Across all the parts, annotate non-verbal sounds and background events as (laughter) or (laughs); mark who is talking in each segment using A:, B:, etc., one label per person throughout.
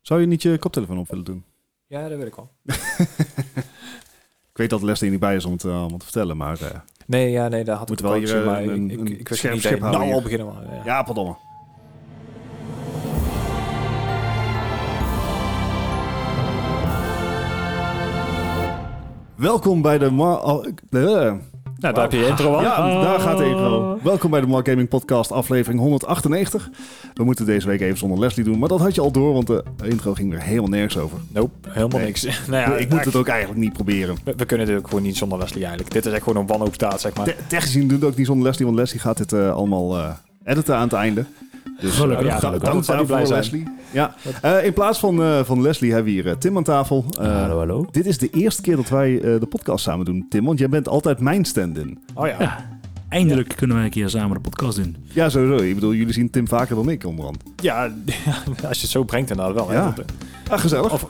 A: Zou je niet je koptelefoon op willen doen?
B: Ja, dat wil ik wel.
A: Ik weet dat Lester niet bij is om het eh, allemaal te vertellen, maar... eh,
B: Nee, ja, nee, daar had
A: Moet
B: ik
A: wel
B: ook
A: hier,
B: zin,
A: eh,
B: maar
A: een-
B: ik,
A: een
B: ik, ik wist
A: scherp
B: niet
A: schip
B: dat je
A: houden
B: nou al
A: hier.
B: beginnen. Maar, ja.
A: ja, pardon. Welkom bij de... Ma- al- ik- eh,
C: Nou, daar heb je je intro al. Oh.
A: Ja, daar gaat de intro. Welkom bij de Mark Gaming Podcast, aflevering 198. We moeten deze week even zonder Leslie doen, maar dat had je al door, want de intro ging er helemaal nergens over.
B: Nope, helemaal
A: Nee.
B: niks. (laughs) nou ja,
A: ik moet
B: nou,
A: het ook eigenlijk niet proberen.
B: We, we kunnen dit ook gewoon niet zonder Leslie eigenlijk. Dit is echt gewoon een wanhoopstaat, zeg maar.
A: Te- technisch gezien doet het ook niet zonder Leslie, want Leslie gaat dit eh, allemaal eh, editen aan het einde. Dus, eh,
C: Gelukkig,
A: da-
B: ja, gelukkig.
A: dank
B: Dat zou die blij
A: daarvoor,
B: zijn.
A: Leslie. Ja. Eh, in plaats van, eh, van Leslie hebben we hier eh, Tim aan tafel. Eh,
C: hallo, hallo.
A: Dit is de eerste keer dat wij eh, de podcast samen doen, Tim, want jij bent altijd mijn stand-in.
B: Oh ja. ja.
C: Eindelijk.
D: Eindelijk kunnen wij een keer samen de podcast doen.
A: Ja, sowieso. Ik bedoel, jullie zien Tim vaker dan ik onderhand.
B: (laughs) als je het zo brengt inderdaad wel. hè.
A: Ja.
B: Dat, eh,
A: Ah, gezellig.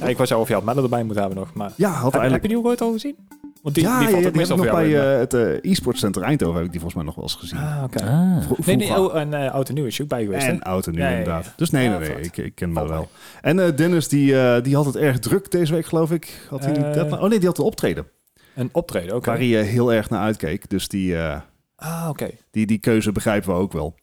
B: ja, ik was al of je had Melle erbij moeten hebben nog, maar...
A: ja, had
B: heb,
A: eigenlijk...
B: heb je die ook ooit al gezien? Want die,
A: ja,
B: die
A: ja,
B: valt
A: ja,
B: ook
A: die heb
B: meestal
A: ik nog
B: voor
A: bij
B: jou in,
A: eh, het eh, e-sport center Eindhoven heb ik die volgens mij nog wel eens gezien.
B: maar- Ah, oké.
D: Ah.
A: Vro-
B: Nee, nee,
A: vroeger.
B: oh, en eh Oud en Nieuw is je ook bij geweest, hè?
A: en oud en nu
B: Ja, ja, ja.
A: inderdaad. Dus nee, nee,
B: Ja,
A: nee,
B: valt.
A: ik, ik ken hem
B: Valt
A: wel. En eh, Dennis, die, eh, die had het erg druk deze week, geloof ik. Had hij die
B: Eh,
A: deadline? Oh nee, die had een optreden.
B: Een optreden, oké.
A: Waar hij eh, heel erg naar uitkeek. Dus die, eh,
B: Ah, oké. (laughs)
A: die, die keuze begrijpen we ook wel.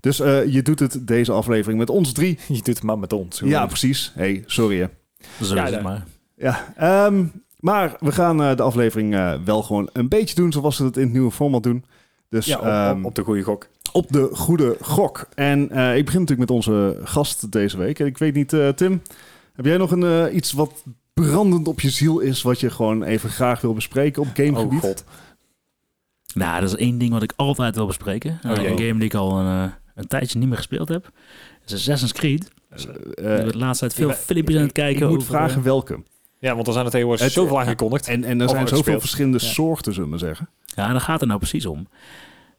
A: Dus eh, je doet het deze aflevering met ons drie.
B: Je doet het maar met ons. hoe-
A: Ja, precies. hey, sorry hè.
D: Zo
B: Ja,
D: is
B: daar.
D: het maar.
A: Ja, ehm, maar we gaan eh, de aflevering eh, wel gewoon een beetje doen zoals we het in het nieuwe format doen. Dus
B: Ja, op- op,
A: ehm,
B: op de goede gok.
A: op de goede gok. En eh, ik begin natuurlijk met onze gast deze week. En ik weet niet, eh, Tim, heb jij nog een, eh, iets wat brandend op je ziel is, wat je gewoon even graag wil bespreken op gamegebied?
B: Oh god.
D: Nou, dat is één ding wat ik altijd wil bespreken. Nou,
B: Oh, jee.
D: een game die ik al een, eh, een tijdje niet meer gespeeld heb. Dat is Assassin's Creed.
A: Eh,
D: ik ben de laatste tijd veel
B: ik ben-
D: filmpjes aan het kijken.
A: ik moet
D: over,
A: vragen
D: eh,
A: welke.
B: Ja, want er zijn er tegenwoordig
A: Het- eh,
B: zoveel aangekondigd.
A: En, en er
B: Of
A: zijn zoveel
B: uitgespeeld.
A: verschillende
B: Oh, Ja.
A: soorten, zullen we zeggen.
D: ja, daar gaat het nou precies om.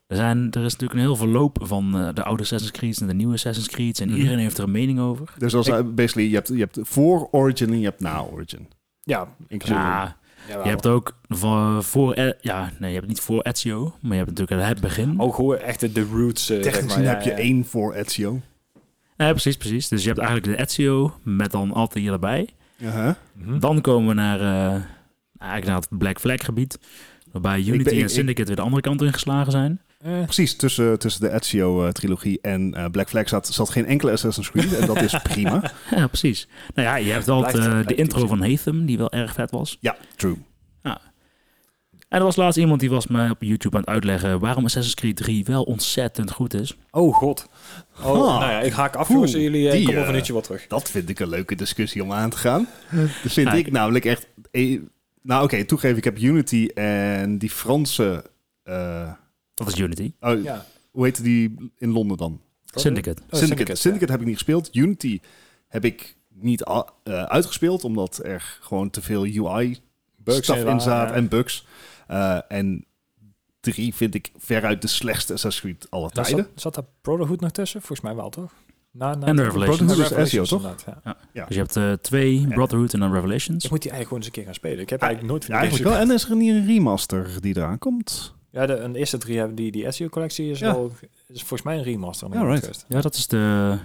D: Er, zijn, er is natuurlijk een heel verloop van eh, de oude Assassin's Creed en de nieuwe Assassin's Creed. En
A: Mhm.
D: iedereen heeft er een mening over.
A: Dus als,
B: Ik-
A: eh, basically, je hebt, je hebt voor Origin en je hebt na Origin.
B: Ja,
A: Inclusief.
D: Ja,
B: jawel.
D: je hebt ook voor, voor eh, ja, nee, je hebt niet voor Ezio, maar je hebt natuurlijk het begin.
B: Ook gewoon echt de- de roots. eh,
A: Technisch
B: zeg maar.
A: gezien
B: Ja,
A: heb je
B: ja.
A: één voor Ezio.
D: Ja, precies, precies. Dus je hebt eigenlijk de Ezio met dan Altair erbij.
A: Uh-huh.
B: Mhm.
D: Dan komen we naar, eh, eigenlijk naar het Black Flag gebied. Waarbij Unity
A: ben- ik-
D: en Syndicate weer de andere kant ingeslagen zijn. (laughs)
B: Eh,
A: Precies, tussen, tussen de Ezio-trilogie en eh, Black Flag zat, zat geen enkele Assassin's Creed. en dat
B: (laughs)
A: is prima.
D: Ja, precies. Nou ja, je hebt wel
B: Blijft-
D: eh,
B: blijft
D: de
B: iets,
D: intro
B: ja.
D: van Hathem, die wel erg vet was.
A: Ja, true.
D: En er was laatst iemand die was me op YouTube aan het uitleggen waarom Assassin's Creed 3 wel ontzettend goed is.
B: Oh god. Oh,
A: Ah.
B: nou ja, ik haak af,
A: Oeh,
B: jongens. Jullie eh,
A: die,
B: komen over
A: eh,
B: een uurtje wel terug.
A: Dat vind ik een leuke discussie om aan te gaan. Dat vind
D: Nou,
A: ik namelijk echt... eh, Nou oké, toegeven, ik heb Unity en die Franse... eh,
D: Dat is Unity.
A: oh,
B: Ja.
A: Hoe heette die in Londen dan?
D: Syndicate.
B: Oh,
A: Syndicate.
B: Syndicate,
A: Syndicate,
B: ja.
A: heb ik niet gespeeld. Unity heb ik niet a- eh, uitgespeeld, omdat er gewoon te veel
B: Bugs
A: UI-stuff
B: en
A: in
B: waar,
A: zaten
B: ja.
A: en bugs. Eh, en drie vind ik veruit de slechtste Assassin's Creed aller
B: En
A: tijden.
B: Zat, zat daar Brotherhood nog tussen? Volgens mij wel, toch? Na, na,
D: En Revelations.
A: Brotherhood is
B: Revelations,
A: SEO, toch?
B: inderdaad, ja.
D: Dus je hebt eh, twee, Brotherhood en dan Revelations.
B: Ik moet die eigenlijk gewoon eens een keer gaan spelen. Ik heb
A: Ah,
B: eigenlijk nooit van
A: Ja,
B: die
A: eigenlijk wel. En is er niet een remaster die eraan komt?
B: games- Ja, de, een eerste drie hebben die, die SEO-collectie is
A: Ja.
B: wel... Is volgens mij een remaster.
A: Ja, right.
D: Ja, dat is de...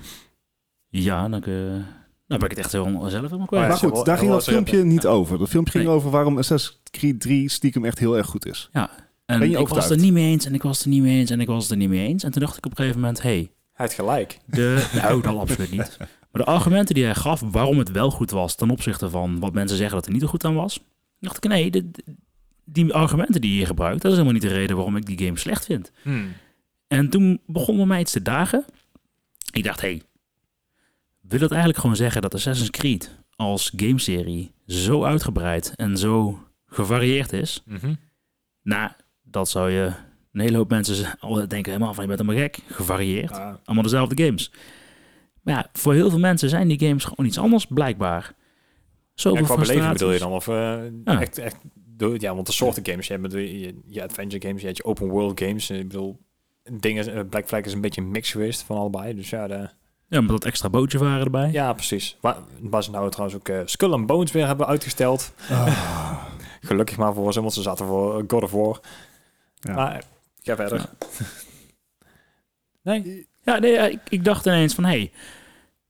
D: Ja, dan, eh, nou ben ik het echt heel zelf helemaal kwijt.
A: maar
B: ze hebben
A: goed,
B: wel-
A: daar
B: wel
A: ging dat
B: wat ze
A: filmpje
B: hebben.
A: niet over. Dat filmpje ging
D: Nee.
A: over waarom Assassin's Creed 3 stiekem echt heel erg goed is.
D: En
A: Ben je
D: ik was
A: overtuigd?
D: het er niet mee eens en ik was het er niet mee eens en ik was het er niet mee eens. En toen dacht ik op een gegeven moment, hey,
B: Hij heeft gelijk.
D: De, nou, dat absoluut niet. Maar de argumenten die hij gaf waarom het wel goed was ten opzichte van wat mensen zeggen dat er niet goed aan was, dacht ik nee, dit- die argumenten die je hier gebruikt, dat is helemaal niet de reden waarom ik die game slecht vind.
B: Hmm.
D: En toen begon bij mij iets te dagen. Ik dacht, hé, hey, wil dat eigenlijk gewoon zeggen dat Assassin's Creed als gameserie zo uitgebreid en zo gevarieerd is?
B: Mhm.
D: Nou, dat zou je een hele hoop mensen al denken helemaal van je bent helemaal gek, gevarieerd
B: Ah,
D: allemaal dezelfde games. Maar ja, voor heel veel mensen zijn die games gewoon iets anders, blijkbaar.
B: ja,
D: Zoveel
B: qua beleving
D: frustraties.
B: bedoel je dan? Of eh,
D: Ja.
B: echt, echt, door- ja, want de soorten games, je hebt de- je, je adventure games, je hebt je open world games. eh, Ik bedoel, dingen, eh, Black Flag is een beetje een mix geweest van allebei. Dus ja, de,
D: Ja, maar dat extra bootje waren erbij.
B: ja precies. Waar, waar ze nou trouwens ook eh, Skull and Bones weer hebben uitgesteld.
A: Ah.
B: (laughs) Gelukkig maar voor ze, want ze zaten voor eh, God of War.
A: Ja.
B: Maar eh, ga verder.
D: Ja, nee, ja, ik, ik dacht ineens van, hé, hey,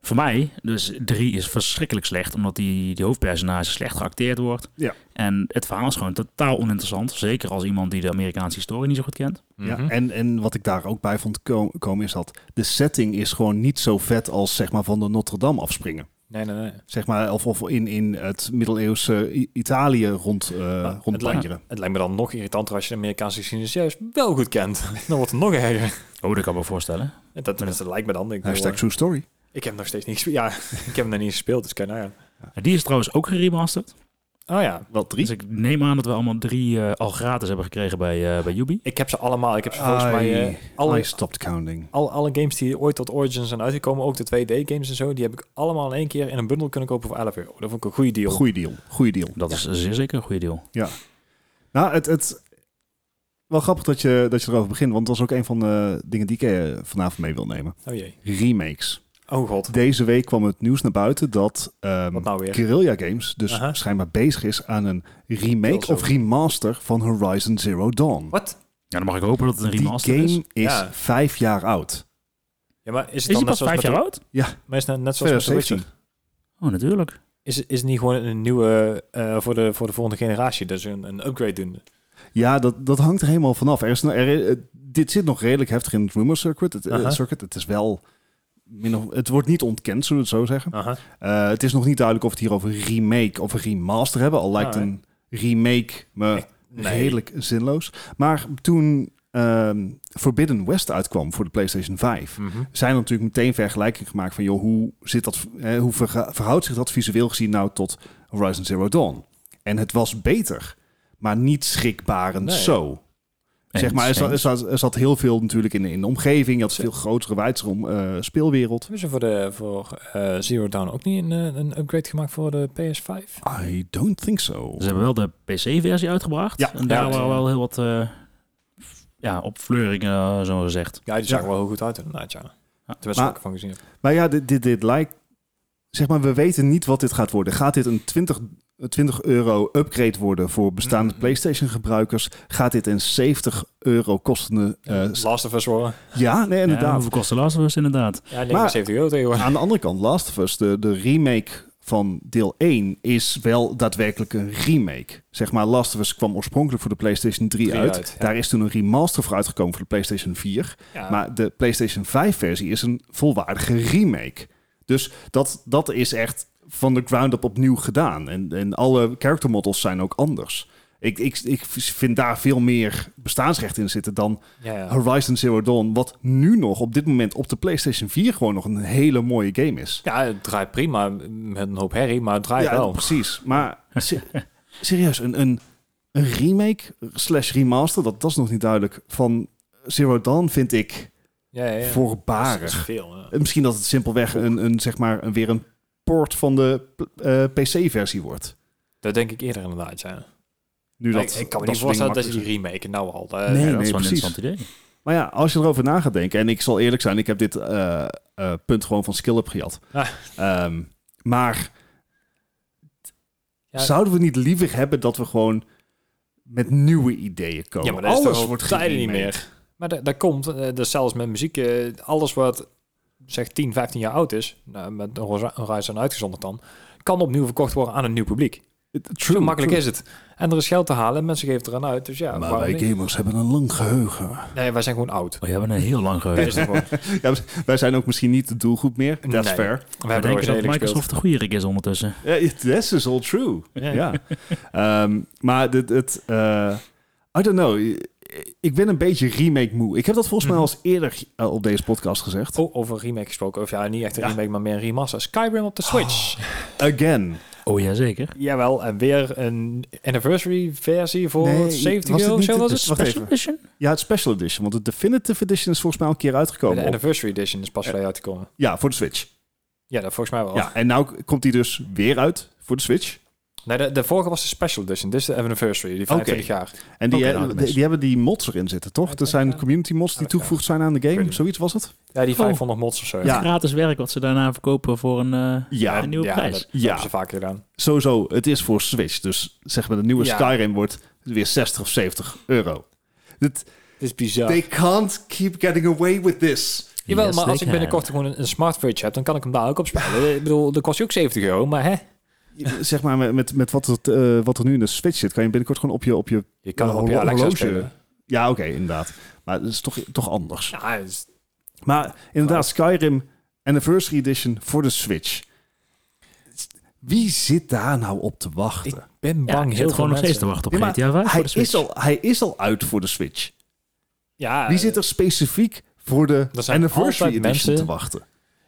D: Voor mij, dus 3 is verschrikkelijk slecht, omdat die, die hoofdpersonage slecht geacteerd wordt.
A: Ja.
D: En het verhaal is gewoon totaal oninteressant. Zeker als iemand die de Amerikaanse historie niet zo goed kent.
B: Mhm.
A: Ja, en, en wat ik daar ook bij vond ko- komen is dat de setting is gewoon niet zo vet als zeg maar van de Notre Dame afspringen.
B: Nee, nee, nee.
A: Zeg maar, of, of in, in het middeleeuwse I- Italië rond, eh
B: Maar Ah, het lijkt,
A: rondbanjeren.
B: het lijkt me dan nog irritanter als je de Amerikaanse geschiedenis juist wel goed kent. (laughs) Dan wordt het nog erger.
D: Oh, dat kan ik me voorstellen.
B: Dat, dat, dat lijkt me dan. Ik, bedoel, eh,
A: Hashtag true story.
B: ik heb nog steeds niet gespeeld. Ja, (laughs) ik heb hem nog niet gespeeld, dus kan nou ja.
D: Die is trouwens ook geremasterd.
B: Oh ja.
A: Wel
D: Dus
A: drie.
D: ik neem aan dat we allemaal drie eh, al gratis hebben gekregen bij, eh, bij Ubi.
B: Ik heb ze allemaal. Ik heb ze volgens mij...
A: I-
B: eh, alle,
A: I stopped counting.
B: Al, alle games die ooit tot Origins zijn uitgekomen, ook de 2D-games en zo, die heb ik allemaal in één keer in een bundel kunnen kopen voor 11 euro. Oh, Dat vond ik een goede deal.
A: Goeie deal. Goeie deal.
D: Dat is zeer zeker een goede deal.
A: Nou, het, het... Wel grappig dat je, dat je erover begint, want dat was ook een van de dingen die ik eh, vanavond mee wil nemen.
B: Oh jee.
A: Remakes.
B: Oh god.
A: Deze week kwam het nieuws naar buiten dat ehm,
B: Wat nou weer?
A: Guerrilla Games dus
B: Aha.
A: schijnbaar bezig is aan een remake
B: Heel zo.
A: of remaster van Horizon Zero Dawn.
B: Wat? dus?
D: Ja, dan mag ik hopen dat het een
A: Die
D: remaster
A: game
D: is.
A: is,
B: Ja.
A: vijf jaar oud.
B: Ja, maar is het
D: Is
B: dan net
D: die pas
B: zoals
D: vijf
B: met de-
D: jaar oud?
B: Maar is het net zoals met de
A: 2017.
B: Witcher?
D: Oh, natuurlijk.
B: Is, het- is het niet gewoon een nieuwe eh, voor, de, voor de volgende generatie? Dus een, een upgrade doen.
A: Ja, dat, dat hangt er helemaal vanaf. Er is, nou- er, eh, dit zit nog redelijk heftig in het rumor circuit. Het, eh,
B: Aha.
A: circuit. het is wel... min of- het wordt niet ontkend, zullen we het zo zeggen.
B: Aha.
A: Eh, het is nog niet duidelijk of we het hier over remake of een remaster hebben. Al lijkt
B: Ah, hè.
A: een remake me redelijk zinloos. Maar toen ehm, Forbidden West uitkwam voor de PlayStation 5...
B: Mhm.
A: zijn er natuurlijk meteen vergelijking gemaakt van... joh, hoe, zit dat, eh, hoe verga- verhoudt zich dat visueel gezien nou tot Horizon Zero Dawn? En het was beter, maar niet schrikbarend
B: Nee.
A: zo. zeg maar, er zat, er, zat, er zat heel veel natuurlijk in, in de omgeving. Je had een veel grotere, wijdere om, eh, speelwereld.
B: Hebben ze voor, de, voor eh, Zero Dawn ook niet een, eh, een upgrade gemaakt voor de PS5?
A: I don't think so.
D: Ze hebben wel de PC-versie uitgebracht.
A: Ja.
D: en daar
B: Ja.
D: waren wel heel wat eh ja, opfleuringen, eh, zo gezegd.
B: Ja, die zag
A: Ja.
B: er wel heel goed uit inderdaad, ja. Tenminste,
A: Maar-
B: wat ik van gezien heb.
A: Maar ja, dit, dit, dit lijkt... Zeg maar, we weten niet wat dit gaat worden. Gaat dit een 20, 20 euro upgrade worden voor bestaande
B: Mm.
A: PlayStation-gebruikers? Gaat dit een 70 euro kostende... eh, s-
B: Last of Us hoor.
A: ja, nee,
D: Ja,
A: inderdaad.
D: Eh, hoeveel kost de Last of
A: (laughs)
D: Us inderdaad?
B: Ja,
A: Maar-
B: 79 euro tegenwoordig.
A: Aan de andere kant, Last of Us, de, de remake van deel 1, is wel daadwerkelijk een remake. Zeg maar, Last of Us kwam oorspronkelijk voor de PlayStation 3,
B: Drie
A: uit.
B: uit, ja.
A: Daar is toen een remaster voor uitgekomen voor de PlayStation 4.
B: Ja.
A: Maar de PlayStation 5-versie is een volwaardige remake. Dus dat, dat is echt van de ground up opnieuw gedaan. En, en alle character models zijn ook anders. Ik, ik, ik vind daar veel meer bestaansrecht in zitten dan
B: Ja, ja.
A: Horizon Zero Dawn, wat nu nog op dit moment op de PlayStation 4 gewoon nog een hele mooie game is.
B: Ja, het draait prima met een hoop herrie, maar het draait
A: ja,
B: Ah, wel.
A: precies. Maar
D: Eh,
A: se- serieus, een, een, een remake slash remaster, dat, dat is nog niet duidelijk, van Zero Dawn vind ik
B: Ja, ja, ja. Dat is
A: voorbarig.
B: veel. ja.
A: Eh, Misschien dat het simpelweg een, een, zeg maar, een, weer een port van de PC-versie wordt.
B: Dat denk ik eerder inderdaad, ja.
A: Nu dat,
B: ik, ik kan
A: dat soort
B: me niet
A: dingen
B: voorstellen dat je die
A: makkelijk
B: remake nou al... eh,
A: zijn. Nee,
D: ja,
A: nee,
D: dat is wel een
A: precies.
D: interessant idee. Oh,
A: Maar ja, als je erover na gaat denken, en ik zal eerlijk zijn, ik heb dit eh, eh, punt gewoon van Skillup gejat.
B: Ah.
A: Ehm, maar
B: Ja.
A: zouden we niet liever hebben dat we gewoon met nieuwe ideeën komen?
B: Ja, maar dat is
A: Alles
B: toch al
A: wordt
B: tijden niet
A: geremaked.
B: meer. Maar dat, dat komt, eh, dat is zelfs met muziek, eh, alles wat zeg 10, 15 jaar oud is, nou, met Horizon uitgezonderd dan, kan opnieuw verkocht worden aan een nieuw publiek.
A: Het-
B: Zo
A: True,
B: makkelijk
A: true.
B: is het. En er is geld te halen en mensen geven het eraan uit. Dus ja,
A: Maar
B: waarom
A: wij
B: niet?
A: gamers hebben een lang geheugen.
B: Nee, wij zijn gewoon
A: (laughs)
B: oud.
D: We hebben een heel lang
B: Dat
D: geheugen.
B: is het gewoon.
A: Wij zijn ook misschien niet de doelgroep meer. That's
B: Nee.
A: fair.
B: We
D: We
B: hebben
D: denken
B: ooit
D: dat
B: redelijk
D: Microsoft
B: gespeeld.
D: de goede rig is ondertussen.
A: Ja, it- this is all true. Ja. Ehm, maar dit, het, eh, I don't know. Ik ben een beetje remake moe. Ik heb dat volgens mij
B: Mhm.
A: al eens eerder eh, op deze podcast gezegd.
B: Oh, over een remake gesproken. Of ja, niet echt een
A: Ja. Ah.
B: remake, maar meer een remaster. Skyrim op de Switch.
A: Again.
D: Oh, jazeker.
B: Jawel, en weer een anniversary versie voor
A: Nee, was
B: 70
A: het
B: euro of
A: niet
B: zo
A: de-
B: was
A: dus
B: het?
A: Wacht
D: Special
A: even.
D: Edition?
A: Ja, het Special Edition. Want de Definitive Edition is volgens mij al een keer
B: de
A: uitgekomen. op-
B: anniversary edition is pas weer uitgekomen.
A: ja, voor de Switch.
B: Ja, dat volgens mij wel.
A: Ja, en nu komt die dus weer uit voor de Switch.
B: Nee, de, de vorige was de special edition. Dit is de anniversary, die 25 jaar.
A: En die,
D: Oké,
A: eh,
D: nou, dat
A: die,
D: is-
A: die hebben die mods erin zitten, toch? Er zijn community mods die
B: dat
A: toegevoegd zijn aan de
B: Ik weet
A: game.
B: niet.
A: Zoiets was het?
B: Ja, die
D: Oh.
B: 500 mods of zo.
A: Ja.
D: Gratis werk wat ze daarna verkopen voor een, eh,
A: Ah. Ja,
D: een nieuwe
B: ja,
D: prijs.
B: Dat,
A: Ja.
B: ja. hebben ze vaker gedaan.
A: Sowieso, het is voor Switch. Dus zeg maar, de nieuwe
B: Ja.
A: Skyrim wordt weer 60 of 70 euro. Dit,
B: Dit is bizar.
A: They can't keep getting away with this.
B: Jawel,
D: Yes,
B: maar als
D: they
B: ik binnenkort
D: can.
B: gewoon een, een smart fridge heb, dan kan ik hem daar ook op spelen. ik bedoel, dat kost je ook 70 euro, maar hè?
A: Zeg maar, met- met, met wat, het, eh, wat er nu in de Switch zit, kan je binnenkort gewoon op je... Op je
B: Je kan hem op je
A: horlo-
B: Alexa
A: horloge.
B: spelen.
A: ja, oké, inderdaad. Maar het is toch, toch anders.
B: Ja, dus dat is-
A: Maar inderdaad, Skyrim Anniversary Edition voor de Switch. Wie zit daar nou op te wachten?
B: ik ben
D: Ja,
B: bang
D: ik
B: heel
D: zit gewoon nog steeds te
B: te
D: wachten op
A: Ja, maar
D: GTA 5
A: hij,
D: voor de Switch.
A: is al, hij is al uit voor de Switch.
B: Ja, eh,
A: Wie zit er specifiek voor de
B: Er zijn
A: Anniversary Edition
B: altijd mensen-
A: te wachten?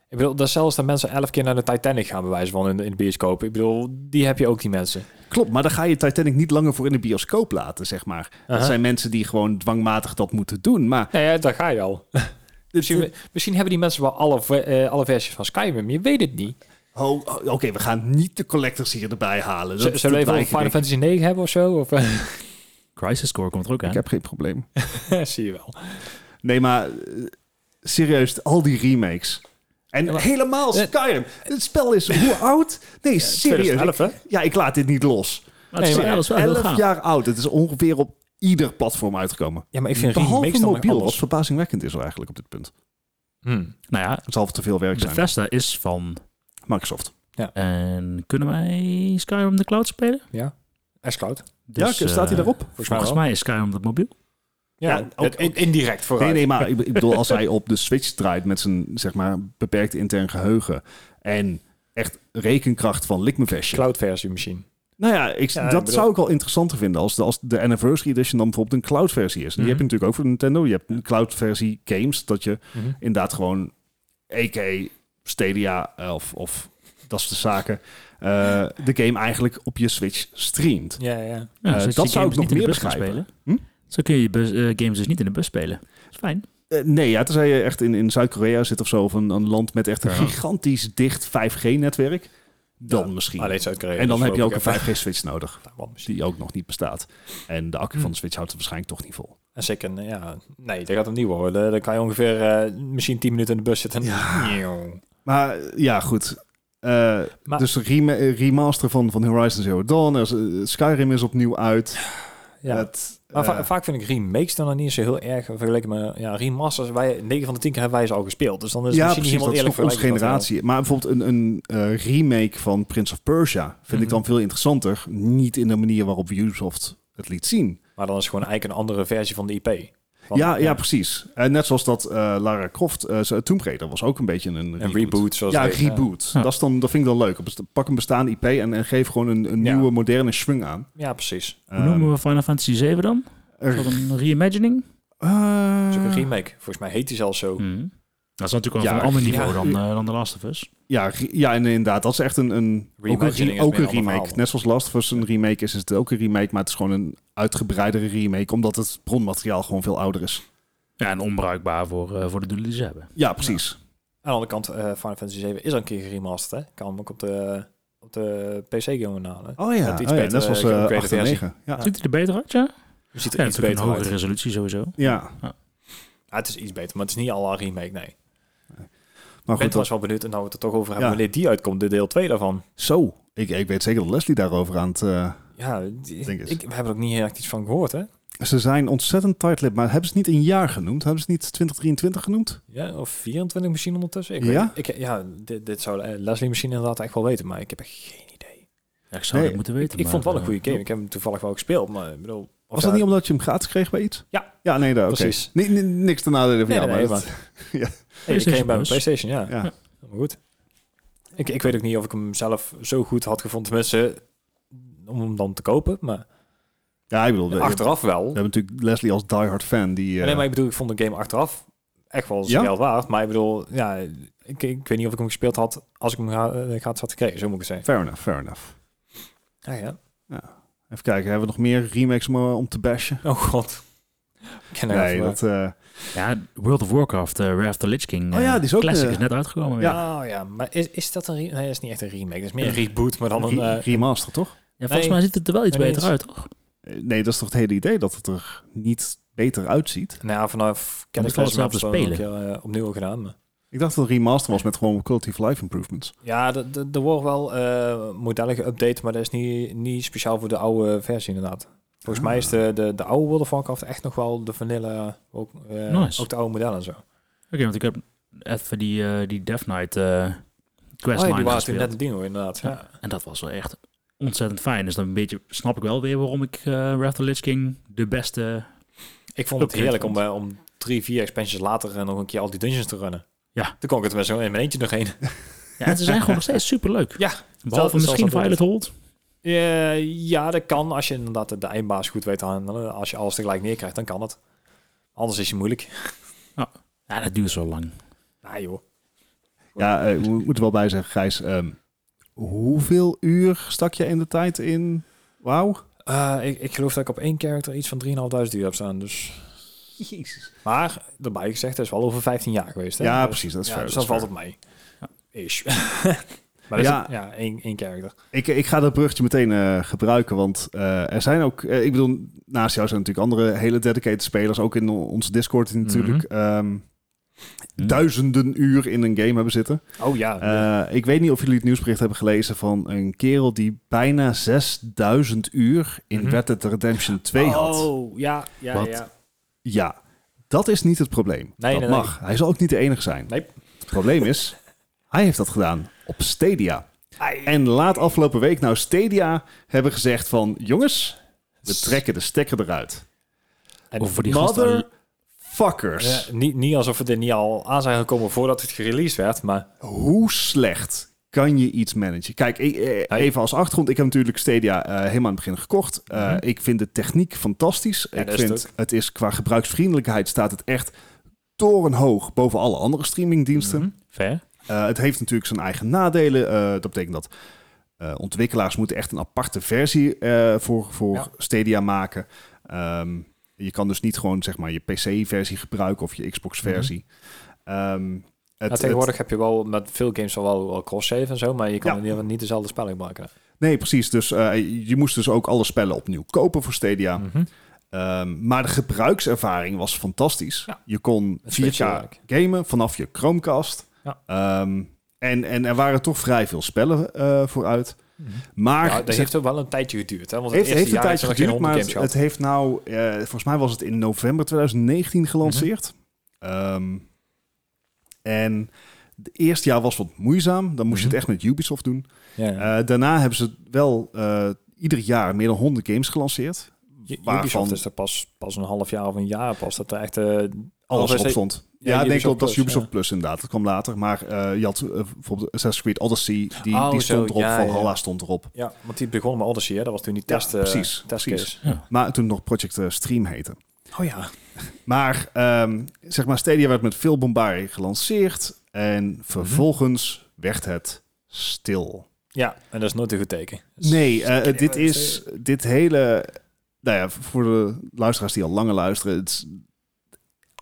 B: Ik bedoel, dat is zelfs dat mensen elf keer naar de Titanic gaan bewijzen van in de, in de bioscoop. Ik bedoel, die heb je ook die mensen.
A: Klopt, maar dan ga je Titanic niet langer voor in de bioscoop laten, zeg maar.
B: Aha.
A: Dat zijn mensen die gewoon dwangmatig dat moeten doen. Maar
B: Nou ja, daar ga je (laughs) al. misschien, misschien hebben die mensen wel alle, ver- eh, alle versies van Skyrim. Je weet het niet.
A: oh, oh, oké, we gaan niet de collectors hier erbij halen.
B: Z-
A: Dat-
B: Zullen we
A: dat
B: even
A: lijkt
B: Final
A: ik-
B: Fantasy 9 hebben of zo? Of, eh, (laughs)
D: Crisis Core komt er ook aan.
A: Ik heb geen probleem.
B: zie je wel.
A: Nee, maar eh, serieus, al die remakes. En
B: Ja, maar-
A: helemaal
B: Eh,
A: Skyrim. Het spel is hoe oud? Nee, serieus.
B: 2011, hè?
A: Ja, ik laat dit niet los.
D: Maar het is
B: Nee, maar
D: wel- dat is wel heel
A: 11
D: gaaf.
A: jaar oud. Het is ongeveer op ieder platform uitgekomen.
B: Ja, maar ik vind
A: Behalve
B: remakes dan weer
A: mobiel, wat
B: anders.
A: verbazingwekkend is er eigenlijk op dit punt.
B: Hmm.
D: Nou ja,
A: Het zal te veel werk zijn.
D: Bethesda is van...
A: Microsoft.
D: En kunnen wij Skyrim op de cloud spelen?
B: Ja, S-Cloud.
D: Dus,
A: ja, staat hij
D: eh,
A: daarop?
B: Volgens mij
D: Volgens
B: wel.
D: mij is Skyrim dat mobiel.
B: Ja,
A: Ja, ook-
B: het- in- indirect vooruit.
A: Nee, nee, maar ik, ik bedoel, als hij op de Switch draait met zijn zeg maar, beperkte intern geheugen en echt rekenkracht van Likmevestje.
B: Cloud versie misschien.
A: Nou ja, ik,
B: Ja,
A: dat
B: ik bedoel-
A: zou ik al interessanter vinden als de, als de Anniversary Edition dan bijvoorbeeld een cloud versie is. En
B: Mhm.
A: Die heb je natuurlijk ook voor Nintendo. Je hebt een cloud versie games, dat je inderdaad gewoon EK, Stadia eh, of, of dat soort zaken, eh, de game eigenlijk op je Switch streamt.
B: Ja, ja.
D: Ja,
A: Eh,
D: zodat
A: dat
D: je die
A: zou
D: games
A: ik nog
D: niet in de
A: meer
D: bus kan
A: begrijpen. Hm?
D: spelen. Zo kun je je bus- eh, games dus niet in de bus spelen. Dat is fijn.
A: Eh, nee, ja, tenzij je echt in, in Zuid-Korea zit of zo, of een, een land met echt een gigantisch dicht 5G-netwerk, dan
B: Ja,
A: misschien.
B: Alleen Zuid-Korea.
A: en dan
B: dus
A: heb je eh, ook
B: voorlopig
A: een
B: even-
A: 5G-switch nodig,
B: Taiwan misschien.
A: die ook nog niet bestaat. En de accu van de Switch houdt het waarschijnlijk toch niet vol.
B: En zeker, eh, ja. Nee, dat gaat hem niet worden. Dan kan je ongeveer eh, misschien 10 minuten in de bus zitten. Ja.
A: Maar eh, ja, goed. Eh,
B: Maar-
A: dus de rema- eh, remaster van, van Horizon Zero Dawn. er is, eh, Skyrim is opnieuw uit.
B: ja.
A: Het,
B: Maar va-
A: eh,
B: vaak vind ik remakes dan nog niet zo heel erg vergeleken met ja, remasters. Wij, 9 van de 10 keer hebben wij ze al gespeeld. Dus dan is het
A: ja,
B: misschien
A: precies.
B: niet
A: Dat is
B: helemaal
A: nog
B: eerlijk
A: onze
B: vergelijken
A: generatie. Maar bijvoorbeeld een, een eh, remake van Prince of Persia vind ik dan
B: Mhm.
A: veel interessanter. Niet in de manier waarop Ubisoft het liet zien.
B: dat wel. Maar dan is het gewoon eigenlijk een andere versie van de IP. Van-
A: ja, ja, precies. En net zoals dat eh, Lara Croft, eh ze- Tomb Raider was ook een beetje een,
B: Een reboot. Zoals
A: Ja,
B: het heet.
A: reboot.
D: Ja.
A: Dat, is dan, dat vind ik dan leuk. Best- Pak een bestaande IP en, en geef gewoon een, een
B: Ja.
A: nieuwe, moderne swing aan.
B: Ja, precies.
A: Ehm.
D: Hoe noemen we Final Fantasy 7 dan? Is dat een reimagining?
A: Eh,
B: Dat is ook een remake. Volgens mij heet die zelfs
A: Mm.
B: zo.
D: Mhm. Dat is natuurlijk wel
A: Oh. Ja,
D: van een ander niveau
B: ja.
D: dan, eh, dan The Last of Us.
A: Ja, re- ja, en inderdaad. Dat is echt een, een, ook een,
B: Reimagining
A: re-
B: is
A: ook
B: meer
A: een
B: een ander
A: remake.
B: verhaal.
A: Net zoals Last of Us een remake is, is het ook een remake. Maar het is gewoon een uitgebreidere remake. Omdat het bronmateriaal gewoon veel ouder is.
D: Ja, en onbruikbaar voor, eh, voor de doelen die ze hebben.
A: Ja, precies.
B: Aan de andere kant, eh, Final Fantasy 7 is al een keer geremasterd. Hè? Kan hem ook op de, op de PC gewoon halen.
A: Oh ja, oh
B: Met iets
A: ja
B: betere
A: net zoals eh
B: geüpgraded
A: 8 en
B: versie.
A: 9. Ja.
D: Ziet het er beter uit, ja?
B: Je ziet er
D: Ja,
B: iets
D: natuurlijk een
B: beter uit.
D: hogere resolutie sowieso.
A: ja,
B: Ja, het is iets beter, maar het is niet al een remake, nee. Ik
A: maar
B: ben
A: goed.
B: trouwens wel benieuwd, en nou we het er toch over hebben,
A: Ja.
B: wanneer die uitkomt, de deel 2 daarvan.
A: Zo, ik, ik weet zeker dat Leslie daarover aan het... eh,
B: Ja, die-
A: Denk eens.
B: ik, we hebben er ook niet echt iets van gehoord, hè?
A: ze zijn ontzettend tight maar hebben ze het niet een jaar genoemd? Hebben ze het niet 2023 genoemd?
B: Ja, of 24 misschien ondertussen. Ik
A: Ja?
B: Weet, ik, ja, dit, dit zou eh, Leslie misschien inderdaad echt wel weten, maar ik heb echt geen idee.
D: Ja, ik zou
A: Nee,
D: dat moeten weten.
B: ik
D: maar,
B: vond het wel
D: eh,
B: een goede game. Ik heb hem toevallig wel gespeeld, maar ik bedoel... of
A: Was
B: ja,
A: dat niet omdat je hem gratis kreeg bij iets?
B: Ja.
A: Ja, nee, daar, oké.
B: Precies.
A: Ni- ni- niks te nadelen van
B: Nee,
A: jou,
B: nee,
A: maar dat- ja.
B: Hey, ik kreeg hem bij mijn
D: Plus.
B: PlayStation, dus? ja.
A: ja.
B: Maar goed. Ik, ik weet ook niet of ik hem zelf zo goed had gevonden, tenminste, om hem dan te kopen, maar
A: Ja, ik bedoel, we, we hebben
B: achteraf wel.
A: natuurlijk Leslie als diehard fan. Die, eh,
B: Nee, maar ik bedoel, ik vond de game achteraf echt wel
A: Ja?
B: zijn geld waard. Maar ik bedoel, ja, ik, ik weet niet of ik hem gespeeld had als ik hem ga- eh, gratis had gekregen, zo moet ik het
A: Fair enough, fair enough.
B: zeggen. Ah, Ja, ja.
A: Even kijken, hebben we nog meer remakes om, eh, om te bashen?
B: Oh god. Ik ken
A: Nee,
B: even-
A: dat... eh,
D: Ja, World of Warcraft, eh Wrath of the Lich King.
A: Oh ja,
D: eh,
A: die is ook,
D: Classic
A: eh,
D: is net uitgekomen. weer.
A: ja.
B: Oh ja, maar is, is dat een remake? Nee, dat is niet echt een remake. Dat is meer een reboot, maar dan een...
A: re-
B: eh,
A: remaster, toch?
D: Ja, volgens
B: Nee.
D: mij ziet het er wel iets
B: Nee,
D: beter
B: eens.
D: uit, toch?
A: Eh, Nee, dat is toch het hele idee dat het er niet beter uitziet?
B: nou ja, vanaf ken ik
D: moet wel hetzelfde spelen.
B: eh, opnieuw gedaan. maar-
A: Ik dacht dat het een remaster was met gewoon quality of life improvements.
B: Ja, d- d- er worden wel eh, modellen geüpdate, maar dat is niet, niet speciaal voor de oude versie inderdaad. Volgens
A: Ah.
B: mij is de, de, de oude World of Warcraft echt nog wel de vanille, ook, eh,
D: Nice.
B: ook de oude modellen en zo.
D: Oké, want ik heb even die, eh, die Death Knight eh
B: Oh, ja, die
D: questline
B: waren toen
D: gespeeld.
B: net een dino, inderdaad. Ja.
D: En dat was wel echt ontzettend fijn. Dus dan een beetje snap ik wel weer waarom ik eh Wrath of the Lich King de beste...
B: Ik vond het
D: Upgrade
B: heerlijk om,
D: vond.
B: eh, om drie, vier expansions later en nog een keer al die dungeons te runnen.
D: Ja.
B: Toen kon ik het met zo'n in mijn eentje nog
D: (laughs)
B: heen.
D: Ja, en ze zijn gewoon (laughs) nog steeds superleuk.
B: Ja,
D: Behalve
B: zelfs
D: misschien
B: dat
D: Violet Hold.
B: Eh, ja, dat kan. Als je inderdaad de- de eindbaas goed weet te handelen. Als je alles tegelijk neerkrijgt, dan kan het. Anders is je moeilijk. (laughs)
D: Ja, dat duurt zo lang.
B: Nou joh.
A: Ja, eh, ik moet moet er wel bij zeggen, Gijs. ehm, hoeveel uur stak je in de tijd in? Wauw.
B: Eh, ik, ik geloof dat ik op één character iets van 3.500 uur heb staan. Dus.
A: Jezus.
B: Maar, daarbij gezegd, dat is wel over 15 jaar geweest. Hè?
A: Ja,
B: Dus-
A: precies. Dat is
B: ja,
A: fair,
B: dus
A: dat
B: dan
A: is
B: valt
A: fair.
B: het mee. Ish. (laughs) maar dat is
A: Ja.
B: ja, ja één, één character.
A: Ik, ik ga dat bruggetje meteen eh, gebruiken, want eh, er zijn ook... eh, ik bedoel, naast jou zijn natuurlijk andere hele dedicated spelers, ook in on- onze Discord natuurlijk,
B: Mhm.
A: ehm,
D: Hm.
A: duizenden uur in een game hebben zitten.
B: Oh ja.
A: Eh, ik weet niet of jullie het nieuwsbericht hebben gelezen van een kerel die bijna 6000 uur in
B: Mhm.
A: Red Dead Redemption 2 had.
B: Oh, ja, ja,
A: Wat?
B: ja.
A: Ja, dat is niet het probleem.
B: Nee,
A: dat
B: nee, nee.
A: mag. Hij zal ook niet de enige zijn.
B: Nee.
A: Het probleem
B: (laughs)
A: is, hij heeft dat gedaan op Stadia.
B: Ai.
A: En laat afgelopen week nou Stadia hebben gezegd van... jongens, we trekken de stekker eruit.
B: En
D: Of voor die gasten-
A: Motherfuckers.
B: Ja, niet, niet alsof we er niet al aan zijn gekomen voordat het gereleased werd, maar
A: Hoe slecht kan je iets managen? Kijk, e- e-
B: Hey.
A: even als achtergrond. Ik heb natuurlijk Stadia eh, helemaal aan het begin gekocht. Eh,
B: Mhm.
A: Ik vind de techniek fantastisch.
B: Ja,
A: ik
B: dat is het
A: vind het is qua gebruiksvriendelijkheid staat het echt torenhoog boven alle andere streamingdiensten.
B: Mhm.
D: Ver.
A: Eh, het heeft natuurlijk zijn eigen nadelen. Eh, dat betekent dat eh, ontwikkelaars moeten echt een aparte versie eh, voor, voor
B: Ja.
A: Stadia maken. Ehm, je kan dus niet gewoon zeg maar je PC-versie gebruiken of je Xbox-versie. Ehm, het-
B: Mhm. ja, tegenwoordig heb je wel met veel games wel, wel wel cross-save en zo, maar je kan
A: Ja.
B: in ieder geval niet dezelfde spelling maken.
A: het- nee, precies. Dus eh, je moest dus ook alle spellen opnieuw kopen voor Stadia.
B: Mhm.
A: Ehm, maar de gebruikservaring was fantastisch.
B: Ja.
A: Je kon
B: Met
A: 4K
B: Switch-werk.
A: gamen vanaf je Chromecast.
B: Ja.
A: Ehm, en, en er waren toch vrij veel spellen eh vooruit.
B: Mhm.
A: Maar
B: Ja, dat
A: zeg
B: heeft ook wel een tijdje geduurd, hè? Want
A: Het heeft,
B: het
A: heeft
B: eerste
A: een
B: jaar heeft
A: tijdje
B: ze nog geen
A: geduurd, maar
B: 100 games
A: het, het
B: gehad.
A: heeft nou... eh, volgens mij was het in november 2019 gelanceerd. Ehm, en het eerste jaar was wat moeizaam. Dan moest je
B: Mhm.
A: het echt met Ubisoft doen.
B: Ja, ja.
A: Eh, daarna hebben ze wel eh, ieder jaar meer dan 100 games gelanceerd.
B: U-
A: waarvan-
B: Ubisoft is er pas, pas een half jaar of een jaar pas dat er echt... eh,
A: Alles
B: was
A: erop
B: e-
A: stond.
B: ja,
A: Ja, ik denk
B: Ubisoft
A: dat dat is
B: Plus,
A: Ubisoft
B: ja.
A: Plus inderdaad. Dat kwam later. Maar eh, je had eh, bijvoorbeeld Assassin's Creed Odyssey. Die,
B: Oh,
A: die
B: zo,
A: stond erop.
B: ja, ja.
A: Valhalla stond erop.
B: Ja, want die begon met Odyssey, hè? Dat was toen die test, eh
A: precies,
B: testcase.
A: Maar toen nog Project eh, Stream heette.
B: Oh ja.
A: Maar ehm, zeg maar, Stadia werd met veel bombarie gelanceerd. En vervolgens werd het stil.
B: Ja, en dat is nooit een goed teken. Dus-
A: Nee, eh, dit is dit hele. Nou ja, voor de luisteraars die al langer luisteren. Het is,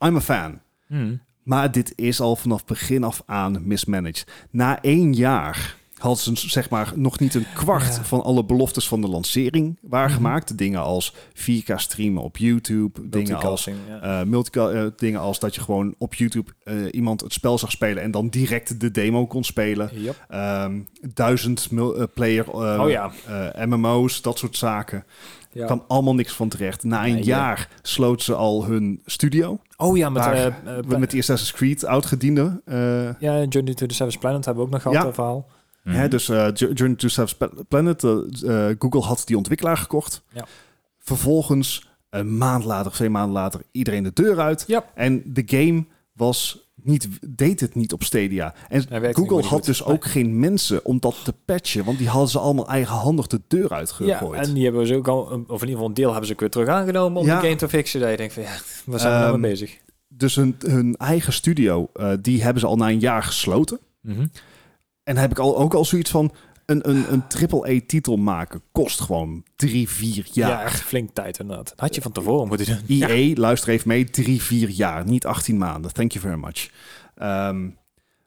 A: I'm a fan.
B: Mhm.
A: Maar dit is al vanaf begin af aan mismanaged. Na één jaar had ze zeg maar, nog niet een kwart
B: Ja. Mhm.
A: van alle beloftes van de lancering waargemaakt. Dingen als 4K streamen op YouTube. Dingen als
B: Multicasting, ja.
A: eh multica- eh, dingen als dat je gewoon op YouTube eh, iemand het spel zag spelen en dan direct de demo kon spelen.
B: Yep.
A: Ehm, duizend mul- eh, player eh,
B: Oh ja.
A: eh, MMO's, dat soort zaken.
B: ja.
A: Kwam allemaal niks van terecht. Na een
B: Nee, ja.
A: jaar sloot ze al hun studio.
B: Oh ja, met,
A: Waar-
B: eh
A: We- met die Assassin's Creed oudgediende. eh
B: ja, Journey to the Savage Planet hebben we ook nog gehad,
A: Ja.
B: dat verhaal.
A: hè, dus eh, Jour- Journey to Savage Pla- Planet, eh, eh, Google had die ontwikkelaar gekocht.
B: Ja.
A: Vervolgens, een maand later, twee maanden later, iedereen de deur uit.
B: Ja.
A: En de game was niet, deed het niet op Stadia. En
B: Hij werkte
A: Google
B: niet
A: had
B: goed.
A: dus ook geen mensen om dat te patchen. Want die hadden ze allemaal eigenhandig de deur uitgegooid.
B: Ja, en die hebben ze ook al, of in ieder geval een deel hebben ze ook weer terug aangenomen om
A: Ja.
B: de game te fixen. Dat je denkt van, ja, waar zijn we nou
A: Ehm,
B: mee bezig?
A: Dus hun, hun eigen studio, eh, die hebben ze al na een jaar gesloten.
B: Mhm.
A: En heb ik al, ook al zoiets van... Een, een, een triple-E-titel maken kost gewoon drie, vier
B: Ja.
A: jaar.
B: echt flink tijd inderdaad. Dat had je van tevoren moeten doen.
A: EA, luister even mee, drie, vier jaar, niet 18 maanden. Thank you very much. Ehm,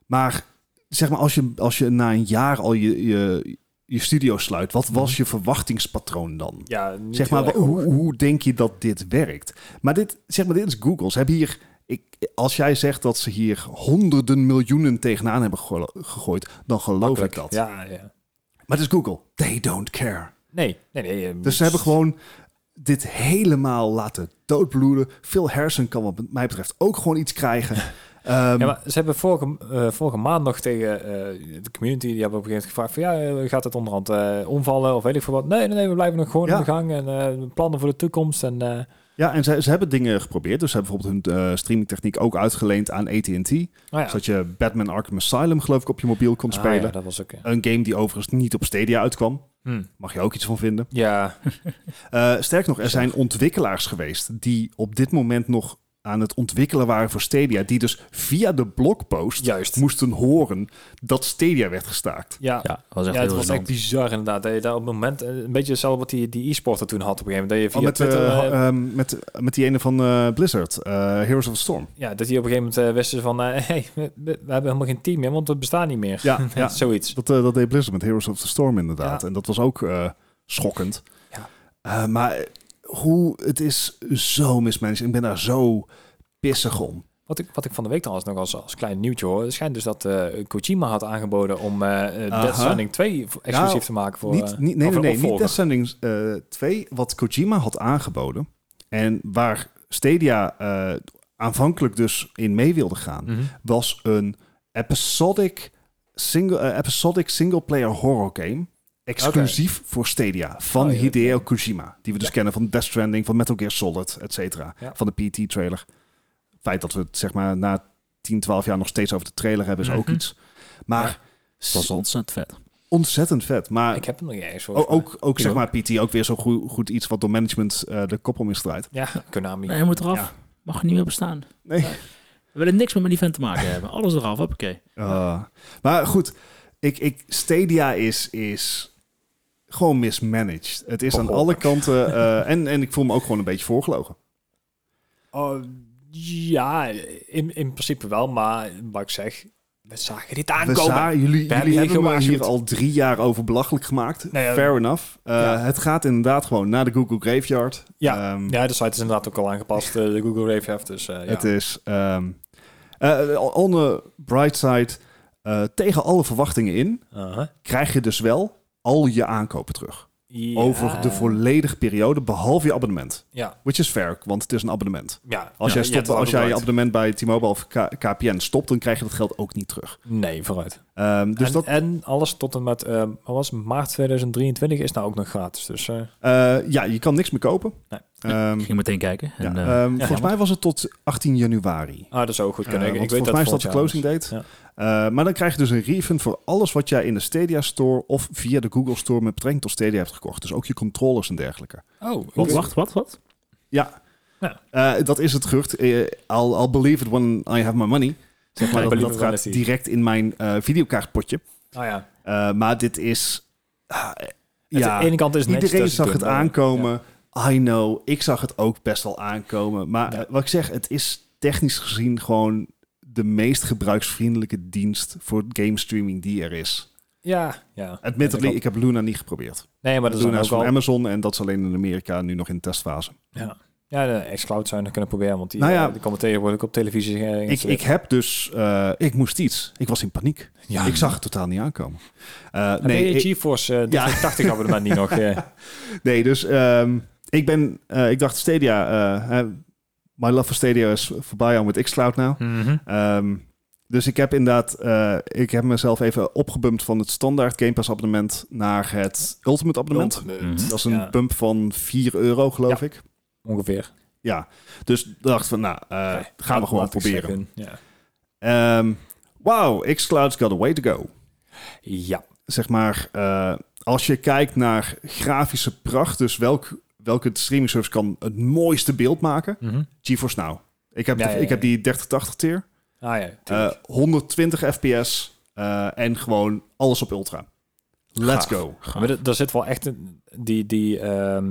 A: maar zeg maar, als je, als je na een jaar al je, je, je studio sluit, wat was je verwachtingspatroon dan?
B: Ja, Mm. niet
A: zeg maar,
B: heel
A: wa-
B: erg
A: hoe,
B: hoog.
A: hoe denk je dat dit werkt? Maar dit, zeg maar, dit is Google. Ze hebben hier, ik, als jij zegt dat ze hier honderden miljoenen tegenaan hebben gego- gegooid, dan geloof ik dat.
B: Ja, ja.
A: Maar het is Google. They don't care.
B: Nee, nee, nee. eh,
A: Dus ze hebben gewoon dit
B: (laughs)
A: helemaal laten doodbloeden. Phil Harrison kan wat mij betreft ook gewoon iets krijgen. Ehm,
B: Ja, maar ze hebben vorige, eh, vorige maand nog tegen eh, de community, die hebben op een gegeven moment gevraagd van ja, eh, gaat het onderhand eh, omvallen of weet ik veel wat. Nee, nee, nee, we blijven nog gewoon
A: Ja.
B: in de gang en eh, plannen voor de toekomst. En, eh,
A: ja, en ze, ze hebben dingen geprobeerd. Dus ze hebben bijvoorbeeld hun eh, streamingtechniek ook uitgeleend aan AT&T.
B: nou ja.
A: Zodat je Batman Arkham Asylum geloof ik op je mobiel kon
B: Ah,
A: spelen.
B: ja, dat was ook... eh,
A: Een game die overigens niet op Stadia uitkwam.
B: hm.
A: Mag je ook iets van vinden.
B: Ja,
A: Eh, sterk nog, er zijn ontwikkelaars geweest die op dit moment nog aan het ontwikkelen waren voor Stadia. Die dus via de blogpost
B: juist.
A: moesten horen dat Stadia werd gestaakt.
B: Ja,
D: Ja, dat was echt
B: ja het
D: heel
B: was echt
D: interessant.
B: bizar inderdaad. Dat je daar op het moment, eh, een beetje hetzelfde wat die, die e-sporter toen had op een gegeven moment. Dat
A: Oh,
B: je via
A: met,
B: Twitter,
A: eh,
B: eh,
A: ehm, met, met die ene van eh, Blizzard, eh, Heroes of the Storm.
B: ja, dat die op een gegeven moment eh, wisten van, eh, (laughs) hey, we, we hebben helemaal geen team meer, want we bestaan niet meer.
A: (laughs) Ja, ja.
B: Zoiets.
A: Dat, eh, dat deed Blizzard met Heroes of the Storm inderdaad. En dat was ook eh, schokkend.
B: Ja.
A: Eh, maar hoe, het is zo mismanaged. Ik ben daar zo pissig om.
B: Wat ik, wat ik van de week trouwens nog als, als klein nieuwtje hoor. Het schijnt dus dat eh, Kojima had aangeboden om eh eh, Death
A: Aha.
B: Stranding 2 voor- exclusief
A: Nou,
B: te maken voor...
A: niet,
B: eh,
A: niet, nee, nee,
B: of een
A: nee, niet
B: opvolger.
A: Death Stranding eh, 2, wat Kojima had aangeboden. En waar Stadia eh, aanvankelijk dus in mee wilde gaan,
B: Mhm.
A: was een episodic single, eh, episodic single player horror game. Exclusief voor Stadia van
B: Oh, ja,
A: Hideo
B: oké.
A: Kojima. Die we dus
B: Ja.
A: kennen van Death Stranding, van Metal Gear Solid, et cetera.
B: Ja.
A: Van de PT-trailer. Het feit dat we het zeg maar na 10, 12 jaar nog steeds over de trailer hebben, is ook
B: Mhm.
A: iets. Maar
D: Het was ontzettend vet.
A: ontzettend vet. Maar
B: Ik heb hem nog niet eens.
A: ook,
B: volgens mij.
A: ook, ook zeg
B: Ja.
A: maar PT, ook weer zo goed, goed iets wat door management eh, de kop om is gedraaid.
B: Ja, Konami.
D: Nee, hij moet eraf.
A: Ja.
D: Mag er niet meer bestaan.
A: Nee.
D: We willen niks meer met die vent te (laughs) maken hebben. Alles eraf, hoppakee.
A: Eh, maar goed, ik, ik, Stadia is, is gewoon mismanaged. Het is aan alle
B: Behoorlijk.
A: kanten. eh, (laughs) en, en ik voel me ook gewoon een beetje voorgelogen.
B: Oh, ja, in, in principe wel, maar wat ik zeg, we zagen dit
A: We
B: aankomen.
A: zagen, jullie,
B: hebben
A: jullie
B: hier
A: hebben me
B: gewaarschuwd.
A: hier al drie jaar over belachelijk gemaakt.
B: Nee, Nou ja.
A: Fair enough. Eh,
B: Ja.
A: Het gaat inderdaad gewoon naar de Google Graveyard.
B: Ja.
A: Ehm,
B: Ja, de site is inderdaad ook al aangepast, eh, de Google Rave heeft, dus eh, ja.
A: Het is... ehm eh, on the bright side, eh, tegen alle verwachtingen in,
B: Aha.
A: krijg je dus wel al je aankopen terug.
B: Ja.
A: Over de volledige periode, behalve je abonnement.
B: Ja,
A: Which is fair, want het is een abonnement.
B: ja.
A: Als
B: Ja,
A: jij, stopt,
B: dat
A: als jij je
B: vooruit.
A: abonnement bij T-Mobile of K- KPN stopt, dan krijg je dat geld ook niet terug.
B: Nee, vooruit.
A: Ehm, dus
B: en,
A: dat,
B: en alles tot en met eh, wat was het, maart 2023 is nou ook nog gratis. Dus eh,
A: eh, ja, je kan niks meer kopen.
B: Nee.
A: Ehm,
D: Ik ging meteen kijken.
A: ja,
D: En,
A: ehm,
D: eh,
A: volgens mij was het tot 18 januari.
B: ah, dat zou ook goed kunnen.
A: Eh,
B: ik,
A: want
B: ik weet
A: volgens mij is dat de
B: volgend
A: closing
B: jaar
A: date. Eh, maar dan krijg je dus een refund voor alles wat jij in de Stadia Store of via de Google Store met betrekking tot Stadia hebt gekocht. Dus ook je controllers en dergelijke.
B: is. Oh, ik
D: wat,
B: weet-
D: wacht, wat, wat?
A: Ja.
B: Ja.
A: Eh, dat is het gerucht. Eh, I'll, I'll believe it when I have my money. Zeg maar,
B: I
A: dat,
B: believe
A: dat
B: it when I
A: gaat
B: see.
A: direct in mijn eh, videokaartpotje.
B: Ah ja.
A: Eh, maar dit is... ah,
B: ja. Aan de ene kant is netjes
A: Iedereen
B: dat ze
A: zag
B: doen,
A: het
B: maar-
A: aankomen. I know. Ik zag het ook best wel aankomen. Maar
B: Ja.
A: eh, wat ik zeg, het is technisch gezien gewoon de meest gebruiksvriendelijke dienst voor game streaming die er is.
B: Ja, ja.
A: Admittedly,
B: Ja,
A: ik heb Luna niet geprobeerd.
B: Nee, maar dat is
A: Luna
B: dan
A: is
B: ook
A: van
B: wel...
A: Amazon en dat is alleen in Amerika nu nog in testfase.
B: Ja. ja, de xCloud zou je nog kunnen proberen, want die,
A: Nou
B: nou
A: ja.
B: die komen tegenwoordig ook op televisie. eh,
A: Ik, ik
B: geïnstalleerd.
A: heb dus, eh, ik moest iets. Ik was in paniek.
B: ja.
A: Ik zag het totaal niet aankomen. Eh,
B: nee,
A: nee, ik-
B: GeForce eh, 80 abonnement niet nog. eh.
A: Nee, dus ehm, ik ben, eh, ik dacht Stadia, eh, eh, my love for Stadia is voorbij aan met xCloud nou.
B: Mhm.
A: Ehm, dus ik heb inderdaad, eh, ik heb mezelf even opgebumpt van het standaard Game Pass abonnement naar het Ultimate abonnement.
B: Ultimate.
A: Dat is een
B: Ja,
A: bump van 4 euro, geloof ik.
B: Ongeveer.
A: Ja, dus dacht van, nou, eh, gaan we
B: Laat-
A: gewoon
B: laat ik
A: proberen.
B: zeggen, Ja.
A: Ehm wow, xCloud's got a way to go.
B: ja.
A: zeg maar, eh, als je kijkt naar grafische pracht, dus welk, welke streaming service kan het mooiste beeld maken?
B: Mhm.
A: GeForce Now. Ik heb,
B: Ja,
A: de-
B: ja,
A: Ik
B: ja.
A: heb die 3080 tier,
B: Ah ja.
A: eh,
B: tuurlijk.
A: 120 fps eh, en gewoon alles op ultra. Let's
D: Gaaf.
A: go.
D: Gaaf.
B: maar er- er zit wel echt een, die, die, ehm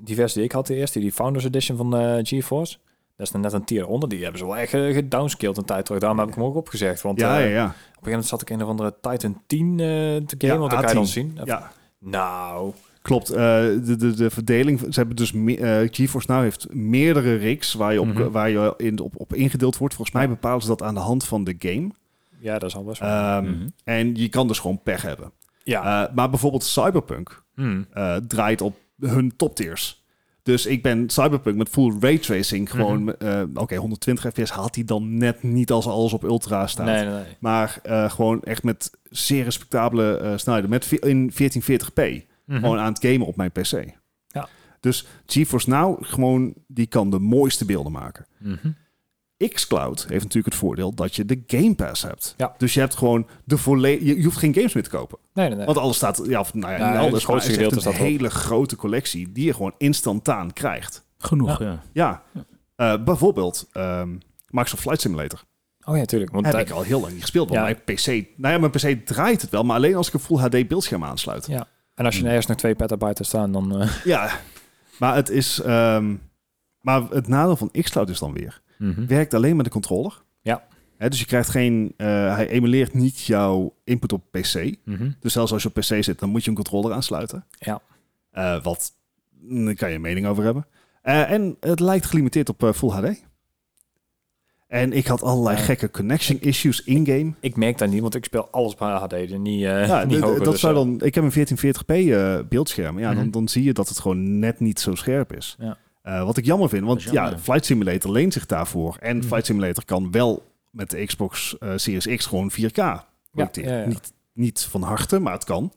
B: die versie die ik had, de eerste, die Founders Edition van eh GeForce. Dat is dan net een tier onder. Die hebben ze wel echt eh, gedownscaled een tijd terug. Daarom heb ik hem ook opgezegd. Want
A: Ja,
B: eh,
A: ja, ja.
B: Op een gegeven moment zat ik in een of andere Titan 10 eh, te gamen,
A: Ja,
B: want dat kan
A: A10.
B: je dan zien.
A: ja.
B: Nou,
A: Klopt, eh, de, de, de verdeling, ze hebben dus me- eh, GeForce Now heeft meerdere rigs waar je, op,
B: Mhm.
A: waar je in, op, op ingedeeld wordt. Volgens mij bepalen ze dat aan de hand van de game.
B: ja, dat is al best wel.
A: Ehm,
D: Mhm.
A: En je kan dus gewoon pech hebben.
B: Eh, ja.
A: Eh, maar bijvoorbeeld Eh, Cyberpunk
B: Hmm.
A: eh, draait op hun toptiers. Dus ik ben Cyberpunk met full raytracing
B: Mhm.
A: gewoon... eh, Oké, 120 fps haalt hij dan net niet als alles op ultra staat.
B: Nee, nee, nee.
A: Maar eh, gewoon echt met zeer respectabele eh snelheden. Met vi- in 1440p. Gewoon aan het gamen op mijn PC.
B: Mhm. Ja.
A: Dus GeForce Now, gewoon, die kan de mooiste beelden maken.
B: Mhm.
A: xCloud heeft natuurlijk het voordeel dat je de Game Pass hebt.
B: Ja.
A: Dus je hebt gewoon de volledige... Je, je hoeft geen games meer te kopen.
B: Nee, nee, nee.
A: Want alles staat... Ja, of, nou ja,
B: Ja,
A: niet
B: het
A: alles, maar
B: grootste
A: het is echt
B: gedeelte
A: een
B: staat erop.
A: hele grote collectie die je gewoon instantaan krijgt.
D: Genoeg, ja.
A: Ja.
D: Ja.
A: Eh, bijvoorbeeld ehm, Microsoft Flight Simulator.
B: Oh ja, tuurlijk. Want
A: Heb
B: daar-
A: ik al heel lang niet gespeeld. Want
B: Ja.
A: mijn PC... Nou ja, mijn PC draait het wel, maar alleen als ik een Full HD beeldscherm aansluit.
B: (laughs) Ja.
A: Mm.
B: En als je
D: Hmm.
B: ergens nog twee petabyte hebt staan, dan... eh, (laughs)
A: Ja, maar het is. ehm, maar het nadeel van xCloud is dan weer.
B: mhm.
A: Werkt alleen met de controller.
B: Ja.
A: Hè, dus je krijgt geen. eh, hij emuleert niet jouw input op PC.
B: Mhm.
A: Dus zelfs als je op PC zit, dan moet je een controller aansluiten.
B: Ja.
A: Eh, wat. mm, Daar kan je een mening over hebben. Eh, en het lijkt gelimiteerd op eh, Full HD. En ik had allerlei
B: Ja.
A: gekke connection issues in-game.
B: Ik merk dat niet, want ik speel alles op HD. en Niet, eh
A: Ja,
B: (laughs) niet
A: d- d-
B: hoger,
A: dat
B: dus,
A: zou
B: eh,
A: dan, ik heb een 1440p eh, beeldscherm. Ja, dan,
B: Mhm.
A: dan zie je dat het gewoon net niet zo scherp is.
B: Ja.
A: Eh, wat ik jammer vind, want
D: Dat is jammer,
A: ja,
D: ja.
A: Flight Simulator leent zich daarvoor. En
B: Mhm.
A: Flight Simulator kan wel met de Xbox eh, Series X gewoon 4K projecteren.
B: ja, ja.
A: Niet, niet van harte, maar het kan.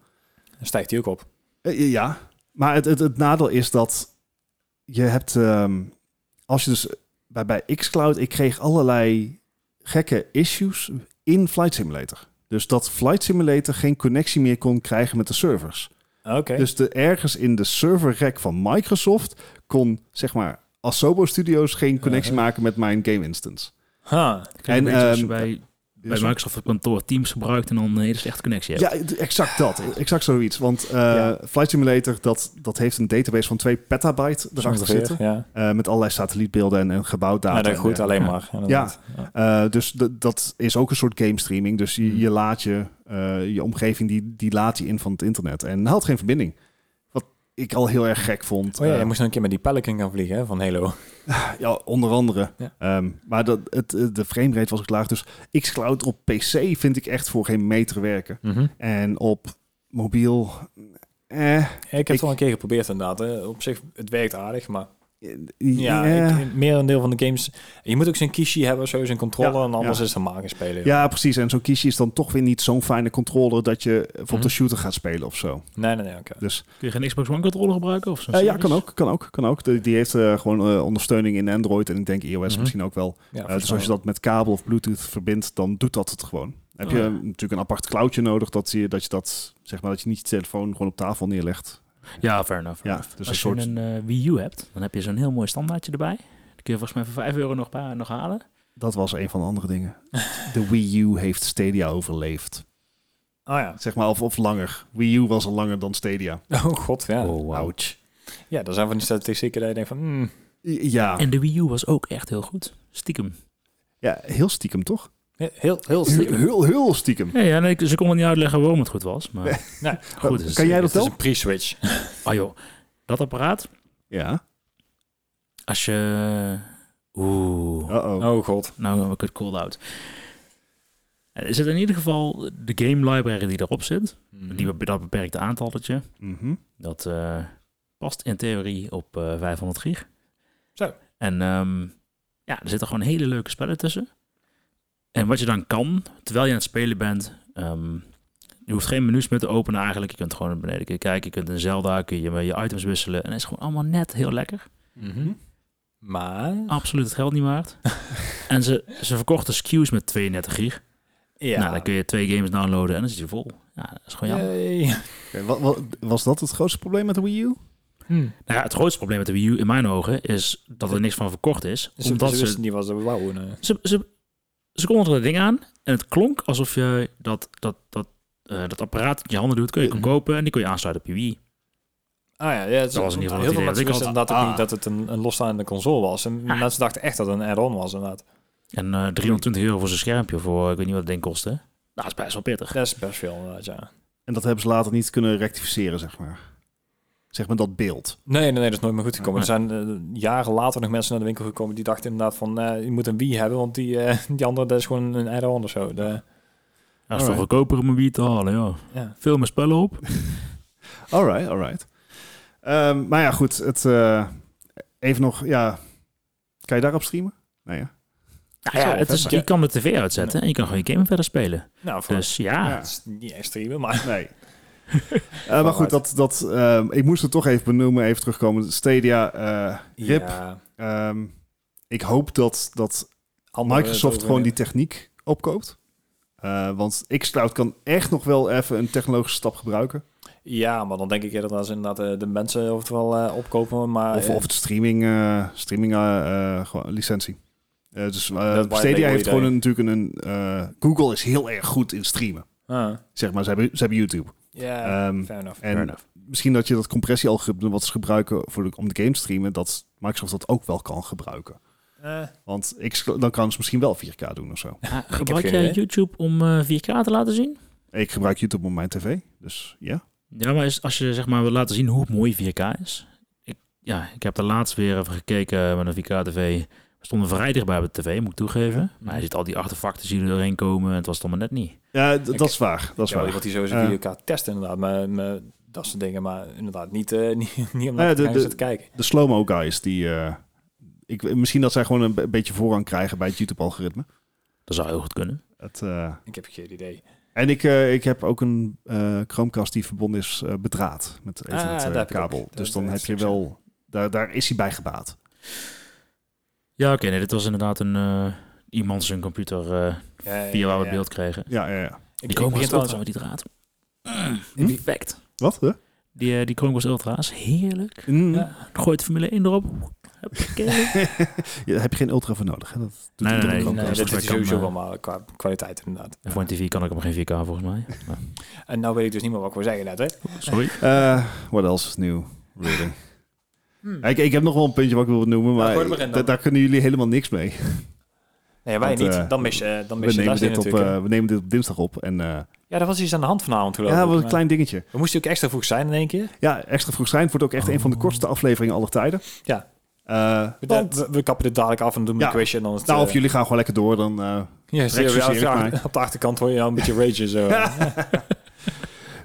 B: dan stijgt die ook op.
A: Eh, ja, maar het, het, het nadeel is dat je hebt... ehm, als je dus bij, bij xCloud... Ik kreeg allerlei gekke issues in Flight Simulator. Dus dat Flight Simulator geen connectie meer kon krijgen met de servers.
B: Oké.
A: Dus de, ergens in de serverrek van Microsoft kon, zeg maar, Asobo Studios geen connectie
B: Uh-huh.
A: maken met mijn game instance.
B: Ha.
D: En,
A: En,
D: als je
A: ehm,
D: bij, bij Microsoft op kantoor Teams gebruikt en dan een hele slechte connectie hebt.
A: Ja, d- exact dat. Exact zoiets. Want eh, Flight Simulator, dat, dat heeft een database van 2 petabyte
B: Zo
A: erachter
B: ongeveer,
A: zitten.
B: Ja,
A: Eh, met allerlei satellietbeelden en, en gebouwdata.
B: ja dat is goed,
A: en,
B: alleen
A: (laughs)
D: Ja.
B: maar. inderdaad. Ja. Oh,
A: eh, dus d- dat is ook een soort game streaming. Dus
B: Hmm.
A: je, je laat je, eh, je omgeving, die, die laat je in van het internet. En had geen verbinding. Wat ik al heel erg gek vond.
B: Oh ja,
A: Eh,
B: je moest nog een keer met die Pelican gaan vliegen hè, van Halo.
A: Ja, onder andere.
B: Ja.
A: Ehm, maar dat, het, eh, de framerate was ook laag. Dus xCloud op PC vind ik echt voor geen meter werken. En op mobiel... Eh,
B: Ik heb het al een keer geprobeerd inderdaad. hè. Op zich, het werkt aardig, maar ja,
A: ja, ja,
B: ik, merendeel van de games... Je moet ook zo'n kiesje hebben, zo zijn controller,
A: Ja,
B: en anders
A: ja.
B: is het een maken spelen.
A: precies. En zo'n kiesje is dan toch weer niet zo'n fijne controller... dat je bijvoorbeeld
B: Mhm.
A: een shooter gaat spelen of zo.
B: Nee, nee, nee, oké.
A: Dus
D: Kun je geen Xbox One controller gebruiken? Of zo'n
A: eh, ja,
D: service?
A: kan ook. Kan ook, kan ook. De- die heeft eh, gewoon eh, ondersteuning in Android en ik denk iOS
B: Mhm.
A: misschien ook wel.
B: Ja,
A: Eh, dus als je dat met kabel of bluetooth verbindt, dan doet dat het gewoon. Dan Heb
D: Oh,
A: je
D: ja.
A: eh, natuurlijk een apart cloudje nodig dat je dat, je dat zeg maar dat je niet je telefoon gewoon op tafel neerlegt.
D: Ja, fair enough.
A: Ja, dus een
D: Als je
A: soort.
D: een eh, Wii U hebt, dan heb je zo'n heel mooi standaardje erbij. Die kun je volgens mij voor 5 euro nog, pa- nog halen.
A: Dat was een van de andere dingen. De Wii U heeft Stadia overleefd,
B: Oh ja. (laughs)
A: zeg maar of, of langer. Wii U was al langer dan Stadia.
B: Oh god, ja.
A: Ouch.
B: Ja, daar zijn van die statistieken dat je denkt van... hmm,
A: I- Ja.
D: En de Wii U was ook echt heel goed. Stiekem.
A: ja, heel stiekem toch?
B: heel, heel
A: Heel,
B: stiekem.
A: heel, heel stiekem.
D: Ja, ja nee, ik- ze konden niet uitleggen waarom het goed was. Maar
B: Nee.
D: goed, het is-
A: Kan jij dat
B: Het is
A: wel?
B: een pre-switch.
D: (laughs) Ah joh, dat apparaat,
A: Ja.
D: als je... Oeh,
A: Uh-oh.
B: Oh god.
D: nou heb ik het cold out. Er zit in ieder geval de game library die erop zit. Die, dat beperkte aantaltje.
A: Mhm.
D: Dat eh, past in theorie op eh, 500 gig.
B: Zo.
D: En ehm, ja, er zitten gewoon hele leuke spellen tussen. En wat je dan kan, terwijl je aan het spelen bent... ehm, je hoeft geen menus meer te openen eigenlijk. Je kunt gewoon naar beneden kijken. Je kunt in Zelda kun je met je items wisselen. En het is gewoon allemaal net heel lekker.
B: Mhm. Maar...
D: Absoluut het geld niet (laughs) waard. en ze, ze verkochten SKU's met 32 gig.
B: Ja.
D: Nou, dan kun je twee games downloaden en dan zit je vol. Ja, dat is gewoon jammer.
B: Yay.
A: Oké, wa- wa- was dat het grootste probleem met de Wii U?
B: Hmm.
D: Nou ja, het grootste probleem met de Wii U in mijn ogen is dat er niks van verkocht is.
B: Ze,
D: omdat
B: ze Dus
D: ze
B: wisten niet wat ze wouden. eh.
D: ze, ze, ze konden er dat ding aan en het klonk alsof je dat, dat, dat, eh, dat apparaat in je handen doet, kun je kon
B: Mhm.
D: kopen en die kon je aansluiten op je Wii.
B: Ah ja, ja het,
D: Dat was in ieder geval het
B: heel veel mensen
D: idee dat ik
B: wisten
D: had.
B: inderdaad ook
A: Ah.
B: niet dat het een, een losstaande console was. En
D: Ah.
B: mensen dachten echt dat het een add-on was inderdaad.
D: En eh 320 euro voor zo'n schermpje voor, ik weet niet wat het ding kostte. Nou, dat is best wel pittig.
B: Dat is best veel inderdaad, ja.
A: En dat hebben ze later niet kunnen rectificeren, zeg maar. Zeg maar dat beeld.
B: Nee, nee, nee, dat is nooit meer goed
D: Ah.
B: gekomen. Er zijn eh, jaren later nog mensen naar de winkel gekomen die dachten inderdaad van... eh, je moet een Wii hebben, want die, eh, (laughs) die andere dat is gewoon een add-on of zo. De,
D: Dat is toch
A: Alright.
D: goedkoper om een Wii te halen, ja.
B: ja.
D: Veel meer spellen op.
A: Alright, alright. Ehm maar ja, goed. Het, eh, Even nog, ja. Kan je daarop streamen? Nee, ja.
D: Nou
B: zou
D: ja,
B: wel
D: het
B: vet
D: is,
B: zijn.
D: je kan de tv uitzetten en je kan gewoon je game verder spelen.
B: Nou, voor
D: Dus ja,
A: Ja.
B: het is niet extreem, maar
A: Nee. Eh, maar goed, dat, dat, ehm, ik moest het toch even benoemen, even terugkomen. Stadia, eh, rip.
B: (laughs) ja,
A: Ehm, ik hoop dat, dat
B: andere
A: Microsoft
B: het
A: gewoon die
B: overnemen.
A: techniek opkoopt. Eh, want xCloud kan echt nog wel even een technologische stap gebruiken.
B: Ja, maar dan denk ik eerder dat ze inderdaad eh, de mensen oftewel eh, opkopen, maar...
A: Of,
B: eh,
A: of het streaming, eh, streaming eh, eh, gewoon licentie. Eh, dus eh,
B: white
A: Stadia
B: label
A: heeft
B: idee.
A: gewoon een, natuurlijk een... eh, Google is heel erg goed in streamen.
B: ah,
A: Zeg maar, ze hebben, ze hebben YouTube.
B: Ja,
A: Ehm,
B: fair enough.
A: En misschien dat je dat compressiealgoritme wat ze gebruiken voor de, om de game te streamen, dat Microsoft dat ook wel kan gebruiken.
B: Eh,
A: Want ik, dan kan ze misschien wel 4K doen of zo.
D: Ja, gebruik
B: geen
D: jij
B: idee.
D: YouTube om eh, 4K te laten zien?
A: Ik gebruik YouTube op mijn tv, dus ja.
D: Ja, maar is, als je zeg maar wil laten zien hoe mooi 4K is. Ik, ja, ik heb daar laatst weer even gekeken eh, met een 4K-tv. We stonden vrij dichtbij op de tv, moet ik toegeven.
B: Mhm.
D: Maar je ziet al die artefacten zien er doorheen komen. en Het was dan maar net niet.
A: Ja, d-
B: Ik-
A: dat is waar. Dat is
B: ja,
A: waar.
B: iemand die sowieso
A: Eh.
B: video elkaar test inderdaad, maar, maar dat soort dingen, maar inderdaad niet, eh, (laughs) niet, niet
A: Nou
B: om
A: ja,
B: naar
A: de-
B: te gaan
A: de-
B: zitten kijken.
A: De slow-mo guys, die... eh, ik, misschien dat zij gewoon een be- beetje voorrang krijgen bij het YouTube-algoritme.
D: Dat zou heel goed kunnen.
A: Het, eh,
B: Ik heb geen idee.
A: en ik, eh, ik heb ook een eh Chromecast die verbonden is eh, bedraad met
B: Ah, daar heb ik ook.
A: Ethernet-kabel.
B: Dat-
A: dus dan
B: dat
A: heb
B: is
A: je
B: ook zo.
A: wel... Daar, daar is hij bij gebaat.
D: Ja, oké. nee, dit was inderdaad een eh, iemand zijn computer eh,
B: Ja, ja,
D: via waar we
B: ja.
D: het beeld kregen.
A: Ja, ja, ja.
B: Ik,
D: Die
B: ik begin
D: Chromecast
B: trouwens- Mm.
D: Ultra met die draad.
A: Hm?
D: Perfect.
A: Wat? Huh?
D: Die, eh, die Chromecast Ultra is heerlijk.
A: Mm. (laughs)
B: Ja.
D: Gooit Formule 1 erop.
B: (laughs)
D: Hoppakee.
A: Ja, daar heb je geen ultra voor nodig. Hè? Dat doet
D: Nee,
A: iedere
D: nee, nee,
A: Chromecast.
B: Nee,
D: dat
B: dat
D: is
B: is sowieso
D: kan,
B: wel maar qua kwaliteit inderdaad.
D: En voor een tv kan ik op geen 4K volgens mij. Maar,
B: En nou weet ik dus niet meer wat ik wil zeggen net, hè?
D: sorry.
A: Eh, what else is new?
B: (laughs)
A: Really? ik, ik heb nog wel een puntje wat ik wil noemen, maar
B: Hmm. gooi er maar in dan.
A: da- daar kunnen jullie helemaal niks mee.
B: Nee, wij
A: Want,
B: niet.
A: eh,
B: dan mis je, dan
A: We
B: mis je
A: nemen,
B: les in
A: dit op,
B: natuurlijk. hè.
A: eh, we nemen dit op dinsdag op. En, eh,
B: ja, er was iets aan de hand vanavond, geloof
A: ja,
B: ik.
A: dat was een
B: maar-
A: klein dingetje.
B: We moesten ook extra vroeg zijn in één keer.
A: Ja, Extra Vroeg Schrijnend wordt ook echt een van de kortste afleveringen aller tijden.
B: Oh. Ja.
A: Eh,
B: We,
A: want-
B: we, we kappen dit dadelijk af en doen we
A: Ja.
B: een quizje. En dan is het,
A: nou,
B: eh,
A: of jullie gaan gewoon lekker door, dan... eh,
B: ja, zie je
A: rechts
B: wel,
A: is Erik,
B: ja,
A: maar-
B: op de achterkant hoor je jou een beetje ragen zo.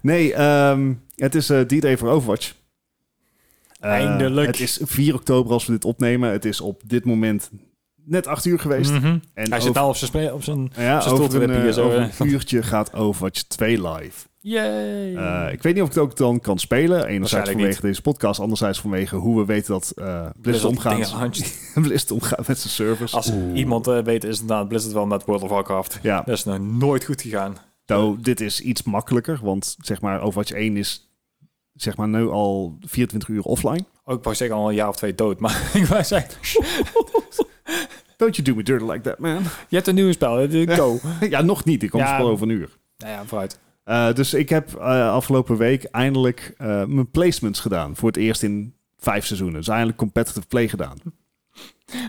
A: Nee, ehm, het is eh D-Day voor Overwatch. Eh,
B: Eindelijk.
A: Het is 4 oktober als we dit opnemen. Het is op dit moment net 8 uur geweest.
B: Mhm.
A: En
B: Hij
A: over-
B: zit nou op zijn... spe- Op zijn
A: Ja,
B: Ze stond
A: over een,
B: er
A: eh,
B: hier zo,
A: over
B: hè?
A: een uurtje gaat Overwatch 2 live.
B: Yay!
A: Eh, ik weet niet of ik het ook dan kan spelen. Enerzijds
B: Waarschijnlijk
A: vanwege
B: niet.
A: deze podcast, anderzijds vanwege hoe we weten dat eh Blizzard
B: Blizzard
A: omgaat.
B: dingen launched.
A: (laughs) Blizzard omgaat met zijn servers.
B: Als iemand eh, weet, is het nou Blizzard wel met World of Warcraft.
A: Ja,
B: Dat is nou nooit goed gegaan.
A: nou, dit is iets makkelijker, want zeg maar Overwatch 1 is zeg maar nu al 24 uur offline.
B: Ook pas zeker al een jaar of twee dood, (laughs) maar ik wou zeggen,
A: Don't you do me dirty like that, (laughs) man.
B: je hebt een nieuw spel, eh, go.
A: ja, nog niet. Ik kom
B: Ja.
A: spel over een uur.
B: nou ja, vooruit.
A: Eh, dus ik heb eh, afgelopen week eindelijk eh, mijn placements gedaan. Voor het eerst in vijf seizoenen. Dus eindelijk competitive play gedaan.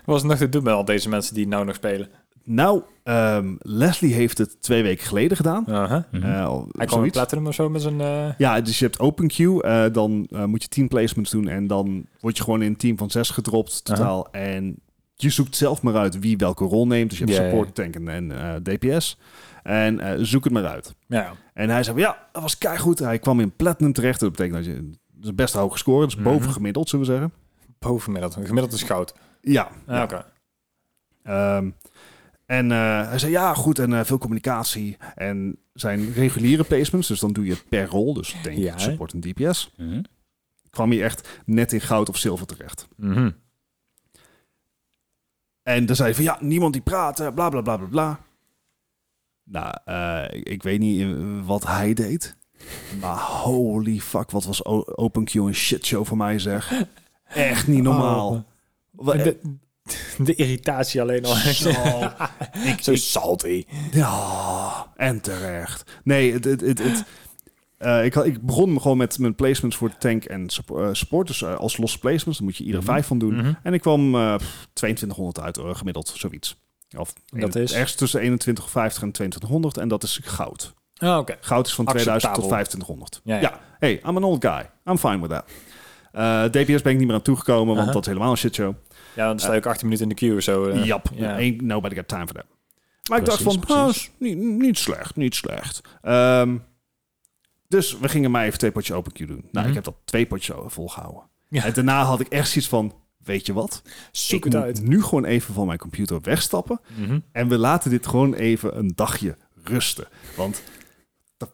B: Was het nog te doen met al deze mensen die nou nog spelen?
A: Nou, ehm, Leslie heeft het twee weken geleden gedaan.
D: Mhm.
A: Eh, of
B: Uh-huh. Hij kwam in
A: zoiets.
B: Platinum of zo met zijn... eh,
A: Ja, dus je hebt open queue, eh, dan eh, moet je team placements doen en dan word je gewoon in een team van zes gedropt totaal. En je zoekt zelf maar uit wie welke rol neemt. Dus je hebt
B: Ja, ja,
A: support, tank en, en eh, DPS. En eh, zoek het maar uit.
B: ja.
A: En hij zei, ja, dat was keigoed. Hij kwam in platinum terecht. Dat betekent dat je dat is een best hoge score, dat is
D: Mhm.
A: boven gemiddeld, zullen we zeggen.
B: Bovengemiddeld. Gemiddeld is goud.
A: Ja,
B: Ja, Ah, oké.
A: Ehm, en eh, hij zei, ja, goed, en eh, veel communicatie. En zijn reguliere placements, dus dan doe je het per rol. Dus denk
B: Ja, hè?
A: support en DPS.
D: Mhm.
A: Kwam hij echt net in goud of zilver terecht.
B: Mhm.
A: En dan zei hij van, ja, niemand die praat, eh, bla, bla, bla, bla, bla. Nou, eh, ik, ik weet niet eh, wat hij deed. Maar holy fuck, wat was O- OpenQ een shitshow voor mij, zeg. Echt niet normaal. Wa-
B: De, de irritatie alleen al.
A: (laughs) Zo.
B: (laughs) zo salty.
A: Ja, en terecht. Nee, het, het, het, het- eh, ik, had- ik begon gewoon met mijn placements voor tank en sup- eh, support. Dus eh, als losse placements, dan moet je iedere
D: Mhm.
A: vijf van doen. En ik kwam eh, pff, 2200 uit eh, gemiddeld, zoiets. Of
B: Dat
A: een-
B: is?
A: ergens tussen 2150 en 2200. En dat is goud.
B: Ah, oké.
A: Goud is van 2000 tot
B: Acceptabel.
A: 2500.
B: Ja, ja.
A: hey, I'm an old guy. I'm fine with that. Eh, DPS ben ik niet meer aan toegekomen, want
B: Aha.
A: dat is helemaal een shitshow.
B: Ja, dan sta je ook 18 minuten in de queue of zo. eh.
A: Jap,
B: ja.
A: ain't nobody got time for that. Maar ik
D: Precies,
A: dacht van, ah,
D: precies.
A: is niet, niet slecht, niet slecht. Ehm, dus we gingen mij even twee potjes open queue doen. Nou,
B: Mhm.
A: ik heb dat twee potjes volgehouden.
B: Ja.
A: En daarna had ik echt zoiets van, weet je wat?
B: Zoek
A: ik Mhm.
B: het
A: moet
B: uit.
A: nu gewoon even van mijn computer wegstappen. En we laten dit gewoon even een dagje rusten. Want the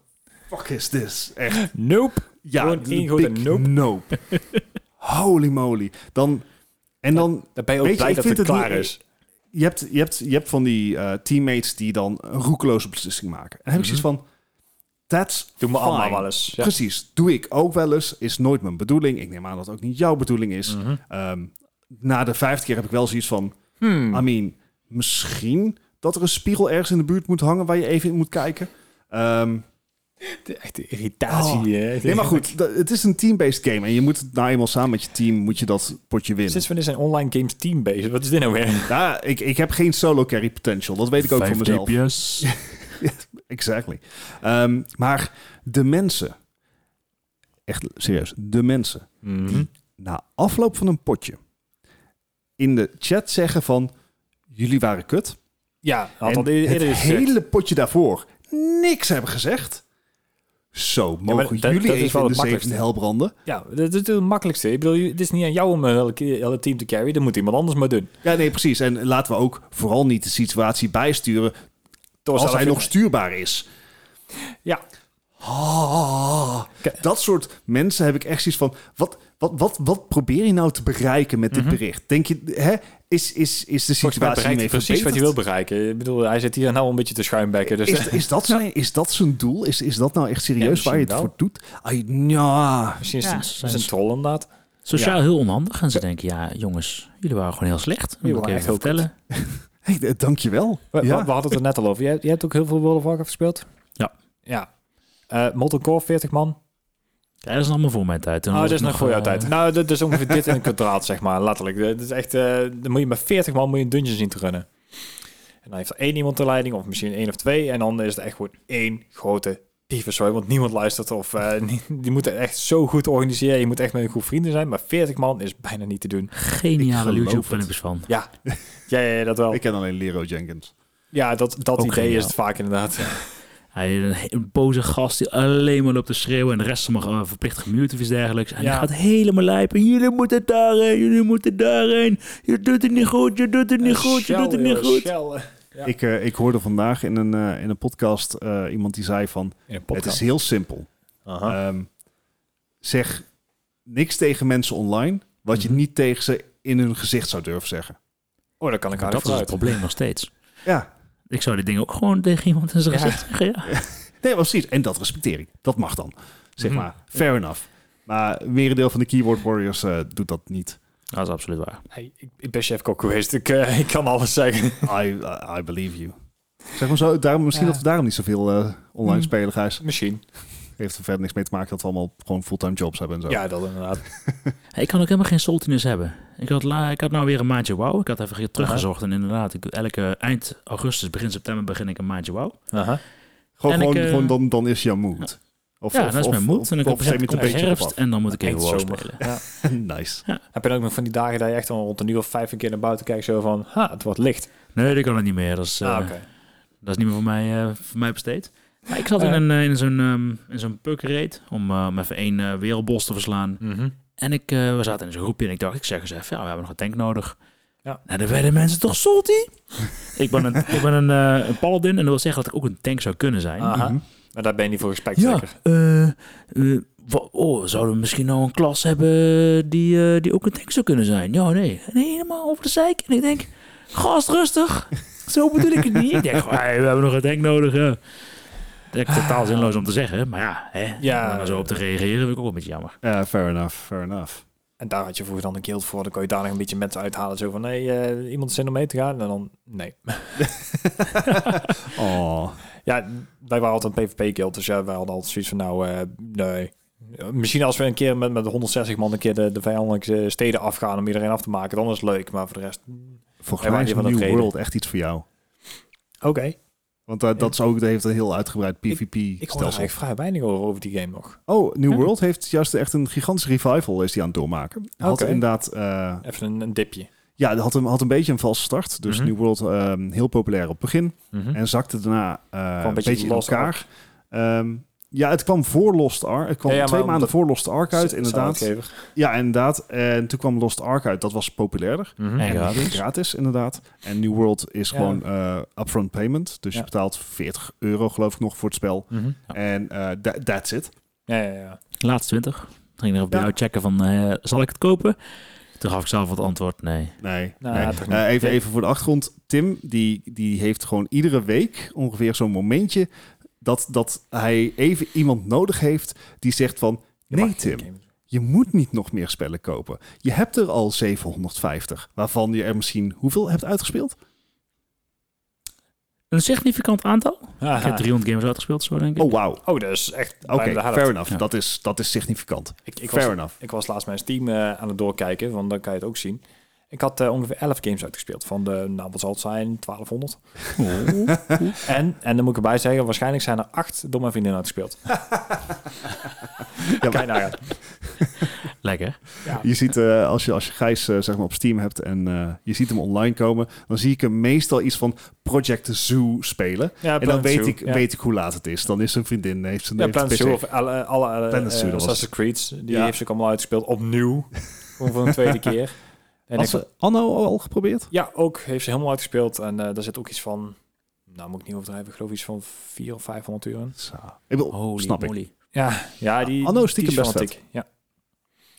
A: fuck is this? Echt.
B: Nope.
A: Ja,
B: Gewoon één grote
A: big
B: nope. (laughs)
A: nope. Holy moly. Dan, en dan,
B: Dan ben je ook
A: Weet je,
B: blij
A: ik
B: dat
A: vind
B: het
A: het
B: klaar
A: niet-
B: is.
A: je hebt, je hebt, je hebt van die eh, teammates die dan een roekeloze beslissing maken. En dan heb ik zoiets van, that's
B: Doe me Mhm. allemaal
A: fine.
B: wel eens. Ja.
A: Precies, doe ik ook wel eens. Is nooit mijn bedoeling. Ik neem aan dat het ook niet jouw bedoeling is.
B: Mhm.
A: Ehm, na de vijfde keer heb ik wel zoiets van...
B: Hmm.
A: I mean, misschien dat er een spiegel ergens in de buurt moet hangen... waar je even in moet kijken. Ehm,
B: Echt de irritatie.
A: Oh.
B: hè.
A: nee, maar goed. dat- Het is een team-based game. En je moet het nou eenmaal samen met je team... moet je dat potje winnen.
B: (laughs) Sinds wanneer zijn online games team bezig? Wat is dit nou weer?
A: Ja, ik, ik heb geen solo carry potential. Dat weet ik ook
D: Vijf
A: van mezelf. (laughs)
D: DPS.
A: Exactly. Ehm, maar de mensen... Echt serieus, de mensen...
B: Mhm. Hm?
A: na afloop van een potje in de chat zeggen van jullie waren kut.
B: Ja, had
A: En
B: al eerder
A: het
B: gezegd.
A: hele potje daarvoor niks hebben gezegd. Zo,
B: maar
A: mogen
B: dat-
A: jullie
B: dat is
A: even
B: wel
A: in de
B: het
A: zevende
B: makkelijkste.
A: hel branden?
B: Ja, dat is het makkelijkste. Ik bedoel, het is niet aan jou om eh, elke- hele team te carry. Dat moet iemand anders maar doen.
A: Ja, nee, precies. En laten we ook vooral niet de situatie bijsturen
B: Toch
A: als
B: zelf
A: hij
B: in-
A: nog stuurbaar is.
B: Ja.
A: Ah,
B: Kijk.
A: dat soort mensen heb ik echt zoiets van... Wat, wat, wat, wat probeer je nou te bereiken met dit
B: Mhm.
A: bericht? Denk je, hè, is, is, is de
B: Volgens mij
A: situatie
B: bereikt hij
A: hiermee
B: precies wat
A: verbeterd?
B: hij wil bereiken. Ik bedoel, hij zit hier nou een beetje te schuimbekken. Dus
A: Is, is, dat zijn, is dat zijn doel? Is, is dat nou echt serieus
B: Ja,
A: waar je het
B: misschien
A: voor doet? Ai, nja.
B: (laughs) misschien is
D: Ja,
B: het
D: ze
B: een,
D: zijn
B: is een
D: dus-
B: troll inderdaad.
D: Sociaal
B: Ja.
D: heel onhandig. En ze denken, ja jongens, jullie waren gewoon heel slecht. Moet
B: Jullie
D: ik
B: waren
D: even
B: echt heel
D: vertellen.
A: Hey, eh, dankjewel.
B: We, we-
A: Ja.
B: we hadden het er net al over. Jij, jij hebt ook heel veel World of Warcraft gespeeld?
D: Ja.
B: Ja. Eh Mortal Core 40 man.
D: Ja, dat is allemaal voor mijn tijd. Toen
B: Oh,
D: was
B: dat is
D: ik
B: nog voor jouw
D: eh,
B: tijd. Nou, dat is ongeveer dit in een kwadraat, zeg maar, letterlijk. Dat is echt, eh, dan moet je met 40 man moet je een dungeon zien te runnen. En dan heeft er één iemand de leiding, of misschien één of twee. En dan is het echt gewoon één grote tyfuszooi, want niemand luistert. Of eh, (laughs) niet- die moeten echt zo goed organiseren. Je moet echt met een groep vrienden zijn. Maar 40 man is bijna niet te doen.
D: (laughs) Geniale
A: Ik geloof
D: YouTube
A: het.
D: filmpjes van.
B: Ja, ja, ja, ja, dat wel.
A: Ik ken alleen Lero Jenkins.
B: Ja, dat, dat
D: Ook
B: idee
D: geniaal.
B: is het vaak inderdaad.
D: Hij een, he- een boze gast die alleen maar loopt te schreeuwen en de rest mag eh, verplicht gemute of iets dergelijks. En
B: Ja.
D: die gaat helemaal lijpen. Jullie moeten daarheen, jullie moeten daarheen. Je doet het niet goed, je doet het (laughs)
B: Eh,
D: niet goed, je doet het niet goed.
B: Ja.
A: Ik, eh, ik hoorde vandaag in een, eh, in een podcast eh, iemand die zei van...
B: In een
A: Het is
B: podcast.
A: heel simpel.
B: Aha.
A: Ehm, zeg niks tegen mensen online... wat je
D: Mhm.
A: niet tegen ze in hun gezicht zou durven zeggen.
B: oh, dat kan ik
D: Maar
B: aan
D: dat is het probleem nog steeds.
A: Ja,
D: Ik zou die dingen ook gewoon tegen iemand in zijn
B: Ja.
D: gezicht zeggen.
B: (laughs)
D: Ja.
A: nee, precies. En dat respecteer ik. Dat mag dan. Zeg
B: Mhm.
A: maar, fair enough. Maar een merendeel van de keyboard warriors eh, doet dat niet.
D: Dat is absoluut waar.
B: Hey, ik, ik ben chef kok geweest. Ik, eh, (laughs) ik kan alles zeggen.
A: I, I believe you. Zeg maar zo, daarom, misschien
B: Ja.
A: dat we daarom niet zoveel eh, online
D: Mm.
B: Hmm.
A: spelen, Gijs.
B: Misschien.
A: Heeft er verder niks mee te maken dat we allemaal gewoon fulltime jobs hebben en zo.
B: Ja, dat inderdaad.
D: Hey, Ik kan ook helemaal geen saltiness hebben. Ik had, la, ik had nou weer een maandje wauw. Ik had even ge- teruggezocht. En inderdaad, ik, elke eind augustus, begin september begin ik een maandje wauw.
B: Aha.
A: Gewoon,
D: En ik,
A: gewoon,
D: eh,
A: gewoon dan, dan is jouw mood. Of,
D: Ja,
A: of-
D: dat is
A: of-
D: mijn moed.
A: of-
D: En dan
A: of
D: komt
A: op een gegeven
D: het
A: moment een beetje
D: herfst en dan moet ik even
B: Eind
D: wow
B: zomer.
D: spelen.
B: Ja.
A: op af. (laughs) Nice.
B: Heb je dan ook nog van die dagen dat je echt al rond een uur of vijf een keer naar buiten kijkt? Zo van, ha, het wordt licht.
D: Nee, dat kan het niet meer. Dat is, eh,
B: Ah, oké.
D: Dat is niet meer voor mij, eh, voor mij besteed. Maar ik zat in,
B: Eh.
D: een, eh, in zo'n, ehm, in zo'n puk raid om, eh, om even één eh, wereldbos te verslaan. En ik, eh, we zaten in zo'n groepje en ik dacht, ik zeg eens even, ja, we hebben nog een tank nodig.
B: Ja.
D: Nou, dan werden mensen toch salty.
B: (laughs)
D: ik ben, een, ik ben een, eh, een paladin en dat wil zeggen dat ik ook een tank zou kunnen zijn.
B: Aha.
A: Mhm.
B: Maar daar ben je niet voor respect,
D: ja,
B: zeker?
D: eh, eh, wa- oh, zouden we misschien nou een klas hebben die, eh, die ook een tank zou kunnen zijn? Ja, nee. nee helemaal over de zeik. En ik denk, gast, rustig. (laughs) Zo bedoel ik het niet. Ik denk, gewoon, hey, we hebben nog een tank nodig. Ja. Dat is totaal zinloos om te zeggen, maar ja, hè,
B: Ja.
D: om daar zo op te reageren vind ik ook een beetje jammer.
A: Ja, fair enough, fair enough.
B: En daar had je vroeger dan een guild voor. Dan kon je daar nog een beetje mensen uithalen. Zo van, nee, eh, iemand zin om mee te gaan? En dan, nee.
A: Oh.
B: Ja, wij waren altijd een PvP-guild. Dus ja, wij hadden altijd zoiets van, nou, eh, nee. Misschien als we een keer met, met 160 man een keer de, de vijandelijke eh, steden afgaan om iedereen af te maken, dan is het leuk. Maar voor de rest,
A: Volgens
B: Hij
A: mij
B: maakt
A: is
B: niet van
A: New
B: dat reden.
A: World echt iets voor jou.
B: oké.
A: Want eh, dat, is ook, dat heeft een heel uitgebreid
B: Ik hoor er
A: PvP-stelsel.
B: eigenlijk vrij weinig over, over die game nog.
A: Oh, New
D: Ja.
A: World heeft juist echt een gigantische revival is die aan het doormaken. Had
B: Oké.
A: inderdaad eh,
B: Even een, een dipje.
A: Ja, dat had een, had een beetje een valse start. Dus
B: Mhm.
A: New World ehm, heel populair op het begin.
D: Hm?
B: Mhm.
A: En zakte daarna eh,
B: een
A: een
B: beetje
A: beetje in
B: los
A: elkaar. Ehm, Ja, het kwam voor Lost Ark. Het kwam
B: Ja, ja,
A: twee
B: maar
A: maanden voor Lost Ark uit,
B: Z-
A: inderdaad.
B: zaadgever.
A: Ja, inderdaad. En toen kwam Lost Ark uit. Dat was populairder.
B: Mhm.
D: En gratis.
A: Gratis, inderdaad. En New World is
B: Ja.
A: gewoon eh, upfront payment. Dus je
B: Ja.
A: betaalt 40 euro, geloof ik, nog voor het spel.
B: Mhm.
D: Ja.
A: En eh, tha- that's it.
B: Ja, ja, ja.
D: Laatst 20. Ging er op
A: Ja.
D: jou checken van, eh, zal ik het kopen? Toen gaf ik zelf het antwoord, nee.
A: Nee.
B: Nou,
A: nee.
B: ja,
D: Hm.
B: toch niet.
A: Eh, even,
B: Ja.
A: even voor de achtergrond. Tim, die, die heeft gewoon iedere week ongeveer zo'n momentje... Dat, dat hij even iemand nodig heeft die zegt van...
B: Je
A: Nee,
B: mag geen
A: Tim.
B: game.
A: Je moet niet nog meer spellen kopen. Je hebt er al 750, waarvan je er misschien hoeveel hebt uitgespeeld?
D: Een significant aantal. Ik
B: Haha.
D: heb 300 games uitgespeeld, zo denk ik.
A: Oh, wauw.
B: Oh, dat is echt
A: Oké,
B: bijna de helft.
A: fair enough.
D: Ja.
A: Dat, is, dat is significant.
B: Ik, ik,
A: fair
B: was, (laughs)
A: enough.
B: ik was laatst mijn Steam eh, aan het doorkijken, want dan kan je het ook zien. Ik had eh, ongeveer 11 games uitgespeeld van de, nou wat zal het zijn,
A: (laughs)
B: 1200. En, en dan moet ik erbij zeggen, waarschijnlijk zijn er acht door mijn vriendin uitgespeeld.
A: Ja,
B: Kan je nagaan.
D: Lekker.
B: Ja.
A: Je ziet, eh, als, je, als je Gijs eh, zeg maar op Steam hebt en eh, je ziet hem online komen, dan zie ik hem meestal iets van Project Zoo spelen. en
B: Ja,
A: dan
B: Planet
A: weet
B: Zoo,
A: ik,
B: ja.
A: weet ik hoe laat het is. Dan is zijn vriendin, heeft zijn
B: Ja,
A: heeft een
B: Planet
A: pc.
B: Zoo of alle, alle eh,
A: Planet Zoo,
B: eh,
A: dat was
B: Assassin's Creed's, die
A: Ja.
B: heeft ze ook allemaal uitgespeeld,
A: (laughs)
B: opnieuw. Gewoon voor een tweede keer. En
A: Had
B: ik,
A: ze Anno al geprobeerd?
B: ja, ook heeft ze helemaal uitgespeeld. En eh, daar zit ook iets van, nou moet ik niet overdrijven, ik geloof iets van 400 of 500 uur in.
A: Zo. Ik bedoel,
D: Holy
A: snap ik.
D: moly.
B: Ja, ja die,
A: Anno is
B: die
A: stiekem best
B: wel dik. Ja.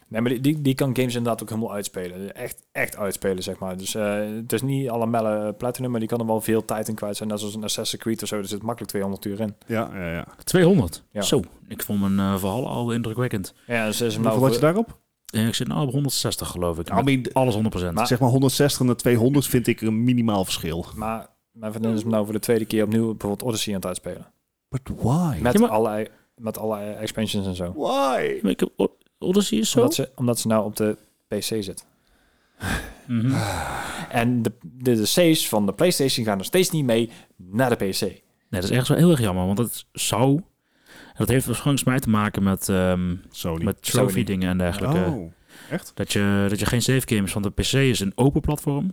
B: Nee, maar die, die, die kan games inderdaad ook helemaal uitspelen. Echt, echt uitspelen, zeg maar. Dus eh, het is niet alle melle eh, platinum, maar die kan er wel veel tijd in kwijt zijn. Net zoals een Assassin's Creed of zo, daar zit makkelijk 200 uur in.
A: Ja, ja, ja.
D: 200.
B: Ja.
D: Zo, ik vond mijn eh, verhaal al indrukwekkend.
B: Ja, dus is hem
A: Hoeveel
B: nou
A: had je
B: voor-
A: daarop?
D: Eh, ik zit nou op 160 geloof ik.
A: I mean,
D: Alles 100%.
B: Maar-
A: zeg maar 160 naar 200 vind ik een minimaal verschil.
B: maar mijn vriendin is hem nou voor de tweede keer opnieuw bijvoorbeeld Odyssey aan het uitspelen.
A: But why?
B: Met,
D: Ja, maar-
B: allerlei, met allerlei expansions en zo.
A: Why?
D: Maar ik heb O- Odyssey is zo.
B: Omdat ze, omdat ze nou op de PC zit.
D: Mhm.
B: En de, de, de C's van de PlayStation gaan nog steeds niet mee naar de PC.
D: Nee, dat is echt zo heel erg jammer, want dat zou... en Dat heeft waarschijnlijk mij te maken met, ehm,
A: Sony.
D: met
B: Sony.
D: trophy dingen en dergelijke.
A: oh, echt?
D: Dat je, dat je geen save games, want de PC is een open platform.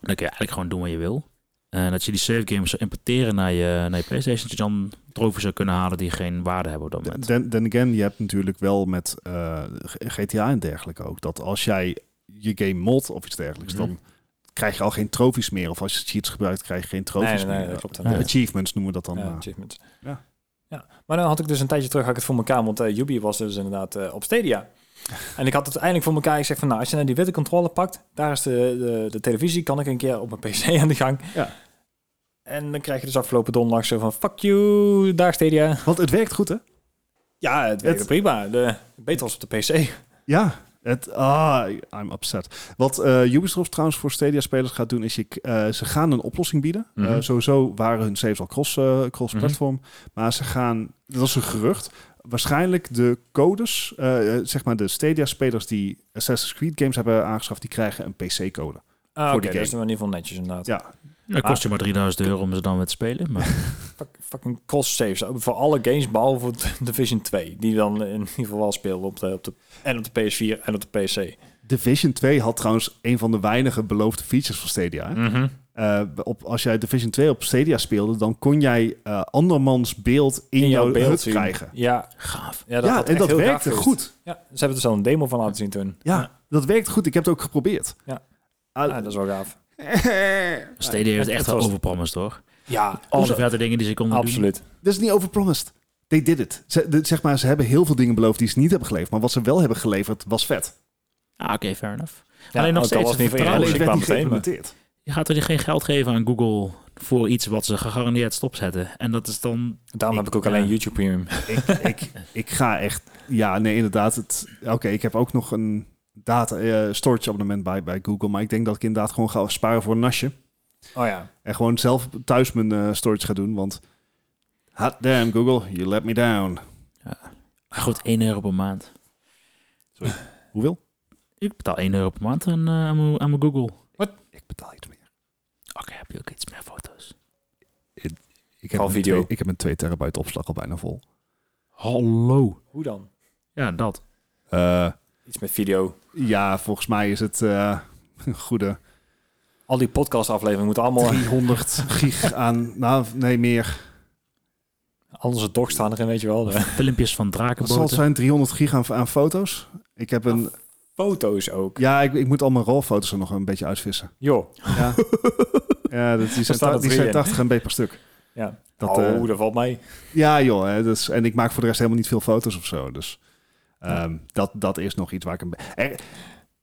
D: Dan kun je eigenlijk gewoon doen wat je wil. En dat je die save games zou importeren naar je, naar je PlayStation, dat je dan trofies zou kunnen halen die geen waarde hebben op dat moment.
A: Then, then again, je hebt natuurlijk wel met eh, G- GTA en dergelijke ook. Dat als jij je game mod of iets dergelijks,
D: Mhm.
A: dan krijg je al geen trofies meer. Of als je cheats gebruikt, krijg je geen trofies
B: Nee, nee, nee,
A: meer.
B: dat klopt.
A: Eh, Achievements noemen we dat dan.
B: Ja,
A: maar.
B: achievements.
A: Ja.
B: ja. Maar dan had ik dus een tijdje terug had ik het voor elkaar, want eh Yubi was dus inderdaad eh, op (laughs) Stadia. En ik had het eindelijk voor elkaar. Ik zeg van, nou, als je nou die witte controle pakt, daar is de, de, de televisie, kan ik een keer op mijn PC (laughs) aan de gang.
A: Ja.
B: En dan krijg je dus afgelopen donderdag zo van, fuck you, daar Stadia.
A: Want het werkt goed, hè?
B: Ja, het werkte
A: Het-
B: prima. De, beter als op de Ah, PC.
A: Ja. Het, ah, I'm upset. Wat eh, Ubisoft trouwens voor Stadia-spelers gaat doen, is je, k- eh, ze gaan een oplossing bieden.
B: Mhm.
A: Eh, sowieso waren hun saves al cross, eh, cross-platform. Maar ze gaan, dat is een gerucht, waarschijnlijk de codes, eh, eh, zeg maar de Stadia-spelers die Assassin's Creed games hebben aangeschaft, die krijgen een PC-code.
B: Ah,
A: Voor die
B: Oké, dat
A: game.
B: is in ieder geval netjes inderdaad.
A: Ja,
D: Dat kost
B: Ah.
D: je maar 3000 euro om ze dan weer te spelen. Maar
B: Fuck- fucking cross saves. Voor alle games, behalve (laughs) voor Division 2. Die dan in ieder geval wel speelde op de, op de, en op de PS4 en op de PC.
A: Division 2 had trouwens een van de weinige beloofde features van Stadia. hè?
B: Mhm.
A: Eh, op, als jij Division 2 op Stadia speelde, dan kon jij eh, andermans beeld in, jouw, beeld
B: zien.
A: krijgen.
B: Ja,
D: gaaf.
B: ja, dat,
A: ja,
B: had
A: en
B: echt
A: dat
B: heel
A: werkte
B: gaaf
A: goed.
B: geweest. Ja, ze hebben er al een demo van laten zien toen.
A: Ja, dat werkt goed. Ik heb het ook (laughs) geprobeerd.
B: Ja.
A: Ah,
B: Ja, dat is wel gaaf.
D: Stadia heeft echt
B: het
D: wel
B: was-
D: overpromised hoor.
B: Ja,
D: Alle vette dingen die ze konden
B: absoluut.
A: Dat is niet overpromised. They did it. Ze, de- zeg maar, ze hebben heel veel dingen beloofd die ze niet hebben geleverd. Maar wat ze wel hebben geleverd, was vet.
D: doen. Ah, oké, fair enough.
B: Ja,
D: Alleen nog
B: ook al was
D: steeds
B: het niet
D: het
B: van Jelle,
D: vertrouwen.
A: Alleen
B: ik
A: werd
B: kwam
A: niet
B: meteen. maar-
A: geïmplementeerd.
D: Je gaat er geen geld geven aan Google voor iets wat ze gegarandeerd stopzetten. En dat is dan...
B: Daarom heb
D: Ik-
B: ik ook
D: ja.
B: alleen YouTube Premium.
A: ik, ik, ik ga echt... Ja, nee, inderdaad. het- Oké, ik heb ook nog een data eh, storage abonnement bij, bij Google. Maar ik denk dat ik inderdaad gewoon ga sparen voor een nasje.
B: Oh ja.
A: En gewoon zelf thuis mijn eh, storage ga doen. Want hot damn, Google, you let me down.
D: Maar goed, 1 euro per maand.
A: Hoeveel?
D: Ik betaal 1 euro per maand aan, eh, aan mijn- aan mijn Google. Oké,
A: Ik betaal iets meer.
D: heb je ook iets meer foto's?
A: Ik
B: Vooral
A: mijn
B: video.
A: twee- ik heb mijn 2 terabyte opslag al bijna vol.
D: Hallo.
B: Hoe dan?
D: Ja, dat.
A: Eh,
B: Iets met video.
A: ja, volgens mij is het eh, een goede
B: Al die podcast afleveringen moeten allemaal...
A: 300 gig aan... Nou, nee, meer.
B: Al onze dogs staan erin, weet je wel. De
D: Filmpjes van
A: Wat zal het
D: drakenboten.
A: zijn? 300 gig aan, aan foto's? Ik heb een...
B: foto's ook.
A: Ja, ik, ik moet al mijn rolfoto's er nog een beetje uitvissen.
B: Joh. (laughs)
A: Ja, ja dat, die zijn,
B: staan er
A: ta- die
B: drie
A: zijn
B: in.
A: 80 MB per stuk.
B: Ja.
A: Dat,
B: oh,
A: eh,
B: dat valt mee.
A: Ja, joh. Hè, dus, en ik maak voor de rest helemaal niet veel foto's of zo. Dus ehm, dat, dat is nog iets waar ik een... be- Er,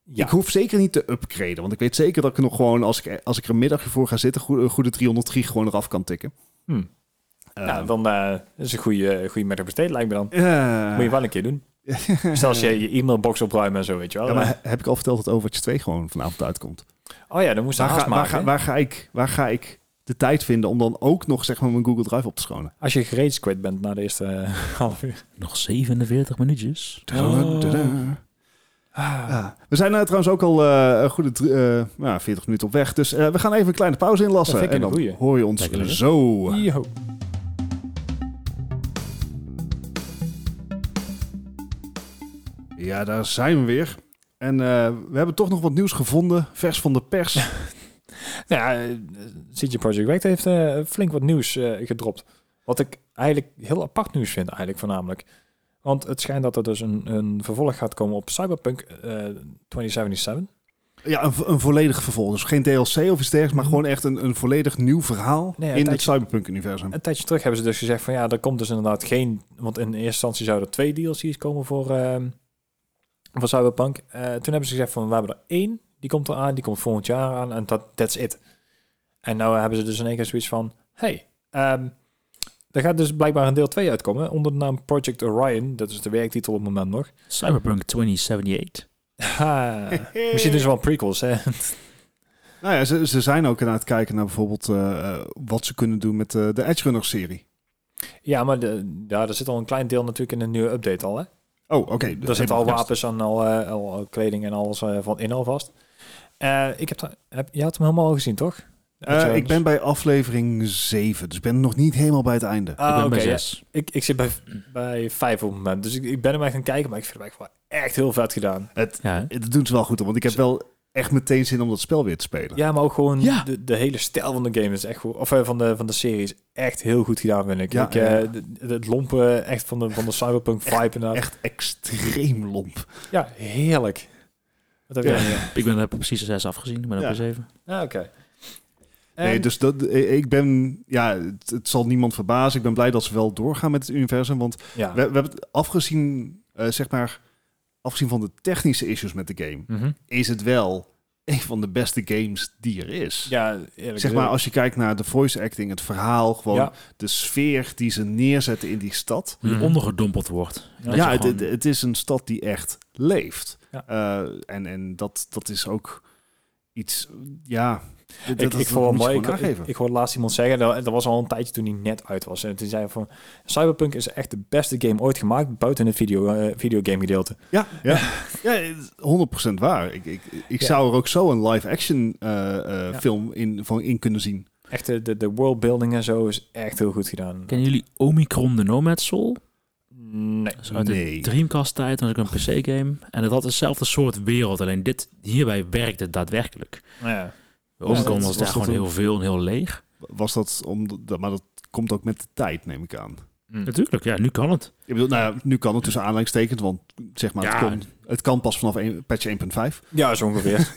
B: Ja.
A: Ik hoef zeker niet te upgraden. Want ik weet zeker dat ik nog gewoon, als ik, als ik er een middagje voor ga zitten, goede, goede 300 gig gewoon eraf kan tikken.
B: Hm. nou,
A: Ehm,
B: dan eh, is een goede, goede middag besteed, lijkt me dan.
A: ja.
B: Moet je wel een keer
A: (laughs)
B: doen. Stel als je je e-mailbox opruimt en zo, weet je wel.
A: Ja, maar heb ik al verteld dat Overwatch 2 gewoon vanavond uitkomt?
B: oh ja, dan moest je
A: Waar
B: haast
A: ga, waar,
B: maken.
A: ga,
B: hè?
A: waar, ga ik, waar ga ik de tijd vinden om dan ook nog zeg maar mijn Google Drive op te schonen?
B: Als je gereedsquit bent na de eerste eh, (laughs) half uur.
D: Nog 47 minuutjes.
B: Oh.
A: Ah. We zijn eh, trouwens ook al eh, een goede drie- eh, nou, 40 minuten op weg. Dus eh, we gaan even een kleine pauze inlassen.
B: Dat vind ik
A: en
B: een
A: dan
B: goeie.
A: hoor je ons
D: Lekker, hè?
A: zo.
B: Yo.
A: Ja, daar zijn we weer. En eh, we hebben toch nog wat nieuws gevonden. Vers van de pers.
B: (laughs) Nou ja, eh, CG Project Red heeft eh, flink wat nieuws eh, gedropt. Wat ik eigenlijk heel apart nieuws vind, eigenlijk voornamelijk. Want het schijnt dat er dus een, een vervolg gaat komen op Cyberpunk eh, 2077.
A: Ja, een, vo- een volledig vervolg. Dus geen DLC of iets dergelijks, maar gewoon echt een, een volledig nieuw verhaal
B: Mm. Nee, ja,
A: in het (laughs)
B: tijdje-
A: Cyberpunk-universum.
B: Een tijdje terug hebben ze dus gezegd van ja, er komt dus inderdaad geen... Want in eerste instantie zouden er twee DLC's komen voor, ehm, voor Cyberpunk. Eh, toen hebben ze gezegd van we hebben er één, die komt eraan, die komt volgend jaar aan en dat that's it. En nou hebben ze dus in één keer zoiets van, hey, ehm, er gaat dus blijkbaar een deel 2 uitkomen onder de naam Project Orion. Dat is de werktitel op het moment nog. (laughs)
D: Cyberpunk 2078.
B: Ha, misschien dus wel prequels, hè? (laughs)
A: Nou ja, ze, ze zijn ook aan het kijken naar bijvoorbeeld eh, eh, wat ze kunnen doen met eh, de Edge Runner-serie.
B: ja, maar de, ja, er zit al een klein deel natuurlijk in een nieuwe update al, hè?
A: Oh, oké.
B: Daar zitten al
A: Helemaal vast.
B: wapens en al, eh, al, al kleding en alles eh, van in alvast. Eh, ik heb, da- heb, je had hem helemaal al gezien, toch? Had je
A: Eh,
B: wel
A: ik ben
B: eens-
A: bij aflevering 7, dus ik ben nog niet helemaal bij het einde.
B: Ah,
D: ik ben
B: oké,
D: bij
B: ja.
D: 6.
B: ik, ik zit bij, bij vijf op het moment. Dus ik, ik ben hem echt gaan kijken, maar ik vind hem echt, wel echt heel vet gedaan.
D: Ja. hè?
A: Eh, Dat doen ze wel goed, hoor, want ik heb wel echt meteen zin om dat spel weer te spelen.
B: Ja, maar ook gewoon
D: Ja.
B: de, de hele stijl van de game is echt goed. Of eh, van de, van de serie is echt heel goed gedaan, vind ik.
A: Ja,
B: ik eh,
A: ja.
B: de- de- het lompen echt van de, van de cyberpunk vibe inderdaad.
A: Echt extreem lomp.
B: Ja, heerlijk. Wat heb
A: Ja.
B: jij ja.
D: Ik ben, heb precies de 6 afgezien. Ik ben ook
A: Ja.
D: bij 7.
B: Ah, oké.
A: Nee,
B: En-
A: dus dat, eh, ik ben, ja, het, het zal niemand verbazen. Ik ben blij dat ze wel doorgaan met het universum, want
B: ja.
A: We, we hebben het afgezien, eh, zeg maar, afgezien van de technische issues met de game,
B: Mhm.
A: is het wel een van de beste games die er is.
B: ja, eerlijk
A: Zeg maar, als je kijkt naar de voice acting, het verhaal, gewoon
B: Ja.
A: de sfeer die ze neerzetten in die stad.
D: Hoe je
B: Mhm.
D: ondergedompeld wordt. Dat
A: ja,
D: je
A: het,
D: gewoon-
A: het, het is een stad die echt leeft.
B: Ja.
A: Eh, en en dat, dat is ook iets, ja... dat-
B: Ik,
A: dat-
B: ik
A: dat
B: vond het
A: moet je
B: mooi. Ik,
A: gewoon
B: ik,
A: aangeven.
B: ik hoorde laatst iemand zeggen, dat, dat was al een tijdje toen hij net uit was. En toen zei hij van, Cyberpunk is echt de beste game ooit gemaakt, buiten het video, eh, videogame gedeelte.
A: Ja, ja. ja, het is 100% waar. Ik, ik, ik
B: Ja.
A: zou er ook zo een live-action eh, eh,
B: Ja.
A: film in, van, in kunnen zien.
B: Echt de, de, de worldbuilding en zo is echt heel goed gedaan.
D: Kennen jullie Omicron de Nomad Soul?
B: Nee.
D: Dat is uit
A: Nee.
D: de Dreamcast tijd, dat was ook een PC game. En het had hetzelfde soort wereld, alleen dit hierbij werkte het daadwerkelijk.
B: Nou ja.
D: Bij
B: Ja,
D: Omicron
B: dat
A: was
D: was daar
A: dat
D: gewoon
A: een-
D: heel veel en heel leeg.
A: Was dat om, de- maar dat komt ook met de tijd, neem ik aan.
B: Hm.
D: Natuurlijk, ja, nu kan het.
A: Ik bedoel, nou ja, nu kan het tussen aanleidingstekens, want zeg maar,
D: Ja.
A: het, kon- het kan pas vanaf een, patch 1.5.
B: Ja, zo ongeveer.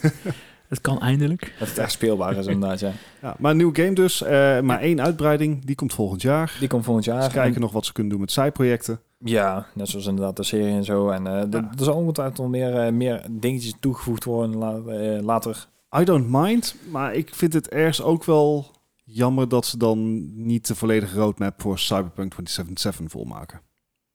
D: Het kan eindelijk.
B: (laughs) dat het echt speelbaar is inderdaad, ja.
A: Ja, maar een nieuwe game dus, eh, maar één uitbreiding, die komt volgend jaar.
B: Die komt volgend jaar.
A: Ze kijken nog wat ze kunnen doen met zijprojecten.
B: Ja, net zoals inderdaad de serie en zo. En eh, d-
A: Ja.
B: er zal ongetwijfeld nog meer, eh, meer dingetjes toegevoegd worden la- eh, later.
A: I don't mind, maar ik vind het ergens ook wel jammer dat ze dan niet de volledige roadmap voor Cyberpunk 2077 volmaken.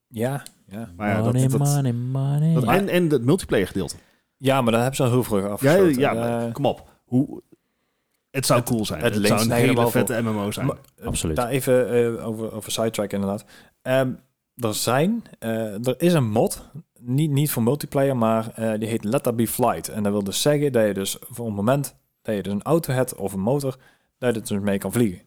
B: Ja, ja.
A: Oh, Maar ja, dat,
D: money,
A: dat, dat-
D: money, money.
A: en, en het multiplayer gedeelte.
B: Ja, maar dat hebben ze al heel vroeg
A: Ja,
B: afgesloten.
A: ja, maar
B: Eh,
A: kom op. Hoe, het zou cool zijn.
B: het
A: Het, zou een
B: leent zich er
A: hele
B: wel
A: vette MMO zijn.
B: Maar-
D: Absoluut.
B: Daar even eh, over, over sidetrack inderdaad. Ehm, er zijn, eh, er is een mod, niet, niet voor multiplayer, maar eh, die heet Let That Be Flight. En dat wil dus zeggen dat je dus voor een moment, dat je dus een auto hebt of een motor, dat je er dus mee kan vliegen.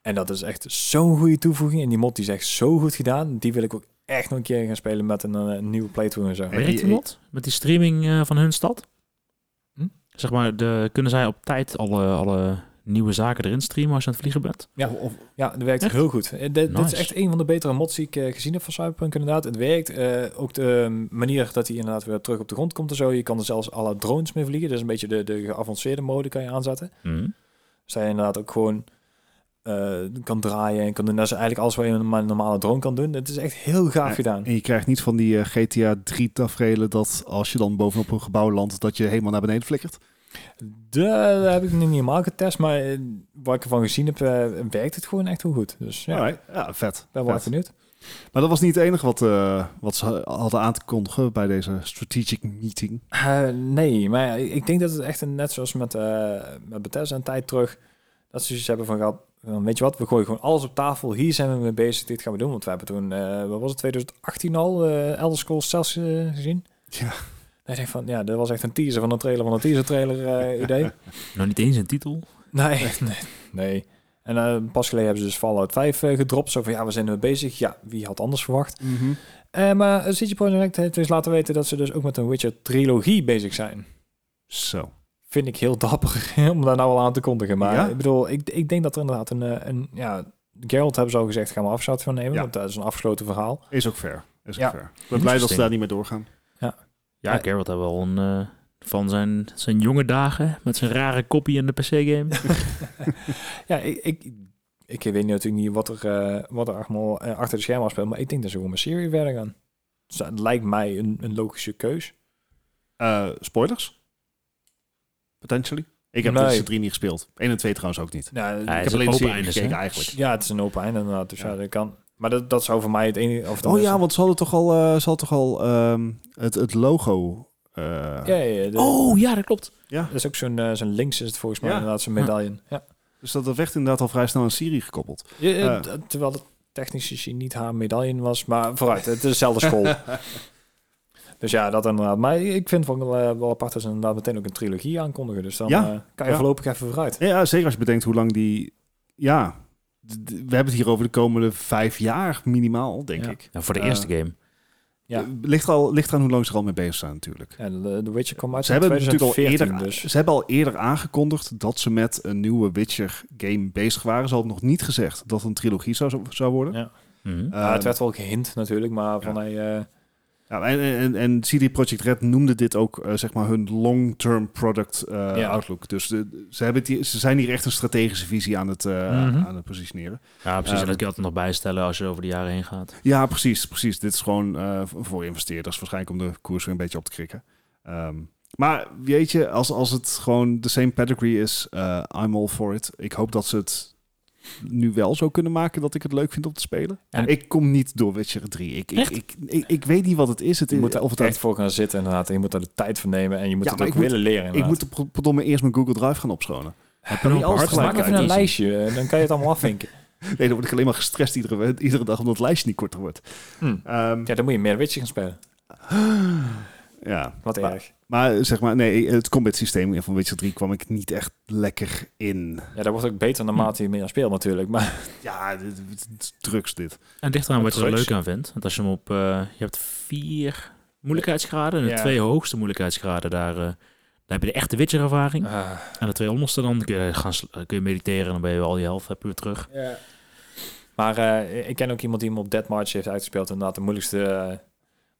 B: En dat is echt zo'n goede toevoeging. En die mod die is echt zo goed gedaan. Die wil ik ook echt nog een keer gaan spelen met een, eh, nieuwe playthrough en zo.
A: Ja.
D: Werkt die mod? Met die streaming eh, van hun stad?
B: Hm?
D: Zeg maar, de, kunnen zij op tijd alle, alle nieuwe zaken erin streamen als je aan het vliegen bent.
B: Ja,
A: Of- of-
B: ja dat werkt
D: Echt?
B: heel goed. Eh, Dit, dit is
D: Nice.
B: echt een van de betere mods die ik eh, gezien heb van Cyberpunk inderdaad. Het werkt. eh, ook de eh, manier dat hij inderdaad weer terug op de grond komt en zo. Je kan er zelfs alle drones mee vliegen. Dat is een beetje de, de geavanceerde mode kan je aanzetten.
A: Hm.
B: Dus dat je inderdaad ook gewoon eh, kan draaien en kan doen. Dat is eigenlijk alles wat je met een normale drone kan doen. Het is echt heel gaaf
A: Ja,
B: gedaan.
A: En je krijgt niet van die eh, GTA 3 tafereelen dat als je dan bovenop een gebouw landt, dat je helemaal naar beneden flikkert.
B: De, dat heb ik nog niet helemaal getest, maar eh, wat ik ervan gezien heb, eh, werkt het gewoon echt heel goed. Dus ja,
A: Alright. ja vet.
B: ben wel
A: Oh, vet.
B: erg benieuwd.
A: Maar dat was niet het enige wat, eh, wat ze hadden aan te kondigen bij deze strategic meeting.
B: Eh, nee, maar ik denk dat het echt een, net zoals met, eh met Bethesda een tijd terug, dat ze zoiets hebben van, gehad, van, weet je wat, we gooien gewoon alles op tafel, hier zijn we mee bezig, dit gaan we doen. Want we hebben toen, eh, wat was het, 2018 al, eh Elder Scrolls zelfs gezien.
A: Ja.
B: En ik denk van, ja, dat was echt een teaser van een trailer van een teaser trailer eh, idee.
D: Nou, niet eens een titel.
B: Nee, nee, nee. En eh, pas geleden hebben ze dus Fallout 5 eh, gedropt. Zo van, ja, we zijn ermee bezig. Ja, wie had anders verwacht?
A: Mhm.
B: Eh, maar CG Projekt heeft dus laten weten dat ze dus ook met een Witcher-trilogie bezig zijn.
A: Zo.
B: Vind ik heel dapper (laughs) om daar nou al aan te kondigen. Maar
A: Ja?
B: ik bedoel, ik, ik denk dat er inderdaad een... eh, een ja, Geralt hebben ze al gezegd, gaan we afstand van nemen.
A: Ja.
B: Want dat is een afgesloten verhaal.
A: Is ook fair. Is ook
B: Ja.
A: fair. Ik ben blij dat ze daar niet mee doorgaan.
D: Ja,
B: Ja.
D: Geralt had wel een... eh, van zijn, zijn jonge dagen met zijn rare kopie in de PC-game.
B: Ja, ik... ik ik weet natuurlijk niet wat er, eh, wat er allemaal eh, achter de schermen speelt, maar ik denk dat ze gewoon een serie verder gaan. Dus dat lijkt mij een, een logische keus.
A: Eh, spoilers? Potentially? Ik heb
B: Nee.
A: nee. 3 niet gespeeld. 1 en 2 trouwens ook niet.
B: Nou,
D: Hij
A: ik heb alleen
D: is
A: de
D: open
A: serie
D: eindes,
A: gekeken
D: hè?
A: eigenlijk.
B: Ja, het is een open einde inderdaad. Dus ja,
A: Ja.
B: dat kan. Maar dat, dat zou voor mij het enige...
A: Oh
B: Of tenminste-
A: ja, want ze hadden toch al, eh, ze hadden toch al ehm, het, het logo. eh,
B: Ja, ja, ja, de-
D: Oh, ja, dat klopt.
B: Dat is ook zo'n eh, zo'n links is het volgens mij
A: Ja.
B: inderdaad, zo'n medaille. Ja.
A: Dus dat werd inderdaad al vrij snel aan Siri gekoppeld.
B: Je- eh,
A: Ja.
B: d- Terwijl het technisch gezien niet haar medaille was, maar vooruit, het is dezelfde school.
A: (laughs)
B: dus ja, dat inderdaad. Maar ik vind het wel, eh, wel apart dat ze inderdaad meteen ook een trilogie aankondigen. Dus dan
A: Ja.
B: eh, kan je
A: Ja.
B: voorlopig even vooruit.
A: Ja, zeker als je bedenkt hoe lang die... Ja, d- d- we hebben het hier over de komende vijf jaar minimaal, denk
B: Ja.
A: ik.
D: Ja, voor de
A: Eh,
D: eerste game.
B: Ja.
A: Eh, Ligt, er al, ligt eraan hoe lang ze er al mee bezig zijn natuurlijk.
B: En eh, The Witcher kwam uit
A: Ze
B: in
A: hebben, het natuurlijk al
B: 2014,
A: eerder,
B: dus.
A: ze hebben al eerder aangekondigd dat ze met een nieuwe Witcher-game bezig waren. Ze hadden nog niet gezegd dat het een trilogie zou, zou worden.
B: Ja.
D: Mhm.
A: Eh,
B: Ja, het werd wel gehind natuurlijk, maar van hey, eh,
A: ja, en, en, en CD Projekt Red noemde dit ook eh, zeg maar hun long-term product eh,
B: Ja.
A: outlook. Dus de- ze, hebben het hier- ze zijn hier echt een strategische visie aan het, eh,
D: Mhm.
A: aan het positioneren.
D: Ja, precies. en
A: Ehm.
D: dat kun je altijd nog bijstellen als je over de jaren heen gaat.
A: Ja, precies. precies. Dit is gewoon eh, v- voor investeerders waarschijnlijk om de koers weer een beetje op te krikken. Ehm, maar weet je, als, als het gewoon de same pedigree is, eh, I'm all for it. Ik hoop dat ze het nu wel zo kunnen maken dat ik het leuk vind om te spelen.
D: En-
A: ik kom niet door Witcher 3. Ik, ik,
D: Echt?
A: ik, ik, ik weet niet wat het is. Het
B: je
A: is
B: moet er
A: of het
B: echt voor gaan zitten inderdaad. En je moet daar de tijd voor nemen en je moet
A: Ja,
B: het
A: maar
B: ook
A: ik moet-
B: willen leren
A: Ik
B: inderdaad.
A: moet op- verdomme eerst mijn Google Drive gaan opschonen.
D: Heb
A: je nog alles
B: Dus maak
A: gelijk
B: even een lijstje en dan kan je het allemaal
A: (laughs)
B: afvinken.
A: Nee, dan word ik alleen maar gestrest iedere, iedere dag omdat het lijstje niet korter wordt.
B: Hm.
A: Ehm,
B: Ja, dan moet je meer Witcher gaan spelen.
A: ja.
B: Wat
A: Maar-
B: erg.
A: Maar zeg maar, nee, het combat systeem van Witcher 3 kwam ik niet echt lekker in.
B: Ja, dat wordt ook beter naarmate
A: Hmm.
B: je meer speelt natuurlijk. Maar
A: Ja, dit, dit- dit is drugs dit.
D: En dicht aan wat je er
B: Drugs.
D: leuk aan vindt. Want als je hem op... eh, je hebt vier moeilijkheidsgraden. En de
B: Ja.
D: twee hoogste moeilijkheidsgraden, daar, eh, daar heb je de echte Witcher-ervaring.
B: eh,
D: En de twee onderste dan kun je, gaan, sl- kun je mediteren en dan ben je al je helft heb je weer terug.
B: Maar eh, ik ken ook iemand die hem op Deathmatch heeft uitgespeeld. Inderdaad, de moeilijkste... eh,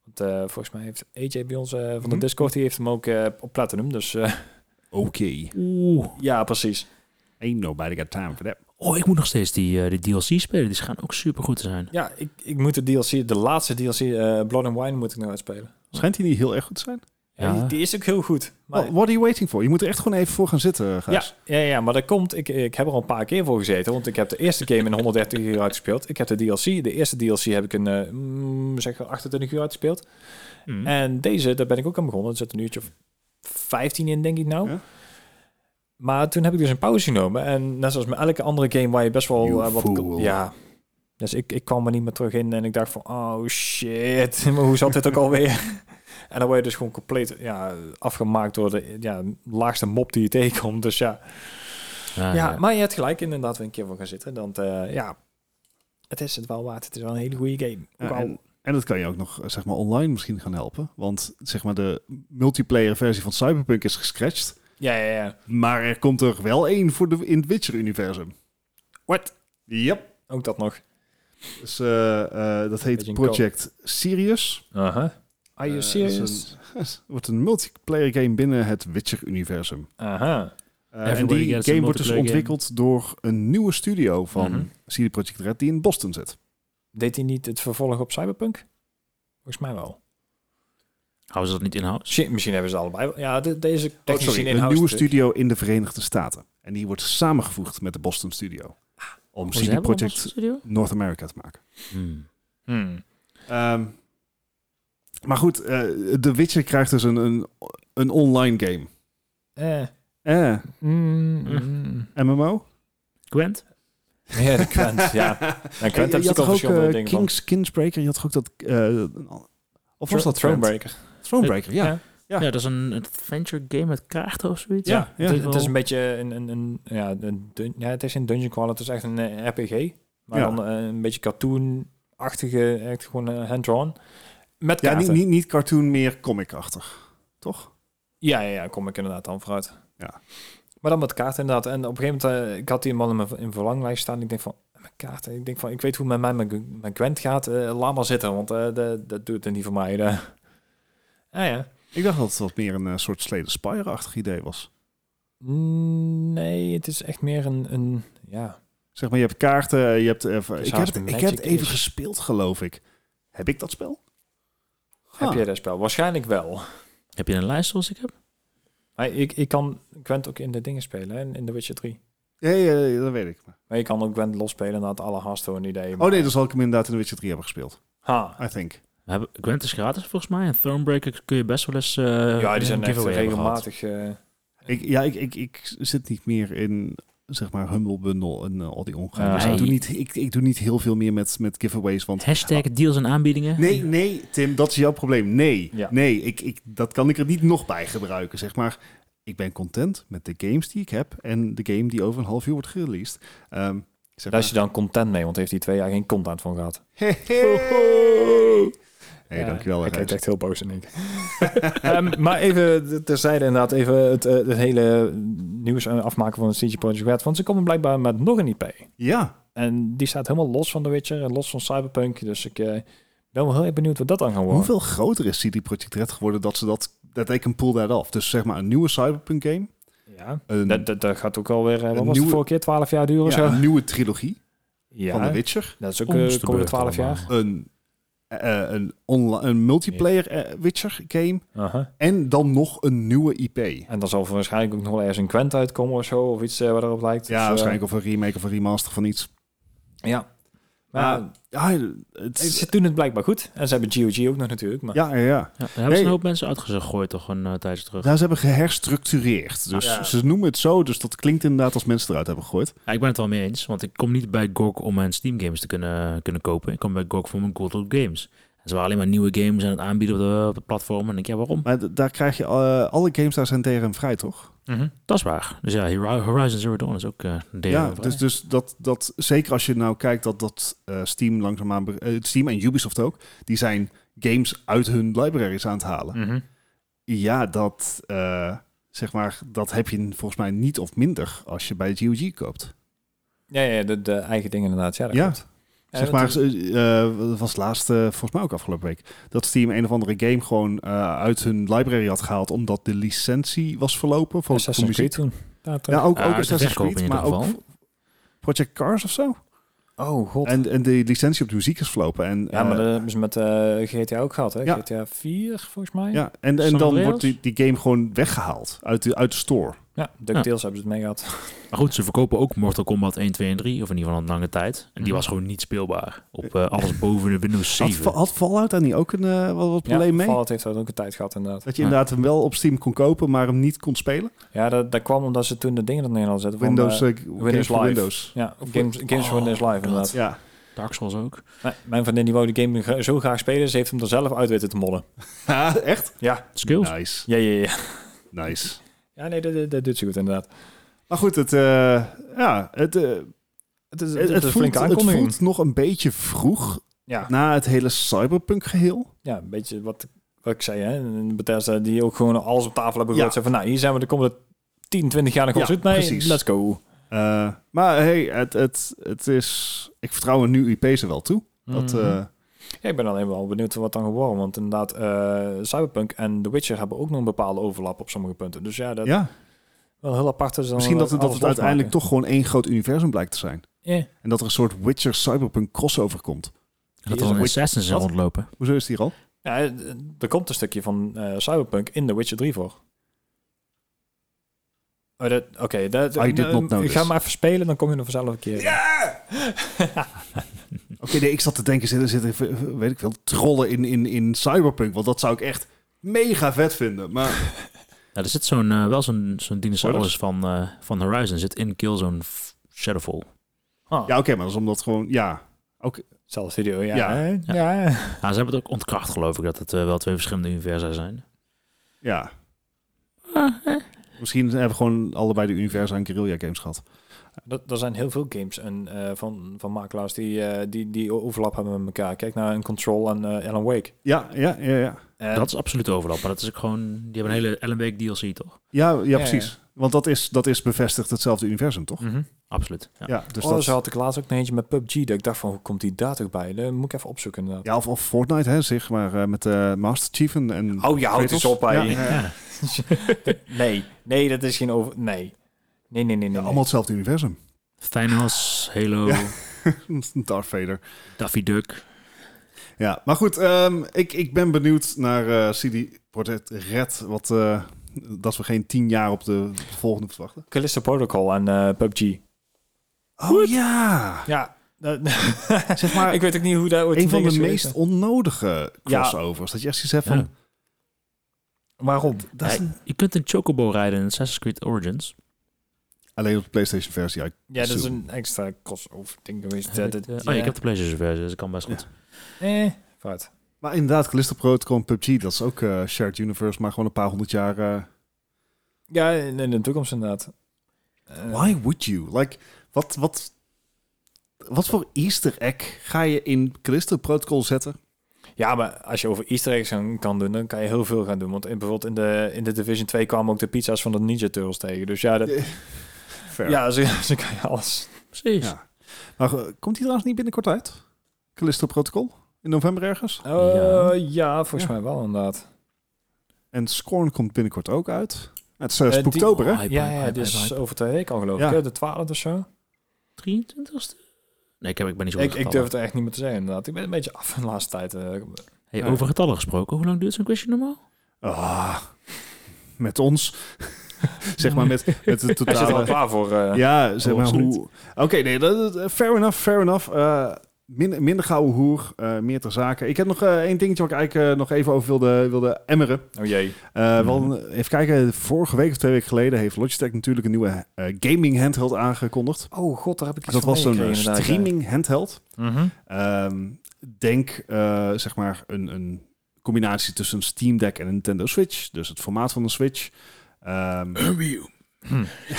B: want eh, volgens mij heeft AJ bij ons eh, van de
A: Mhm.
B: Discord... die heeft hem ook eh, op Platinum. Dus eh,
A: Oké.
D: Oeh.
B: (laughs) ja, precies.
A: Ain't nobody got time for that.
D: Oh, ik moet nog steeds die, eh, die DLC spelen. Die schijnen ook super goed te zijn.
B: Ja, ik, ik moet de DLC... de laatste DLC, eh, Blood and Wine, moet ik nou uitspelen.
A: Schijnt hij niet heel erg goed te zijn?
B: Ja. Die,
D: Ja.
B: die is ook heel goed. Maar,
A: Well, what are you waiting for? Je moet er echt gewoon even voor gaan zitten,
B: ja,
A: Gijs.
B: ja, ja, maar dat komt... Ik, ik heb er al een paar keer voor gezeten. Want ik heb de eerste game in 130 uur uitgespeeld. Ik heb de DLC... De eerste DLC heb ik een... eh, mm, zeg 28 uur uitgespeeld.
D: Mm.
A: Hm.
B: En deze, daar ben ik ook aan begonnen. Er zit een uurtje of 15 in, denk ik nou.
A: Ja.
B: Maar toen heb ik dus een pauze genomen. En net zoals met elke andere game waar je best wel
A: You
B: eh, wat...
A: fool.
B: Ja. Dus ik, ik kwam er niet meer terug in en ik dacht van, oh shit, (laughs) maar hoe zat dit ook alweer? (laughs) en dan word je dus gewoon compleet ja, afgemaakt door de ja, laagste mop die je tegenkomt. Dus ja.
A: Ah,
D: Ja,
B: ja,
D: ja.
B: maar je hebt gelijk inderdaad weer een keer voor gaan zitten. Dan eh, ja, het is het wel waard. Het is wel een hele goede game. Ook
A: Ja,
B: al-
A: en, en dat kan je ook nog eh, zeg maar, online misschien gaan helpen. Want zeg maar, de multiplayer versie van Cyberpunk is gescratcht.
B: Ja, ja, ja.
A: Maar er komt er wel één voor de, in het Witcher-universum.
B: What?
A: Yep.
B: Ook dat nog.
A: Dus, eh, eh, dat heet
B: Beetje een
A: Project Sirius.
B: Aha. Are you
A: Eh, dat
B: serious?
A: is een- Het (laughs) wordt een multiplayer game binnen het Witcher-universum.
B: Aha.
A: Eh, en
D: Everybody
A: die
D: gets a
A: game wordt dus
D: multiplayer
A: ontwikkeld door een nieuwe studio van
B: Mhm.
A: CD Projekt Red die in Boston zit.
B: Deed hij niet het vervolg op Cyberpunk? Volgens mij wel.
D: Houden ze dat niet in-house?
B: Misschien, misschien hebben ze het allebei. wel. Ja, de- deze
A: Oh,
B: technisch
A: sorry,
B: gezien
A: een
B: in-house
A: nieuwe
B: te-
A: studio in de Verenigde Staten. En die wordt samengevoegd met de Boston studio.
B: Ah, oh,
A: Om
D: Ze
A: CD
D: hebben een
A: Projekt
D: studio?
A: North America te maken.
D: Hmm.
B: Hmm.
A: Ehm, maar goed, eh The Witcher krijgt dus een, een, een online game.
B: Eh.
A: Eh,
B: Mm, mm.
A: MMO?
D: Gwent?
B: (laughs) Ja, de
A: (laughs)
B: Quent, ja. En
A: Je-
B: Quent
A: je
B: heeft
A: had
B: ook al
A: toch ook
B: verschillende
A: eh,
B: dingen van.
A: King's Kingsbreaker? Je had toch ook dat... eh, of was dat Throne-
B: Thronebreaker?
A: Thronebreaker, ja.
B: Ja.
A: Ja.
D: Ja. dat is een adventure game met kaarten of zoiets.
A: Ja, ja.
D: Dat
B: Het, het is
D: wel-
B: een beetje een, een, een, ja, een dun- ja, het is een dungeon crawl, het is echt een eh, RPG. Maar
A: Ja.
B: dan eh, een beetje cartoon-achtige, echt gewoon eh, hand-drawn. Met
A: Ja,
B: kaarten.
A: niet, niet, niet cartoon, meer comic-achtig. Toch?
B: Ja, ja, ja, kom ik inderdaad dan vooruit.
A: Ja.
B: Maar dan met kaarten inderdaad. En op een gegeven moment, eh, ik had die man in mijn in verlanglijst staan. Ik denk van, eh, mijn kaarten. Ik denk van, ik weet hoe het met mij met, met Gwent gaat. eh, laat maar zitten, want eh, de- dat doet het niet voor mij. De... Ah ja.
A: Ik dacht dat het wat meer een eh, soort Slay the Spire-achtig idee was.
B: Mm, Nee, het is echt meer een, een ja.
A: Zeg maar, je hebt kaarten, je hebt... even- ik, heb
B: haast
A: het,
B: een
A: ik heb het
B: Magic
A: even
B: is.
A: gespeeld, geloof ik. Heb ik dat spel?
B: Heb
A: Ah.
B: je dat spel? Waarschijnlijk wel.
D: Heb je een lijst zoals ik heb?
B: Maar ik, ik kan Gwent ook in de dingen spelen, hè, in- in The Witcher 3.
A: Ja, ja, ja, dat weet ik.
B: Maar je kan ook Gwent losspelen, inderdaad, alle Hearthstone ideeën.
A: Oh nee, dan zal ik hem inderdaad in The Witcher 3 hebben gespeeld.
B: Ha.
A: I think.
D: We hebben, Gwent is gratis volgens mij. En Thronebreaker kun je best wel eens eh
B: Ja,
D: een
B: die zijn echt
D: giveaway hebben gehad.
B: regelmatig... eh,
A: Ik, ja, ik, ik, ik zit niet meer in, zeg maar, Humble Bundle en eh, al die ongein.
B: Ah.
A: Dus ik,
D: Nee.
A: doe niet, ik, ik doe niet heel veel meer met, met giveaways, want...
D: Hashtag deals en aanbiedingen.
A: Nee, nee, Tim, dat is jouw probleem. Nee,
B: Ja.
A: nee ik, ik, dat kan ik er niet nog bij gebruiken, zeg maar. Ik ben content met de games die ik heb en de game die over een half uur wordt gereleased. Ehm zeg
B: Daar is je dan content mee, want heeft hij twee jaar geen content van gehad.
A: maar- Hey, hey,
B: Ja,
A: dankjewel.
B: Hij kijkt
A: Gijs.
B: echt heel boos in ik. (laughs) Ehm, maar even terzijde inderdaad, even het, eh, het hele nieuws aan- afmaken van CG Project Red. Want ze komen blijkbaar met nog een IP.
A: Ja,
B: En die staat helemaal los van The Witcher en los van Cyberpunk. Dus ik eh, ben wel heel erg benieuwd wat dat dan gaat worden.
A: hoeveel groter is CD Projekt Red geworden dat ze dat... Dat ik een pull that off. Dus zeg maar een nieuwe Cyberpunk game.
B: Ja,
A: Een,
B: dat, dat, dat gaat ook alweer, eh, wat
A: Een
B: was
A: nieuwe-
B: het vorige keer, 12 jaar duren of
A: ja,
B: zo?
A: een nieuwe trilogie van
B: Ja,
A: The Witcher.
B: dat is ook
D: Om
B: eh
D: de
B: komende
D: beurt
B: 12 jaar.
D: allemaal.
A: Een, eh, een, onla- een multiplayer eh, Witcher game.
B: Aha.
A: En dan nog een nieuwe IP.
B: En dan zal er waarschijnlijk ook nog wel ergens een Quent uitkomen of zo, of iets eh, wat erop lijkt.
A: Ja,
B: Dus, eh,
A: waarschijnlijk of een remake of een remaster van iets.
B: Ja. Maar
A: Ah, Ja, het
B: Ze doen het blijkbaar goed. En ze hebben GOG ook nog natuurlijk. Maar
A: ja, ja, ja.
D: Ja, daar hebben
A: Nee.
D: ze een hoop mensen uitgegooid toch een eh, tijdje terug.
A: Nou, ze hebben geherstructureerd. Dus
B: Ja.
A: ze noemen het zo, dus dat klinkt inderdaad als mensen eruit hebben gegooid.
D: Ja, ik ben het wel mee eens, want ik kom niet bij GOG om mijn Steam games te kunnen, kunnen kopen. Ik kom bij GOG voor mijn Good Old Games. En ze waren alleen maar nieuwe games aan het aanbieden op de, op de platform. En ik denk, ja, waarom?
A: Maar d- daar krijg je, eh, alle games daar zijn DRM vrij, toch?
D: Dat is waar. Dus ja, Hori- Horizon Zero Dawn is ook eh deel
A: ja,
D: van.
A: dus, dus dat, dat, zeker als je nou kijkt dat, dat eh, Steam langzaamaan, be- eh, Steam en Ubisoft ook, die zijn games uit hun libraries aan het halen.
B: Mm.
A: Ja, dat, eh, zeg maar, dat heb je volgens mij niet of minder als je bij GOG koopt.
B: Ja, ja de, de eigen dingen inderdaad. Ja, dat
A: Ja.
B: klopt. Ja,
A: Zeg maar,
B: dat-
A: eh, eh, dat was laatst, eh, volgens mij ook afgelopen week, dat Steam een of andere game gewoon eh, uit hun library had gehaald, omdat de licentie was verlopen voor, voor
B: Assassin's
A: muziek.
B: Creed Ah, toen. Daar toch?
A: Ja, ook,
D: Ja,
A: ook
D: te
A: Assassin's
D: verkopen
A: Creed,
D: in
A: maar
D: ieder
A: ook
D: geval.
A: Project Cars of zo.
B: Oh, god.
A: En, en de licentie op de muziek is verlopen. En,
B: ja, maar
A: eh,
B: dat hebben ze met eh, GTA ook gehad, hè?
A: Ja.
B: GTA 4, volgens mij.
A: ja, en, en
D: San
A: dan
D: Andreas?
A: wordt die, die game gewoon weggehaald uit de, uit de store.
B: ja DuckTales hebben ze het mee gehad.
D: Maar goed, ze verkopen ook Mortal Kombat 1, 2 en 3, of in ieder geval een lange tijd. En die was gewoon niet speelbaar op eh, alles boven de Windows
A: Had,
D: 7.
A: Fa- had Fallout daar niet ook een eh, wat, wat probleem
B: ja,
A: mee?
B: Fallout heeft dat ook een tijd gehad, inderdaad.
A: Dat je
D: Ja.
A: inderdaad hem wel op Steam kon kopen, maar hem niet kon spelen.
B: Ja, dat, dat kwam omdat ze toen de dingen er neer hadden zetten. van,
A: Windows,
B: eh,
A: eh, games voor
B: Live.
A: Windows.
B: ja, Games, games for
D: Oh,
B: Windows Live, inderdaad.
A: Ja,
D: Dark Souls ook.
B: Nee, mijn vriendin die wou de game gra- zo graag spelen, ze heeft hem er zelf uit weten te modden.
A: echt?
B: (laughs) Ja,
D: Skills.
A: Nice,
B: ja, ja, ja.
A: nice.
B: Ja, nee, dat, dat, dat doet ze goed, inderdaad.
A: Maar goed, het, eh, ja, het, eh,
B: Het is,
A: het, het, voelt,
B: flinke
A: het
B: aankondiging.
A: voelt nog een beetje vroeg
B: ja.
A: na het hele cyberpunk geheel.
B: ja, een beetje wat, wat ik zei, hè. Een Bethesda die ook gewoon alles op tafel hebben
A: Ja.
B: gegooid. Zei van, nou, hier zijn we de komende 10, 20 jaar nog wel
A: Ja,
B: zit. Nee,
A: precies.
B: let's go.
A: Eh, maar hey, het, het, het is... Ik vertrouw een nieuw IP's er wel toe. Dat,
B: Mhm.
A: eh,
B: Ja, ik ben alleen wel benieuwd wat dan geworden. Want inderdaad, eh, Cyberpunk en The Witcher hebben ook nog een bepaalde overlap op sommige punten. Dus ja, dat
A: ja,
B: wel heel apart is. Dan
A: misschien dat, het- dat
B: alles
A: het uiteindelijk
B: losmaken.
A: toch gewoon één groot universum blijkt te zijn.
B: Ja.
A: En dat er een soort Witcher Cyberpunk crossover komt.
D: Dat
B: is
D: er een
B: een-
D: Assassins
B: Wat?
D: rondlopen.
A: Hoezo is die er al?
B: Ja, eh, er komt een stukje van eh, Cyberpunk in The Witcher 3 voor. Oh, dat, oké. dat,
A: I did
B: eh,
A: not notice.
B: Ga maar even spelen, dan kom je er vanzelf een keer. Ja! (laughs)
A: Oké, nee, ik zat te denken, zitten, zitten weet ik veel, trollen in, in, in Cyberpunk. Want dat zou ik echt mega vet vinden. Maar
D: Ja, er zit zo'n, eh, wel zo'n, zo'n dinosaurus van, eh, van Horizon zit in Killzone F- Shadowfall.
A: ja, oké, maar dat is omdat gewoon, ja.
B: Zelfde video, ja.
A: Ja.
B: hè?
D: Ja.
B: ja.
D: Ja, ze hebben het ook ontkracht, geloof ik, dat het eh, wel twee verschillende universa zijn.
A: ja. Misschien hebben we gewoon allebei de universa en guerrilla games gehad.
B: Dat, er zijn heel veel games en, eh, van, van makelaars die, eh, die, die overlap hebben met elkaar. Kijk naar een Control en eh, Alan Wake.
A: Ja, ja, ja, ja.
B: En-
D: Dat is absoluut overlap, maar dat is ook gewoon... Die hebben een hele Ellen Wake DLC, toch?
A: Ja, ja,
B: ja.
A: precies. Want dat is, dat is bevestigd hetzelfde universum, toch?
B: Mhm.
D: Absoluut, ja.
A: Ja, dus
B: oh,
A: dat...
B: zo had ik laatst ook nog eentje met PUBG. Dat ik dacht van, hoe komt die daar toch bij? Dat moet ik even opzoeken inderdaad.
A: Ja, of, of Fortnite, hè, zeg maar, eh, met eh Master Chief en... en
B: Hou Oh, je hout
A: Kratos.
B: eens op, hè.
A: Ja,
B: Ja.
A: ja.
D: Ja.
B: Nee, nee, dat is geen over... Nee. Nee, nee, nee, nee.
A: Ja,
B: nee.
A: allemaal hetzelfde universum.
D: Thanos, Halo,
A: Ja. Darth Vader.
D: Daffy Duck.
A: Ja, maar goed, ehm, ik, ik ben benieuwd naar eh CD Projekt Red. Wat, eh, dat we geen tien jaar op de volgende verwachten.
B: Callisto Protocol en eh, PUBG.
A: Oh ja!
B: Ja. dat- (laughs)
A: Zeg maar,
B: ik weet ook niet hoe dat ooit
A: een van
B: ding
A: de
B: is
A: meest
B: geweest.
A: onnodige
B: Ja.
A: crossovers. Dat je echt zegt van...
D: Ja.
B: Waarom?
A: Dat is
D: Ja, je kunt een Chocobo rijden in Assassin's Creed Origins.
A: Alleen op de PlayStation versie. Ja,
B: Ja, dat is
A: Zo.
B: een extra crossover ding geweest.
D: Heb
B: Dat,
D: ik,
B: dat-
D: eh, oh ja, ik heb de PlayStation versie, dus dat kan best
A: Ja.
D: goed.
B: Eh, vooruit.
A: Maar inderdaad, Callisto Protocol en PUBG, dat is ook eh, shared universe, maar gewoon een paar honderd jaar... eh,
B: Ja, in, in de toekomst inderdaad. Eh,
A: Why would you? Like, wat, wat, wat voor easter egg ga je in Callisto Protocol zetten?
B: Ja, maar als je over easter eggs gaan- kan doen, dan kan je heel veel gaan doen. Want in, bijvoorbeeld in de, in de Division 2 kwamen ook de pizza's van de Ninja Turtles tegen. Dus ja, dat,
A: Fair.
B: ja (laughs) zo, zo kan je alles.
D: Precies.
A: Ja. Maar eh, komt die trouwens niet binnenkort uit? Callisto Protocol? In november ergens?
B: Eh,
D: Ja.
B: ja. volgens
A: Ja.
B: mij wel inderdaad.
A: En Scorn komt binnenkort ook uit. Het is eh,
B: Eh, die-
A: Spooktober, hè?
D: Oh, hype,
B: ja,
D: hype,
B: ja,
D: hype,
B: dit is
D: hype, hype.
B: over twee weken al geloof
A: Ja.
B: ik. hè? De 12 of zo.
D: 23ste? Nee, ik, heb, ik ben niet zo goed
B: Ik, ik durf het echt niet meer te zeggen inderdaad. Ik ben een beetje af van de laatste tijd. eh.
D: hey,
A: Ja.
D: Over getallen gesproken, hoe lang duurt zo'n quizje normaal?
A: Ah, met ons. (laughs) zeg maar met, met de
B: Hij zit er al
A: totale...
B: klaar voor. eh.
A: Ja, zeg
D: Oh,
A: maar
D: absoluut.
A: hoe... Oké, nee, dat, dat- fair enough, fair enough. Eh, min- minder gouden hoer, eh, meer ter zaken. Ik heb nog eh, één dingetje waar ik eigenlijk eh, nog even over wilde, wilde emmeren.
B: Oh jee.
A: Eh, wel, een- even kijken, vorige week of twee weken geleden heeft Logitech natuurlijk een nieuwe eh, gaming handheld aangekondigd.
B: Oh god, daar heb ik iets
A: dat
B: van
A: was zo'n eh,
B: meegekregen, inderdaad, ja.
A: streaming handheld.
B: Mhm.
A: Ehm, denk eh, zeg maar een, een combinatie tussen een Steam Deck en een Nintendo Switch. Dus het formaat van een Switch. Ehm,
D: Een review.
B: Hmm.
A: (laughs)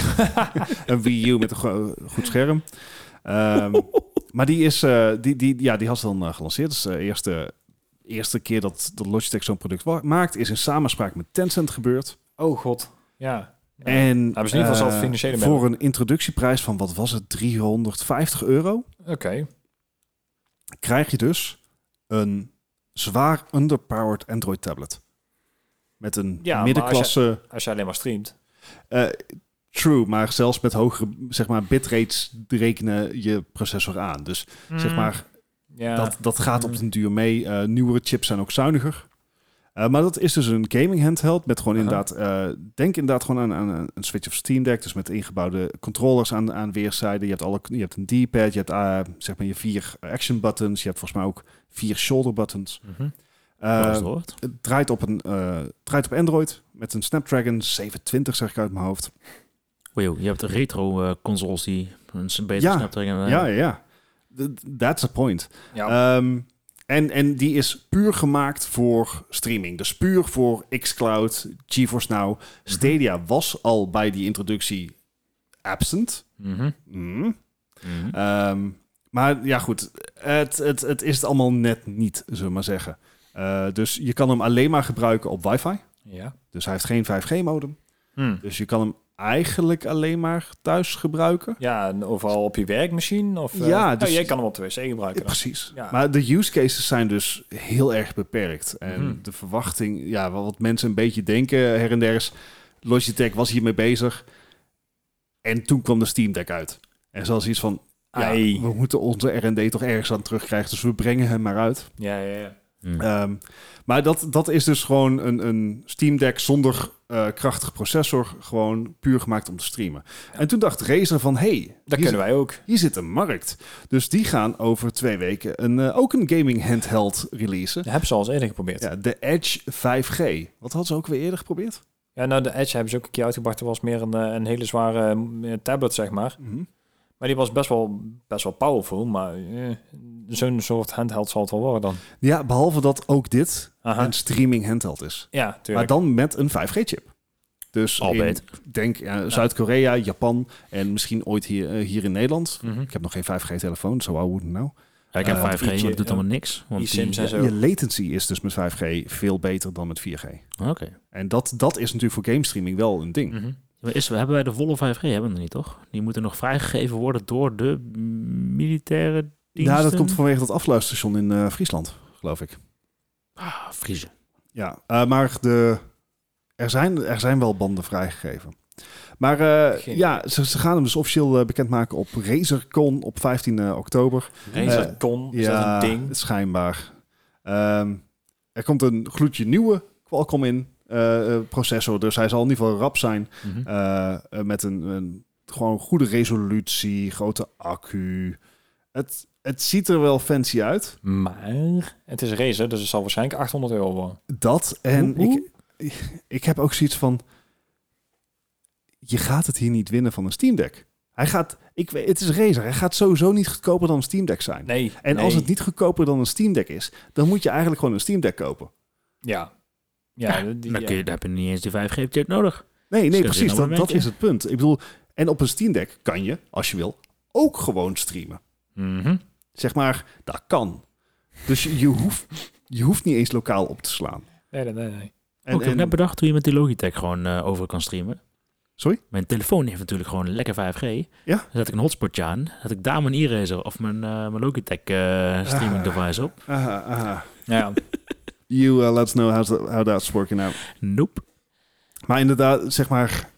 A: een Wii U met een go- goed scherm. Ehm, maar die, is, eh, die, die, ja, die had ze dan eh, gelanceerd. Dus de eerste, eerste keer dat, dat Logitech zo'n product wa- maakt... is in samenspraak met Tencent gebeurd.
B: Oh god. Ja.
A: En
B: hebben ze in ieder geval
A: eh,
B: zelf financiële
A: voor een introductieprijs van, wat was het, 350 euro...
B: Oké.
A: krijg je dus een zwaar underpowered Android tablet. Met een
B: Ja, maar
A: middenklasse.
B: Als je alleen maar streamt.
A: eh, true, maar zelfs met hogere zeg maar, bitrates rekenen je processor aan. Dus
B: Hmm.
A: zeg maar,
B: Mhm. Ja.
A: dat, dat gaat op
B: Mm.
A: den duur mee. Eh, nieuwere chips zijn ook zuiniger. Eh, maar dat is dus een gaming handheld met gewoon
B: Aha.
A: inderdaad, eh, denk inderdaad gewoon aan, aan een- een Switch of Steam Deck, dus met ingebouwde controllers aan, aan weerszijden. Je hebt, alle, je hebt een D-pad, je hebt eh, zeg maar je vier action buttons, je hebt volgens mij ook vier shoulder buttons.
B: Mhm.
A: Eh,
D: hoort.
A: het draait op, een, eh, het draait op Android met een Snapdragon 720, zeg ik uit mijn hoofd.
D: Wow, je hebt retro eh, consoles die een beter
A: Ja,
D: Snapdragon
B: Ah,
D: hebben.
A: Ja, ja, ja. Th- That's the point.
B: Ja.
A: Ehm, en, en die is puur gemaakt voor streaming. Dus puur voor xCloud, GeForce
B: Mhm.
A: Now. Stadia was al bij die introductie absent.
B: Mhm.
A: Mm.
D: Mhm.
A: Ehm, maar ja, goed. Het, het, het is het allemaal net niet, zullen we maar zeggen. Eh, dus je kan hem alleen maar gebruiken op wifi.
B: Ja.
A: Dus hij heeft geen 5G-modem.
B: Hm.
A: Dus je kan hem eigenlijk alleen maar thuis gebruiken.
B: Ja, en overal op je werk misschien? Of, eh,
A: Ja,
B: nou,
A: dus-
B: jij kan hem op de wc gebruiken.
A: Ja,
B: dan.
A: precies.
B: Ja.
A: Maar de use cases zijn dus heel erg beperkt. En
B: Mhm.
A: de verwachting, ja, wel wat mensen een beetje denken her en der is... Logitech was hiermee bezig. En toen kwam de Steam Deck uit. En zoals iets van... Ja,
B: Ai.
A: we moeten onze R&D toch ergens aan terugkrijgen, dus we brengen hem maar uit.
B: Ja, ja, ja.
A: Ehm, maar dat, dat is dus gewoon een, een Steam Deck zonder eh, krachtige processor, gewoon puur gemaakt om te streamen. En toen dacht Razer van, hey,
B: Dat
A: hier,
B: kunnen wij ook.
A: zit- hier zit een markt. Dus die gaan over twee weken een, eh, ook een gaming handheld releasen.
B: Dat hebben ze al eens eerder geprobeerd. Ja.
A: Ja, de Edge 5G. Wat hadden ze ook weer eerder geprobeerd?
B: nou, de Edge hebben ze ook een keer uitgebracht. Dat was meer een, eh, een hele zware eh, tablet, zeg maar. Maar die was best wel, best wel powerful. Maar eh, zo'n soort handheld zal het wel worden dan.
A: Ja, behalve dat ook dit
B: Aha.
A: een streaming handheld is.
B: Ja, tuurlijk.
A: Maar dan met een 5G-chip. Dus
D: Al
A: in,
D: beter.
A: denk eh, Zuid-Korea, Japan en misschien ooit hier, eh, hier in Nederland.
B: Mhm.
A: Ik heb nog geen 5G-telefoon, zo oud nou. nou.
D: Ja, ik heb
A: Eh,
D: 5G, maar
B: ietsje,
D: dat doet
B: ja.
D: allemaal niks. Want die,
B: e-sims en
D: ja,
B: zo.
A: Je latency is dus met 5G veel beter dan met 4G.
D: Oké.
A: En dat, dat is natuurlijk voor game streaming wel een ding.
B: Mhm.
D: Maar Is, hebben wij de volle 5G? Hebben we nog niet, toch? Die moeten nog vrijgegeven worden door de militaire diensten?
A: Ja, dat komt vanwege dat afluisterstation in eh, Friesland, geloof ik.
D: Ah, Vriezen.
A: Ja, eh, maar de, er, zijn, er zijn wel banden vrijgegeven. Maar eh,
B: Geen-
A: ja, ze, ze gaan hem dus officieel eh, bekendmaken op RazerCon op 15 eh, oktober.
B: Razer Con, is dat een ding?
A: schijnbaar. Ehm, er komt een gloedje nieuwe Qualcomm in eh, eh, processor, dus hij zal in ieder geval rap zijn.
B: Mhm.
A: Eh, eh, met een, een gewoon goede resolutie, grote accu. Het, het ziet er wel fancy uit.
B: Maar het is Razer, dus het zal waarschijnlijk 800 euro worden.
A: Dat en
D: Hoe- hoe?
A: Ik, (laughs) ik heb ook zoiets van, je gaat het hier niet winnen van een Steam Deck. Hij gaat, ik, weet- het is Razer, hij gaat sowieso niet goedkoper dan een Steam Deck zijn.
B: Nee.
A: En
B: nee.
A: als het niet goedkoper dan een Steam Deck is, dan moet je eigenlijk gewoon een Steam Deck kopen.
B: Ja. Ja, die-
D: Dan, kun je, dan heb je niet eens die 5G-chip nodig.
A: Nee, nee,
D: Zet in
A: precies.
D: nou een
A: Dat, dat
D: momentje.
A: is het punt. Ik bedoel, en op een Steam Deck kan je, als je wil, ook gewoon streamen.
B: Mhm.
A: Zeg maar, dat kan. Dus je, je hoeft, je hoeft niet eens lokaal op te slaan.
B: Nee, nee, nee. nee.
A: En,
D: Ook, ik heb
A: en-
D: net bedacht hoe je met die Logitech gewoon eh, over kan streamen.
A: Sorry?
D: Mijn telefoon heeft natuurlijk gewoon lekker 5G.
A: Ja.
D: Dan zet ik een hotspotje aan. Zet ik daar mijn e-racer of mijn, eh, mijn Logitech eh, streaming
A: Ah.
D: device op.
A: aha, aha.
B: Nou Ja.
A: You uh, let us know how, to- how that's working out.
D: Nope.
A: Maar inderdaad, zeg maar,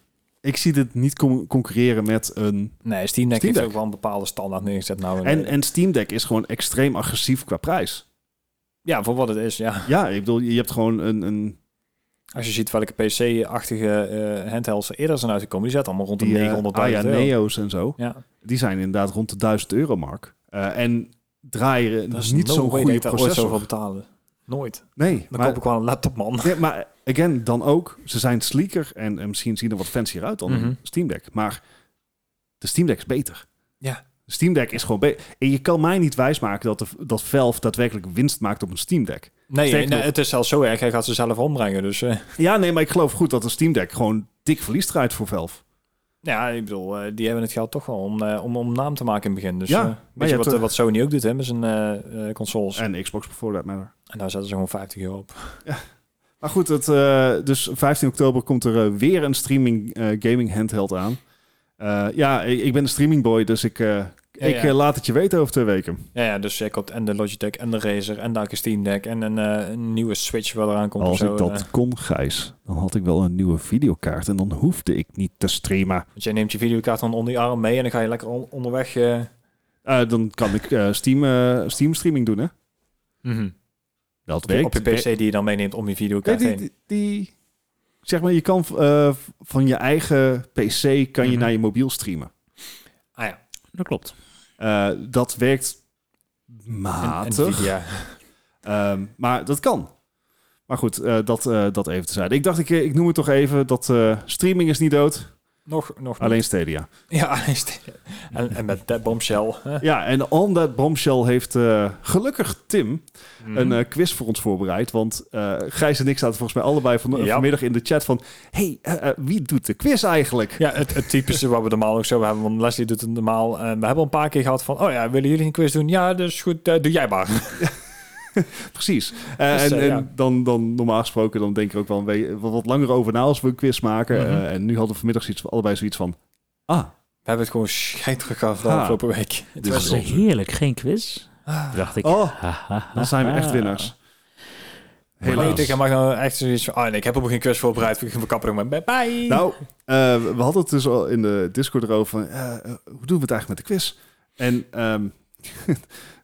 A: ik zie dit niet con- concurreren met een...
B: Nee, Steam Deck
A: Steam
B: heeft
A: Deck.
B: ook wel een bepaalde standaard neergezet. Nou,
A: En, en Steam Deck is gewoon extreem agressief qua prijs.
B: ja, voor wat het is, ja.
A: Ja, ik bedoel, je hebt gewoon een... een
B: Als je ziet welke PC-achtige eh handhelds er eerder zijn uitgekomen, die zaten allemaal rond de
A: die, eh,
B: 900
A: ah ja,
B: euro.
A: Neo's en zo.
B: Ja.
A: die zijn inderdaad rond de 1000 euro mark. Eh, en draaien
B: Dat is
A: niet
B: no
A: zo'n
B: way
A: goede
B: dat ik daar ooit zo
A: processor.
B: voor betalen. Nooit.
A: Nee,
B: Dan
A: maar,
B: koop ik wel een laptop, man.
A: (laughs) nee, maar again, dan ook. Ze zijn sleeker en, en misschien zien er wat fancier uit dan
B: Mhm.
A: een Steam Deck. Maar de Steam Deck is beter.
B: Ja.
A: De Steam Deck is gewoon beter. En je kan mij niet wijsmaken dat, de, dat Valve daadwerkelijk winst maakt op een Steam Deck.
B: Nee,
A: Sterker
B: nee,
A: nog-
B: het is zelfs zo erg. Hij gaat ze zelf ombrengen. Dus eh,
A: Ja, nee, maar ik geloof goed dat een Steam Deck gewoon dik verlies draait voor Valve.
B: ja, ik bedoel, eh, die hebben het geld toch wel om, eh, om, om naam te maken in het begin. Dus
A: Ja,
B: eh,
A: maar
B: weet
A: je
B: je wat,
A: hebt,
B: eh, wat Sony ook doet hè, met zijn eh, eh, consoles.
A: En Xbox voor that matter.
B: En daar zetten ze gewoon 50 euro op.
A: Maar goed, het, eh, dus 15 oktober komt er eh, weer een streaming eh, gaming handheld aan. Eh, ja, ik, ik ben een streamingboy, dus ik, eh, ik
B: ja.
A: eh, laat het je weten over twee weken.
B: Ja, ja dus jij koopt en de Logitech en de Razer en daar ook een Steam Deck en een, eh, een nieuwe Switch wat eraan komt. of
A: Als
B: zo.
A: ik
B: En, eh,
A: dat kon, Gijs, dan had ik wel een nieuwe videokaart en dan hoefde ik niet te streamen.
B: want jij neemt je videokaart dan onder je arm mee en dan ga je lekker on- onderweg... eh,
A: Eh, dan kan ik eh, Steam, eh, Steam streaming doen, hè? Dat
B: op, je, op je PC die je dan meeneemt om je
A: Nee,
B: videokaart
A: die,
B: heen.
A: die, die- zeg maar, je kan eh, van je eigen PC kan je
B: Mhm.
A: naar je mobiel streamen.
B: Ah ja,
D: Dat klopt.
A: Eh, dat werkt
B: en, en
A: matig.
B: Nvidia.
A: Ehm, maar dat kan. Maar goed, eh, dat, eh, dat even tezijde. Ik dacht, ik, eh, ik noem het toch even, dat eh, streaming is niet dood,
B: Nog, nog niet.
A: alleen Stadia.
B: Ja, (laughs) alleen Stadia. en, en met dat bombshell. (laughs) hè.
A: Ja, en On That Bombshell heeft eh, gelukkig Tim
B: Mhm.
A: een eh, quiz voor ons voorbereid. Want eh, Gijs en ik zaten volgens mij allebei van,
B: Ja.
A: vanmiddag in de chat van... hey, eh, eh, wie doet de quiz eigenlijk? (laughs)
B: Ja, het, het typische wat we normaal ook zo hebben. Want Leslie doet het normaal. eh, (laughs) we hebben al een paar keer gehad van... Oh ja, willen jullie een quiz doen? Ja, dus goed, eh, doe jij maar.
A: Precies. Eh,
B: Dus,
A: en
B: eh,
A: en
B: ja.
A: dan, dan normaal gesproken, dan denk ik er ook wel een we- wat, wat langer over na als we een quiz maken.
D: Mhm.
A: Eh, en nu hadden we vanmiddag zoiets, allebei zoiets van, ah,
B: We hebben het gewoon scheidruk gehad de
A: Ha.
B: afgelopen week. Het
A: Dit
D: Dat is
B: was-
A: is onze.
D: heerlijk, geen quiz.
B: Ah.
D: Dacht ik.
A: Oh,
D: haha,
A: dan zijn we echt
D: ah.
A: winnaars.
B: Maar
A: Helaas.
B: Leuk, ik mag nou echt zoiets van... Ah nee, ik heb ook geen quiz voorbereid. Ik ga kappen met bye bye.
A: Nou, eh, we hadden het dus al in de Discord erover. van, eh, eh, hoe doen we het eigenlijk met de quiz? En ehm, (laughs)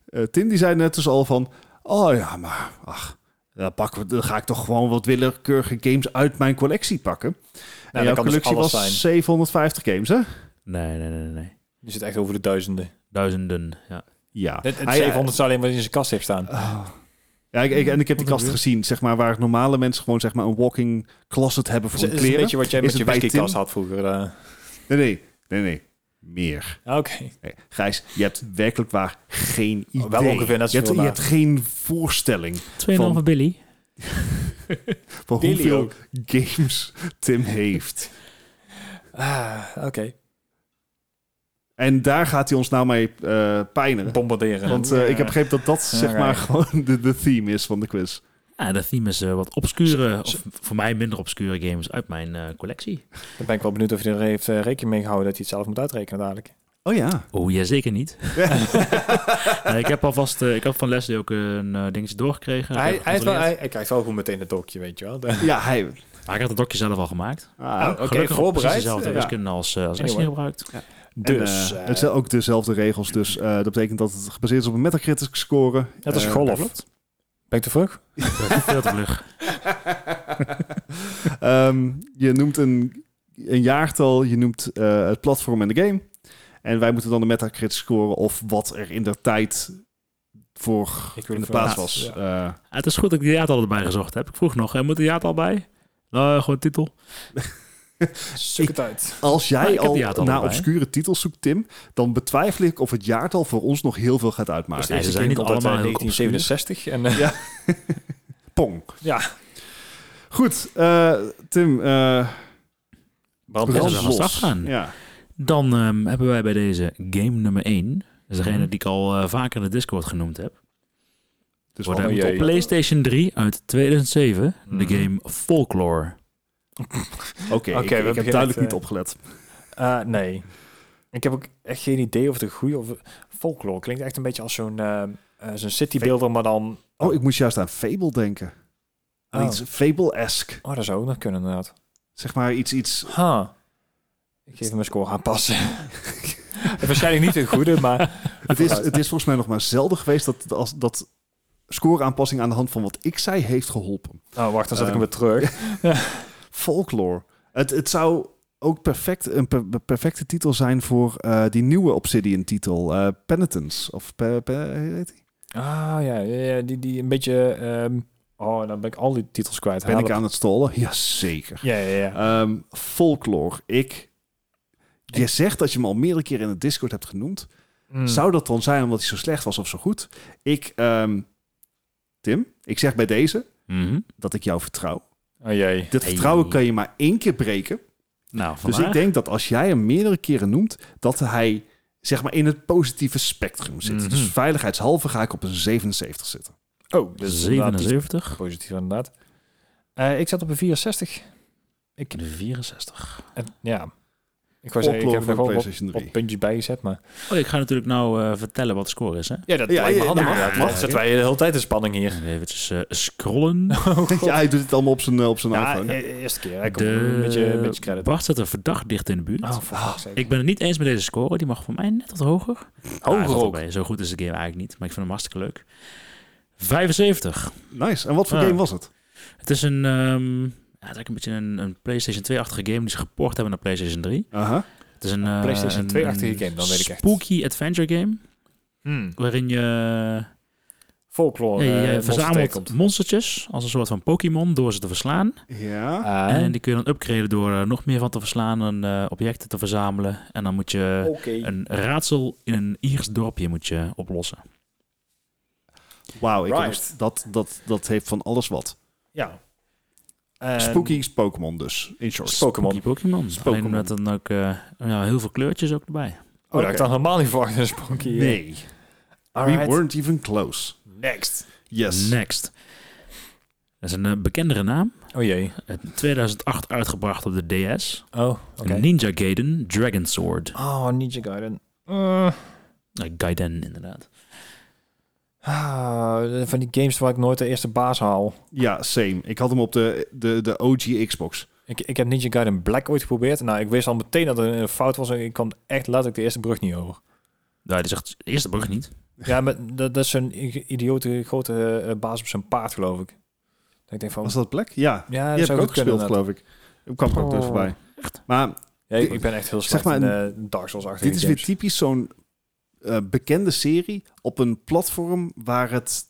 A: eh, Tim die zei net dus al van... Oh ja, maar ach, dan, pakken we, dan ga ik toch gewoon wat willekeurige games uit mijn collectie pakken.
B: dan
A: en jouw
B: kan dus
A: collectie
B: alles
A: was
B: zijn.
A: 750 games, hè?
D: Nee, nee, nee, nee, nee.
B: Je zit echt over de duizenden.
D: Duizenden, ja.
A: Ja.
B: Het, het
A: Hij-
B: 700 zou alleen maar in zijn kast heeft staan.
A: Oh. Ja, ik, ik- en ik heb die kast gezien, zeg maar, waar normale mensen gewoon zeg maar, een walking closet hebben voor
B: Het is,
A: hun
B: is een
A: kleren.
B: beetje wat jij
A: Is
B: met je
A: het bij
B: whiskykast
A: Tim?
B: had vroeger. eh.
A: Nee, nee, nee, nee. Meer.
B: Ah, Oké.
A: Nee, Gijs, je hebt werkelijk waar geen idee.
B: Oh, wel ongeveer net
A: je hebt, je
B: zoveel,
A: hebt geen voorstelling
D: 2,5 Billy.
A: van
B: Billy
A: hoeveel
B: ook.
A: games Tim heeft.
B: Ah, Oké.
A: En daar gaat hij ons nou mee eh pijneren.
B: Bombarderen.
A: Want eh, ik heb begrepen dat dat zeg maar (laughs)
B: Alright.
A: gewoon de, de theme is van de quiz.
D: Ja, dat theme is eh, wat obscure, of voor mij minder obscure games uit mijn eh, collectie.
B: Dan ben ik wel benieuwd of je er heeft eh, rekening mee gehouden dat hij het zelf moet uitrekenen dadelijk.
A: Oh ja.
D: Oh, ja, zeker
B: (laughs)
D: niet. (laughs) Nee, ik heb alvast, eh, ik had van Leslie ook een eh, dingetje doorgekregen. Ik
B: hij,
D: heb
B: hij, heeft wel,
D: gecontroleerd.
B: hij, hij krijgt wel goed meteen het dokje, weet je wel. De-
A: Ja, hij...
D: Maar ik had het dokje zelf al gemaakt.
A: ah,
B: Oh, Oké,
D: Gelukkig op precies
B: voorbereid.
D: dezelfde
A: Ja.
D: wiskunde als, eh als
B: Anyway.
D: Leslie gebruikt. (laughs)
B: Dus.
A: en, eh,
B: eh,
A: het zijn ook dezelfde regels, dus eh, dat betekent dat het gebaseerd is op een metacritic score.
B: dat is
A: Eh,
B: golf. Ben ik te vroeg?
D: Veel te vlug.
A: (laughs) Ehm, je noemt een, een jaartal, je noemt eh, het platform en de game. En wij moeten dan de Metacritic scoren of wat er in de tijd voor
B: Ik
A: in de plaats was. Eh,
D: Ah, het is goed dat ik de jaartal erbij gezocht heb. Ik vroeg nog, eh, moet de jaartal bij? Nou, gewoon titel.
B: Zoek het uit.
A: als
D: Maar ik
A: jij
D: heb die
A: al
D: jaartallen
A: naar
D: erbij.
A: obscure titels zoekt, Tim, dan betwijfel ik of het jaartal voor ons nog heel veel gaat
B: Dus
A: uitmaken.
B: de
D: Nee, ze
B: eerste
D: zijn
B: keer
D: niet
B: komt uit, eh,
D: allemaal heel
B: 1967. En, eh,
A: Pong.
B: ja,
A: Goed, eh, Tim. eh
B: brand
A: brand
D: Laten we
B: los.
D: gaan
A: los.
D: starten.
A: Ja.
D: Dan ehm, hebben wij bij deze game nummer 1. Dat is degene
B: Mhm.
D: die ik al eh, vaker in de Discord genoemd heb.
A: Dus
D: Wordt
A: wat-
B: Oh,
D: hem
B: jee.
D: op PlayStation 3 uit 2007. De
B: Mhm.
D: game Folklore.
A: Oké, ik-
B: we
A: ik,
B: beginnen
A: heb
B: met,
A: duidelijk
B: eh,
A: niet opgelet.
B: Eh, nee. Ik heb ook echt geen idee of de goede of folklore klinkt echt een beetje als zo'n eh eh, zo'n citybeelder, maar dan.
A: Oh, ik moest juist aan Fable denken. Aan
B: Oh.
A: iets Fable-esque.
B: Oh, dat zou ook nog kunnen inderdaad.
A: Zeg maar iets, iets
B: Ha. Ik geef hem mijn score aanpassen. (laughs) Waarschijnlijk niet een goede, maar
A: Het is, het is volgens mij nog maar zelden geweest dat, dat als, dat scoreaanpassing aan de hand van wat ik zei heeft geholpen.
B: oh, wacht, dan zet ik hem
A: Ehm.
B: weer terug.
A: Folklore. Het, het zou ook perfect, een per- perfecte titel zijn voor eh, die nieuwe Obsidian-titel, eh, Penitence. Of pe, pe- heet die?
B: Ah ja, ja, ja, die, die een beetje. ehm, oh, dan ben ik al die titels kwijt.
A: Ben ik
B: Help.
A: aan het stolen? Jazeker.
B: Ja, ja, ja.
A: Ehm folklore. Ik, je zegt dat je hem al meerdere keren in het Discord hebt genoemd.
B: Mm.
A: Zou dat dan zijn omdat hij zo slecht was of zo goed? Ik, ehm, Tim, ik zeg bij deze
D: Mhm.
A: dat ik jou vertrouw.
B: Oh jee.
A: Dit
D: Hey.
A: vertrouwen kan je maar één keer breken.
D: Nou,
A: Dus
D: vandaag.
A: ik denk dat als jij hem meerdere keren noemt, dat hij zeg maar in het positieve spectrum zit.
B: Hmm.
D: Mhm.
A: Dus veiligheidshalve ga ik op een 77 zitten.
B: Oh, dat is inderdaad iets
D: 77
B: positief inderdaad. Eh, ik zat op een 64. Ik
D: en 64.
B: En, ja. Ik wou zeggen, ik heb
A: Oplopen
B: er
A: van
B: gewoon wat,
A: PlayStation 3.
B: wat puntjes bij gezet, maar...
D: Oh, ik ga natuurlijk nou eh, vertellen wat de score is, hè?
B: Ja, dat
A: Ja, lijkt me ja, handig, ja,
D: inderdaad. ja,
B: Wat
D: ja.
B: zetten wij de hele tijd in spanning hier?
D: Eventjes eh, scrollen.
A: (laughs) ja, hij doet het allemaal op zijn, eh, op zijn
B: (laughs) Ja,
A: iPhone.
B: e- eerste keer. Ik kom een beetje, een
D: De...
B: beetje credit.
D: Bart zit er verdacht dicht in de buurt.
B: Oh, voor fuck's sake.
D: Ik ben het niet eens met deze score. Die mag voor mij net wat hoger. Ah, hij
B: Hoger
D: valt wel
B: ook.
D: mee. Zo goed is de game eigenlijk niet. Maar ik vind hem hartstikke leuk. 75.
A: Nice. En wat voor
D: Ja.
A: game was het?
D: Het is een... ehm, ja, het is eigenlijk een beetje een, een PlayStation 2-achtige game die ze geport hebben naar PlayStation 3.
A: Aha.
D: Het is een... eh,
B: PlayStation
D: een-
B: 2-achtige
D: een
B: game, dan weet ik echt.
D: Spooky adventure game.
B: Hmm.
D: Waarin je...
B: Folklore.
D: Ja,
B: eh,
D: je
B: monster
D: verzamelt
B: tegenkomt.
D: monstertjes als een soort van Pokémon door ze te verslaan.
A: Ja.
B: Ah,
D: En die kun je dan upgraden door er nog meer van te verslaan en eh, objecten te verzamelen. En dan moet
A: eh,
D: je
B: Oké.
D: een raadsel in een Iers dorpje moet je oplossen.
A: Wauw. ik heb
B: Right.
A: nog- Dat, dat, dat heeft van alles wat.
B: Ja. Eh, En-
A: Spooky is Pokémon dus, in short.
D: Die
B: Pokémon.
D: Pokémon.
A: Spokémon.
D: Alleen met dan ook eh, ja, heel veel kleurtjes ook erbij.
B: Oh, dat had
A: Oké.
B: ik dan helemaal niet verwacht. Een Spooky. eh.
A: Nee. We
B: Alright.
A: weren't even close.
B: Next.
A: Yes.
D: Next. Dat is een eh, bekendere naam.
B: Oh jee.
D: Eh, 2008 uitgebracht op de DS.
B: Oh, oké.
D: Ninja Gaiden Dragon Sword.
B: Oh, Ninja Gaiden. Eh,
D: Eh, Gaiden, inderdaad.
B: ah, van die games waar ik nooit de eerste baas haal.
A: Ja, same. Ik had hem op de, de, de OG Xbox.
B: Ik, ik heb Ninja Gaiden Black ooit geprobeerd. Nou, ik wist al meteen dat er een fout was. En ik kwam echt letterlijk de eerste brug niet over.
D: Nou, die zegt de eerste brug niet.
B: Ja, maar dat, dat is een i- idiote grote eh, baas op zijn paard, geloof ik. Dat ik denk van...
A: Was dat Black? Ja.
B: ja,
A: Die heb
B: dat zou
A: ik
B: goed
A: ook gespeeld,
B: kunnen.
A: geloof ik. Ik kwam er ook nooit
B: Oh.
A: voorbij. Maar
B: Ja, ik, ik ben echt heel
A: Zeg
B: slecht
A: maar,
B: in eh, Dark Souls-achtige
A: Dit is weer
B: games.
A: typisch zo'n eh, bekende serie op een platform waar het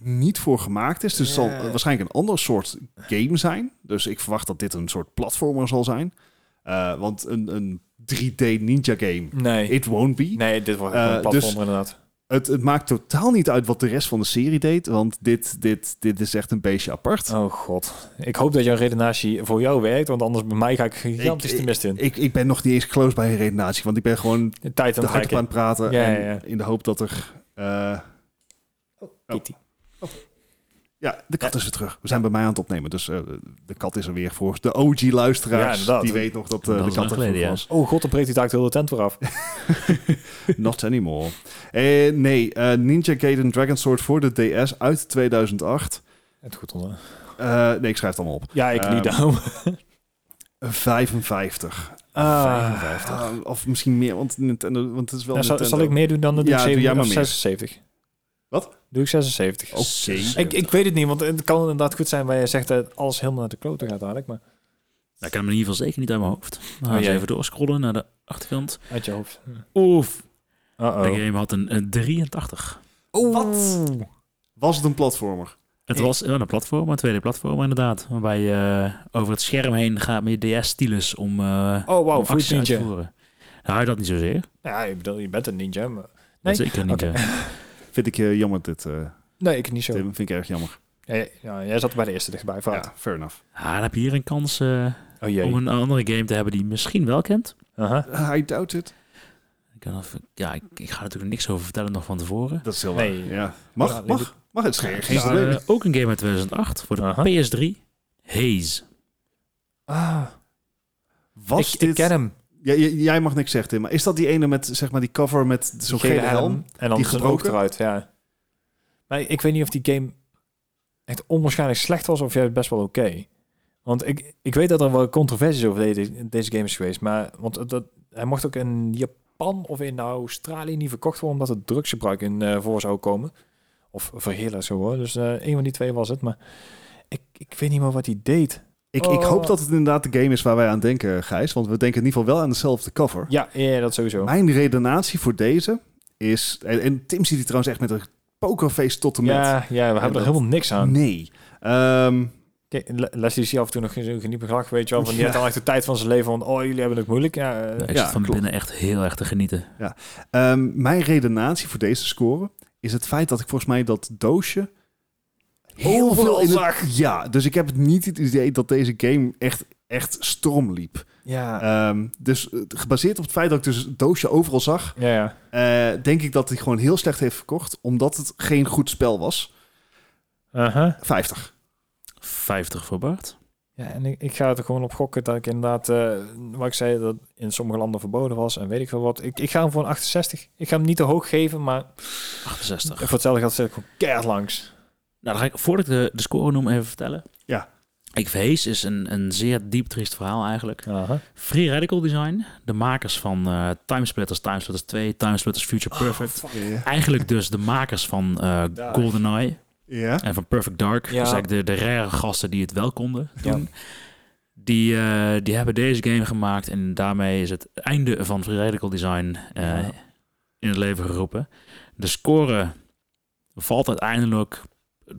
A: niet voor gemaakt is. Dus het zal
B: Ja.
A: eh, waarschijnlijk een ander soort game zijn. Dus ik verwacht dat dit een soort platformer zal zijn. Eh, want een, een 3D ninja game,
B: Nee.
A: it won't be.
B: Nee, dit wordt
A: Eh,
B: gewoon een platform
A: dus-
B: inderdaad.
A: Het, het maakt totaal niet uit wat de rest van de serie deed. Want dit, dit, dit is echt een beetje apart.
B: Oh god. Ik hoop dat jouw redenatie voor jou werkt, want anders bij mij ga ik gigantisch
A: Ik-
B: de mist in.
A: Ik, ik ben nog niet eens close bij een redenatie. Want ik ben gewoon
B: De tijd aan
A: te
B: het
A: hard op aan
B: trekken.
A: het praten.
B: Ja,
A: en
B: ja, ja.
A: In de hoop dat er... eh, oh.
B: Kitty.
A: Ja, de kat is weer terug. We zijn bij mij aan het opnemen, dus eh, de kat is er weer voor de OG-luisteraars.
B: Ja, inderdaad.
A: die weet nog dat, eh,
D: Dat
A: de
D: is lang
A: kat er
D: geleden,
A: vroeg
D: ja.
A: was.
B: Oh god, dan breekt hij daar heel de tent weer af. (laughs)
A: Not anymore. Eh, nee, eh, Ninja Gaiden Dragon Sword voor de DS uit 2008.
B: Het goed onder.
A: Eh, nee, ik schrijf het allemaal op.
B: Ja, ik
A: Ehm,
B: niet down.
A: 55.
B: Ah.
A: Ah, of misschien meer, want, Nintendo, want het is wel
B: Nou, zal,
A: Nintendo.
B: zal ik meer doen dan de
A: Ja, doe jij maar meer.
B: 76?
A: Wat?
B: Doe ik 76.
A: Oké.
B: Ik, ik weet het niet, want het kan inderdaad goed zijn waar je zegt dat alles helemaal naar de klote gaat dadelijk, maar
D: Nou, ik kan hem in ieder geval zeker niet uit mijn hoofd. Nou,
B: Oh,
D: eens
B: jee.
D: even doorscrollen naar de achterkant.
B: uit je hoofd.
D: Oef. De
B: Uh-oh.
D: game had een, eh, een 83.
A: Wat? Was het een platformer?
D: Het was wel een platform, een tweede platform inderdaad. Waarbij je eh, over het scherm heen gaat met je DS-stylus om, eh
B: Oh
D: om
B: wauw,
D: acties
B: Fruit
D: uit te
B: Ninja.
D: voeren. Nou, dat niet zozeer. Dat
B: Ja, ik bedoel, je bent een ninja, maar... Nee.
D: zeker niet.
B: Oké.
D: eh.
A: Vind ik eh, jammer dit, eh,
B: Nee, ik niet zo.
A: Tim. Vind ik erg jammer.
B: Ja, ja, ja, jij zat bij de eerste dichtbij, fout.
A: Ja, fair enough.
D: Ah, dan heb je hier een kans eh,
B: Oh jee. Uh-huh.
D: om een andere game te hebben die je misschien wel kent.
B: Aha.
A: Eh, I doubt it.
D: Ik kan even- ja, ik, ik ga er natuurlijk niks over vertellen nog van tevoren.
A: Dat is heel
B: Nee.
A: waar. Ja. Mag,
B: Ja,
A: mag, mag. Het is geen, geen
D: Eh,
A: probleem.
D: ook een game uit 2008 voor de
B: Aha.
D: PS3. Haze.
B: Ah, ik,
A: Was
B: ik
A: dit...
B: ken hem.
A: Ja, j- jij mag niks zeggen, Tim. Maar is dat die ene met zeg maar die cover met zo'n
B: Gele
A: gele helm?
B: En dan
A: die
B: zijn
A: gebroken?
B: oog eruit, ja. Maar ik weet niet of die game echt onwaarschijnlijk slecht was of juist best wel oké. Want ik, ik weet dat er wel controversies over deze, deze game is geweest. Maar want dat, hij mocht ook in Japan of in Australië niet verkocht worden... omdat het drugsgebruik in eh, voor zou komen. Of verheerlijk zo hoor. Dus eh een van die twee was het. Maar ik, ik weet niet meer wat hij deed.
A: Ik, ik
B: Oh.
A: hoop dat het inderdaad de game is waar wij aan denken, Gijs. Want we denken in ieder geval wel aan dezelfde cover.
B: Ja, ja dat sowieso.
A: Mijn redenatie voor deze is... En, en Tim ziet die trouwens echt met een pokerface tot en met.
B: Ja, ja, we hebben
A: dat-
B: er helemaal niks aan.
A: Nee. Ehm,
B: Kijk, Le- Leslie is hier af en toe nog geen geniepig lach, weet je wel. Van, die
A: Ja.
B: heeft al echt de tijd van zijn leven, want oh, jullie hebben het moeilijk. Ja, eh,
D: Nou, ik
A: ja,
D: zit van
A: klopt.
D: binnen echt heel erg te genieten.
A: ehm, mijn redenatie voor deze score is het feit dat ik volgens mij dat doosje... Heel
B: Overal
A: in het-
B: zag.
A: Ja, dus ik heb het niet het idee dat deze game echt, echt storm liep.
B: ja.
A: Ehm, dus eh, gebaseerd op het feit dat ik dus het doosje overal zag,
B: ja, ja.
A: eh, denk ik dat hij gewoon heel slecht heeft verkocht, omdat het geen goed spel was. Uh-huh.
B: Aha.
A: 50.
D: 50 voor Bart.
B: Ja, en ik, ik ga er gewoon op gokken dat ik inderdaad, eh wat ik zei, dat in sommige landen verboden was en weet ik veel wat. Ik, ik ga hem voor een 68. Ik ga hem niet te hoog geven, maar
D: 68.
B: voor hetzelfde geld zit ik gewoon keihard langs.
D: Nou, dan ga ik voordat ik de, de score noem even vertellen.
A: Ja.
D: Ik verhees is een, een zeer diep triest verhaal eigenlijk.
B: Aha.
D: Free Radical Design, de makers van eh Timesplitters, Timesplitters 2, Timesplitters Future
A: Ah.
D: Perfect.
A: Ja.
D: eigenlijk dus de makers van eh,
B: Daar.
D: GoldenEye
A: Ja.
D: en van Perfect Dark.
B: Ja.
D: Dus eigenlijk de, de rare gasten die het wel konden
B: Ja.
D: doen. Die, eh, die hebben deze game gemaakt en daarmee is het einde van Free Radical Design eh,
B: Ja.
D: in het leven geroepen. De score valt uiteindelijk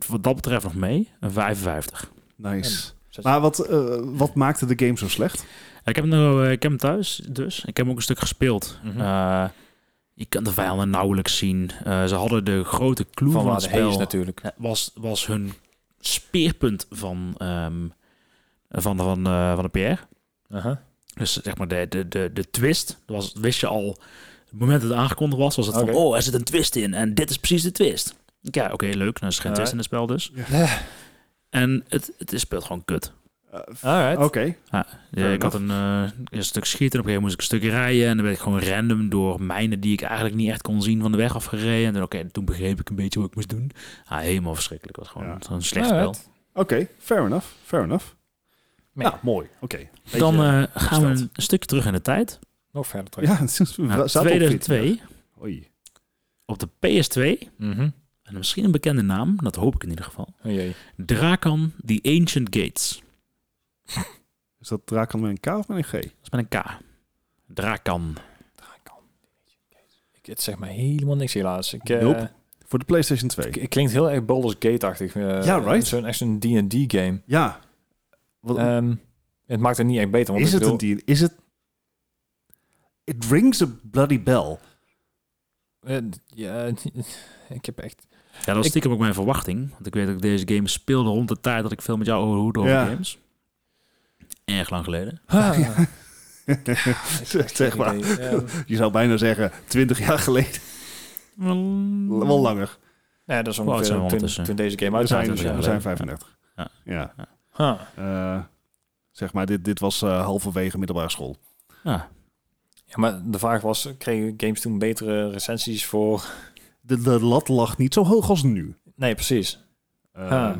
D: wat dat betreft nog mee, een 55.
A: Nice.
B: Zes-
A: Maar wat, eh, wat maakte de game zo slecht?
D: Ik heb, hem nou, eh, ik heb hem thuis, dus. Ik heb hem ook een stuk gespeeld.
B: Mhm.
D: Eh, je kan de vijanden nauwelijks zien. Eh, ze hadden de grote clue van,
B: van waar
D: het
B: de hees
D: spel.
B: natuurlijk.
D: eh, was, was hun speerpunt van, ehm, van, de- van, eh, van de PR.
B: Aha.
D: Dus zeg maar de, de, de, de twist. Dat was, wist je al, het moment dat het aangekondigd was, was het
B: Oké.
D: van... Oh, er zit een twist in en dit is precies de twist. Ja, oké, leuk. Nou, is er geen twist in het spel dus. En het, het is speelt gewoon kut.
B: Alright.
A: Oké.
D: Ja,
A: Fair
D: ik had een, eh, een stuk schieten, op een gegeven moment moest ik een stuk rijden. En dan werd ik gewoon random door mijnen die ik eigenlijk niet echt kon zien van de weg afgereden. En dan, oké, toen begreep ik een beetje wat ik moest doen. Ah, helemaal verschrikkelijk. Het was gewoon
A: Ja.
D: zo'n slecht spel.
B: Alright.
A: Oké, fair enough. Fair enough.
B: Nee.
A: Ja, mooi. Oké.
D: Dan
B: Beetje
D: eh, gaan we
B: gesteld.
D: een stukje terug in de tijd.
B: Nog verder terug.
A: Ja, het is- we
D: Naar
A: zaten op
D: 2002
A: fiets. Oei.
D: op de PS2.
B: Mhm.
D: En misschien een bekende naam, dat hoop ik in ieder geval.
B: Oh jee.
D: Drakan The Ancient Gates.
A: Is dat Drakan met een K of met een G?
D: Dat is met een K. Drakan.
B: Ik- Het zegt me helemaal niks helaas. Ik, eh,
A: Nope. Voor de PlayStation 2.
B: k- het klinkt heel erg Baldur's Gate-achtig. eh,
A: Ja, right.
B: Zo'n echt zo'n D&D game.
A: Ja. Wat,
D: Eh,
B: Ehm, het maakt het niet echt beter. Want
A: is
B: ik
A: het een
B: bedoel,
A: deal? Is het... It rings a bloody bell. (laughs)
B: eh, ja, (laughs) ik heb
A: (laughs)
B: echt...
D: Ja, dat was
B: Ik-
D: stiekem ook mijn verwachting. Want ik weet dat ik deze game speelde rond de tijd dat ik veel met jou overhoede over
A: Ja.
D: games. Erg lang geleden.
B: Ah, ik heb echt
A: (laughs) zeg
B: geen
A: maar.
B: idee. Ehm,
A: Je zou bijna zeggen 20 jaar geleden.
D: Mm.
A: Wel langer.
B: Ja, dat is
D: Hoe oud zijn we
B: ongeveer toen,
D: ondertussen?
B: toen deze game
A: We
B: uit
A: zijn,
D: twintig jaar
A: we zijn
D: geleden.
A: 35.
D: Ja.
A: ja.
B: Huh.
A: Eh, zeg maar, dit, dit was eh, halverwege middelbare school.
D: Ja.
B: Ja, maar de vraag was, kregen games toen betere recensies voor...
A: De, de lat lag niet zo hoog als nu.
B: Nee, precies.
A: Ehm,
B: Ah.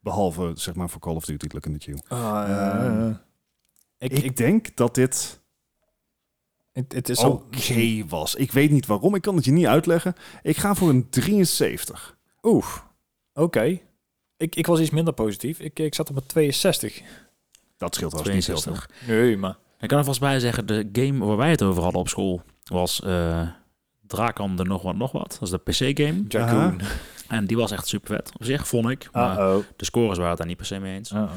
A: Behalve, zeg maar, voor Call of Duty, Look in the Queue.
B: Eh, ik,
A: Ik,
B: ik,
A: denk dat dit
B: het, het is
A: oké
B: al
A: was. Ik weet niet waarom, ik kan het je niet uitleggen. Ik ga voor een 73.
B: Oeh, oké. Ik, ik was iets minder positief. Ik, ik zat op een 62.
A: Dat scheelt wel eens niet heel veel.
D: 62.
B: Nee, maar...
D: Ik kan er vast bij zeggen, de game waar wij het over hadden op school was eh Drakan de nog wat nog wat. Dat is de PC-game.
B: Jackoon.
D: En die was echt super vet. Op zich vond
A: Ah.
D: ik. Maar
A: oh.
B: Uh-oh.
D: de scores waren het daar niet per se mee eens.
B: Uh-oh.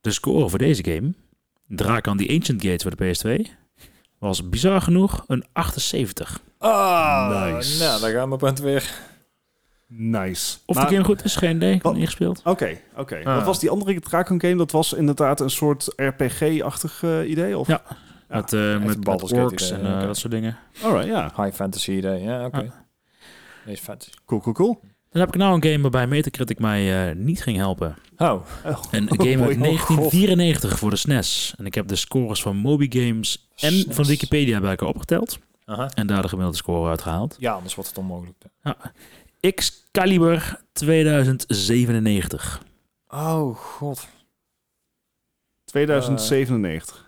D: De score voor deze game, Drakan The Ancient Gates voor de PS2, was bizar genoeg een 78.
B: Ah,
A: Nice.
B: nou, daar gaan we punt weer.
A: Nice.
D: Of
A: Maar-
D: de game goed is, geen idee. Ik heb
A: Wat-
D: het niet gespeeld.
A: Oké, oké.
B: Ah.
A: Wat was die andere Dragon game? Dat was inderdaad een soort RPG-achtig eh, idee? Of?
D: Ja. met, eh,
B: een
D: met, met
B: Baldur's Gate
D: orks
B: idee,
D: en eh,
B: oké.
D: dat soort dingen.
A: Alright, ja.
B: High fantasy idee, ja, oké. Deze fantasy.
A: Cool, cool, cool.
D: Dan heb ik nou een game waarbij Metacritic mij eh, niet ging helpen.
B: Oh,
D: Een game
A: boy.
D: uit
A: Oh,
D: 1994 voor de SNES. En ik heb de scores van Moby Games en
B: SNES.
D: van Wikipedia bij elkaar opgeteld.
B: aha.
D: En daar de gemiddelde score uitgehaald.
B: Ja, anders wordt het onmogelijk.
D: Excalibur 2097.
B: Oh, god.
A: 2097.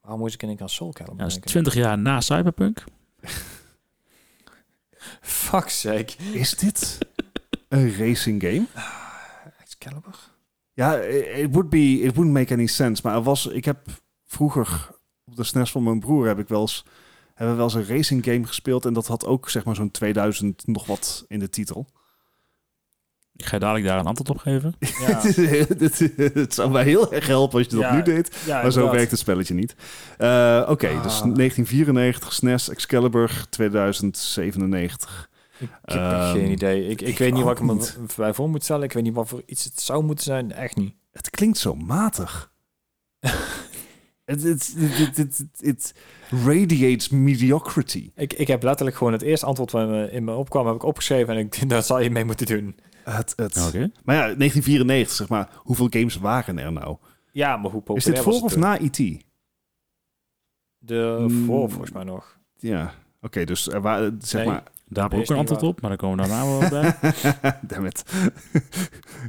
B: Waarom moest ik in één keer aan Soul Calibur
D: Ja, dat is
B: denken?
D: 20 jaar na Cyberpunk.
B: Fuck sake.
D: Eh.
A: Is dit een racing game?
B: Excalibur?
A: Ja, eh, it would be, it wouldn't make any sense. Maar er was, ik heb vroeger op de SNES van mijn broer heb ik wel eens, hebben we wel eens een racing game gespeeld en dat had ook zeg maar zo'n 2000 nog wat in de titel.
D: Ik ga je dadelijk daar een antwoord op geven.
B: (laughs)
A: (laughs)
B: Ja,
A: het, zou mij heel erg helpen als je dat
B: Ja,
A: nu deed,
B: ja
A: maar zo
B: inderdaad.
A: werkt het spelletje niet. Eh, Oké,
B: Ah.
A: dus 1994 SNES E Excalibur 2097.
B: Ik heb echt
A: Ehm,
B: geen idee. Ik, ik weet niet
A: ook
B: wat ik
A: niet.
B: me bij voor moet stellen. Ik weet niet wat voor iets het zou moeten zijn. Echt niet.
A: Het klinkt zo matig. (laughs) Het het- het- het- het- het radiates mediocrity.
B: Ik, ik heb letterlijk gewoon het eerste antwoord wat me- in me opkwam, heb ik opgeschreven en ik (laughs) daar zou je mee moeten doen.
A: Het, het.
B: Nou,
D: Oké.
A: Maar ja, 1994, zeg maar. Hoeveel games waren er nou?
B: Ja, maar hoe populair
A: Is dit
B: was
A: voor
B: het
A: of
B: toen?
A: na E E.T.?
B: De
A: Mm.
B: voor, volgens mij nog.
A: Ja, oké, dus er waren, zeg
B: Nee.
A: maar...
D: Daar heb ik
B: Nee,
D: ook
B: is
D: een
B: niet
D: antwoord
B: waar.
D: op, maar dan komen we daarna wel
B: (laughs)
D: bij.
A: (laughs) Damn it.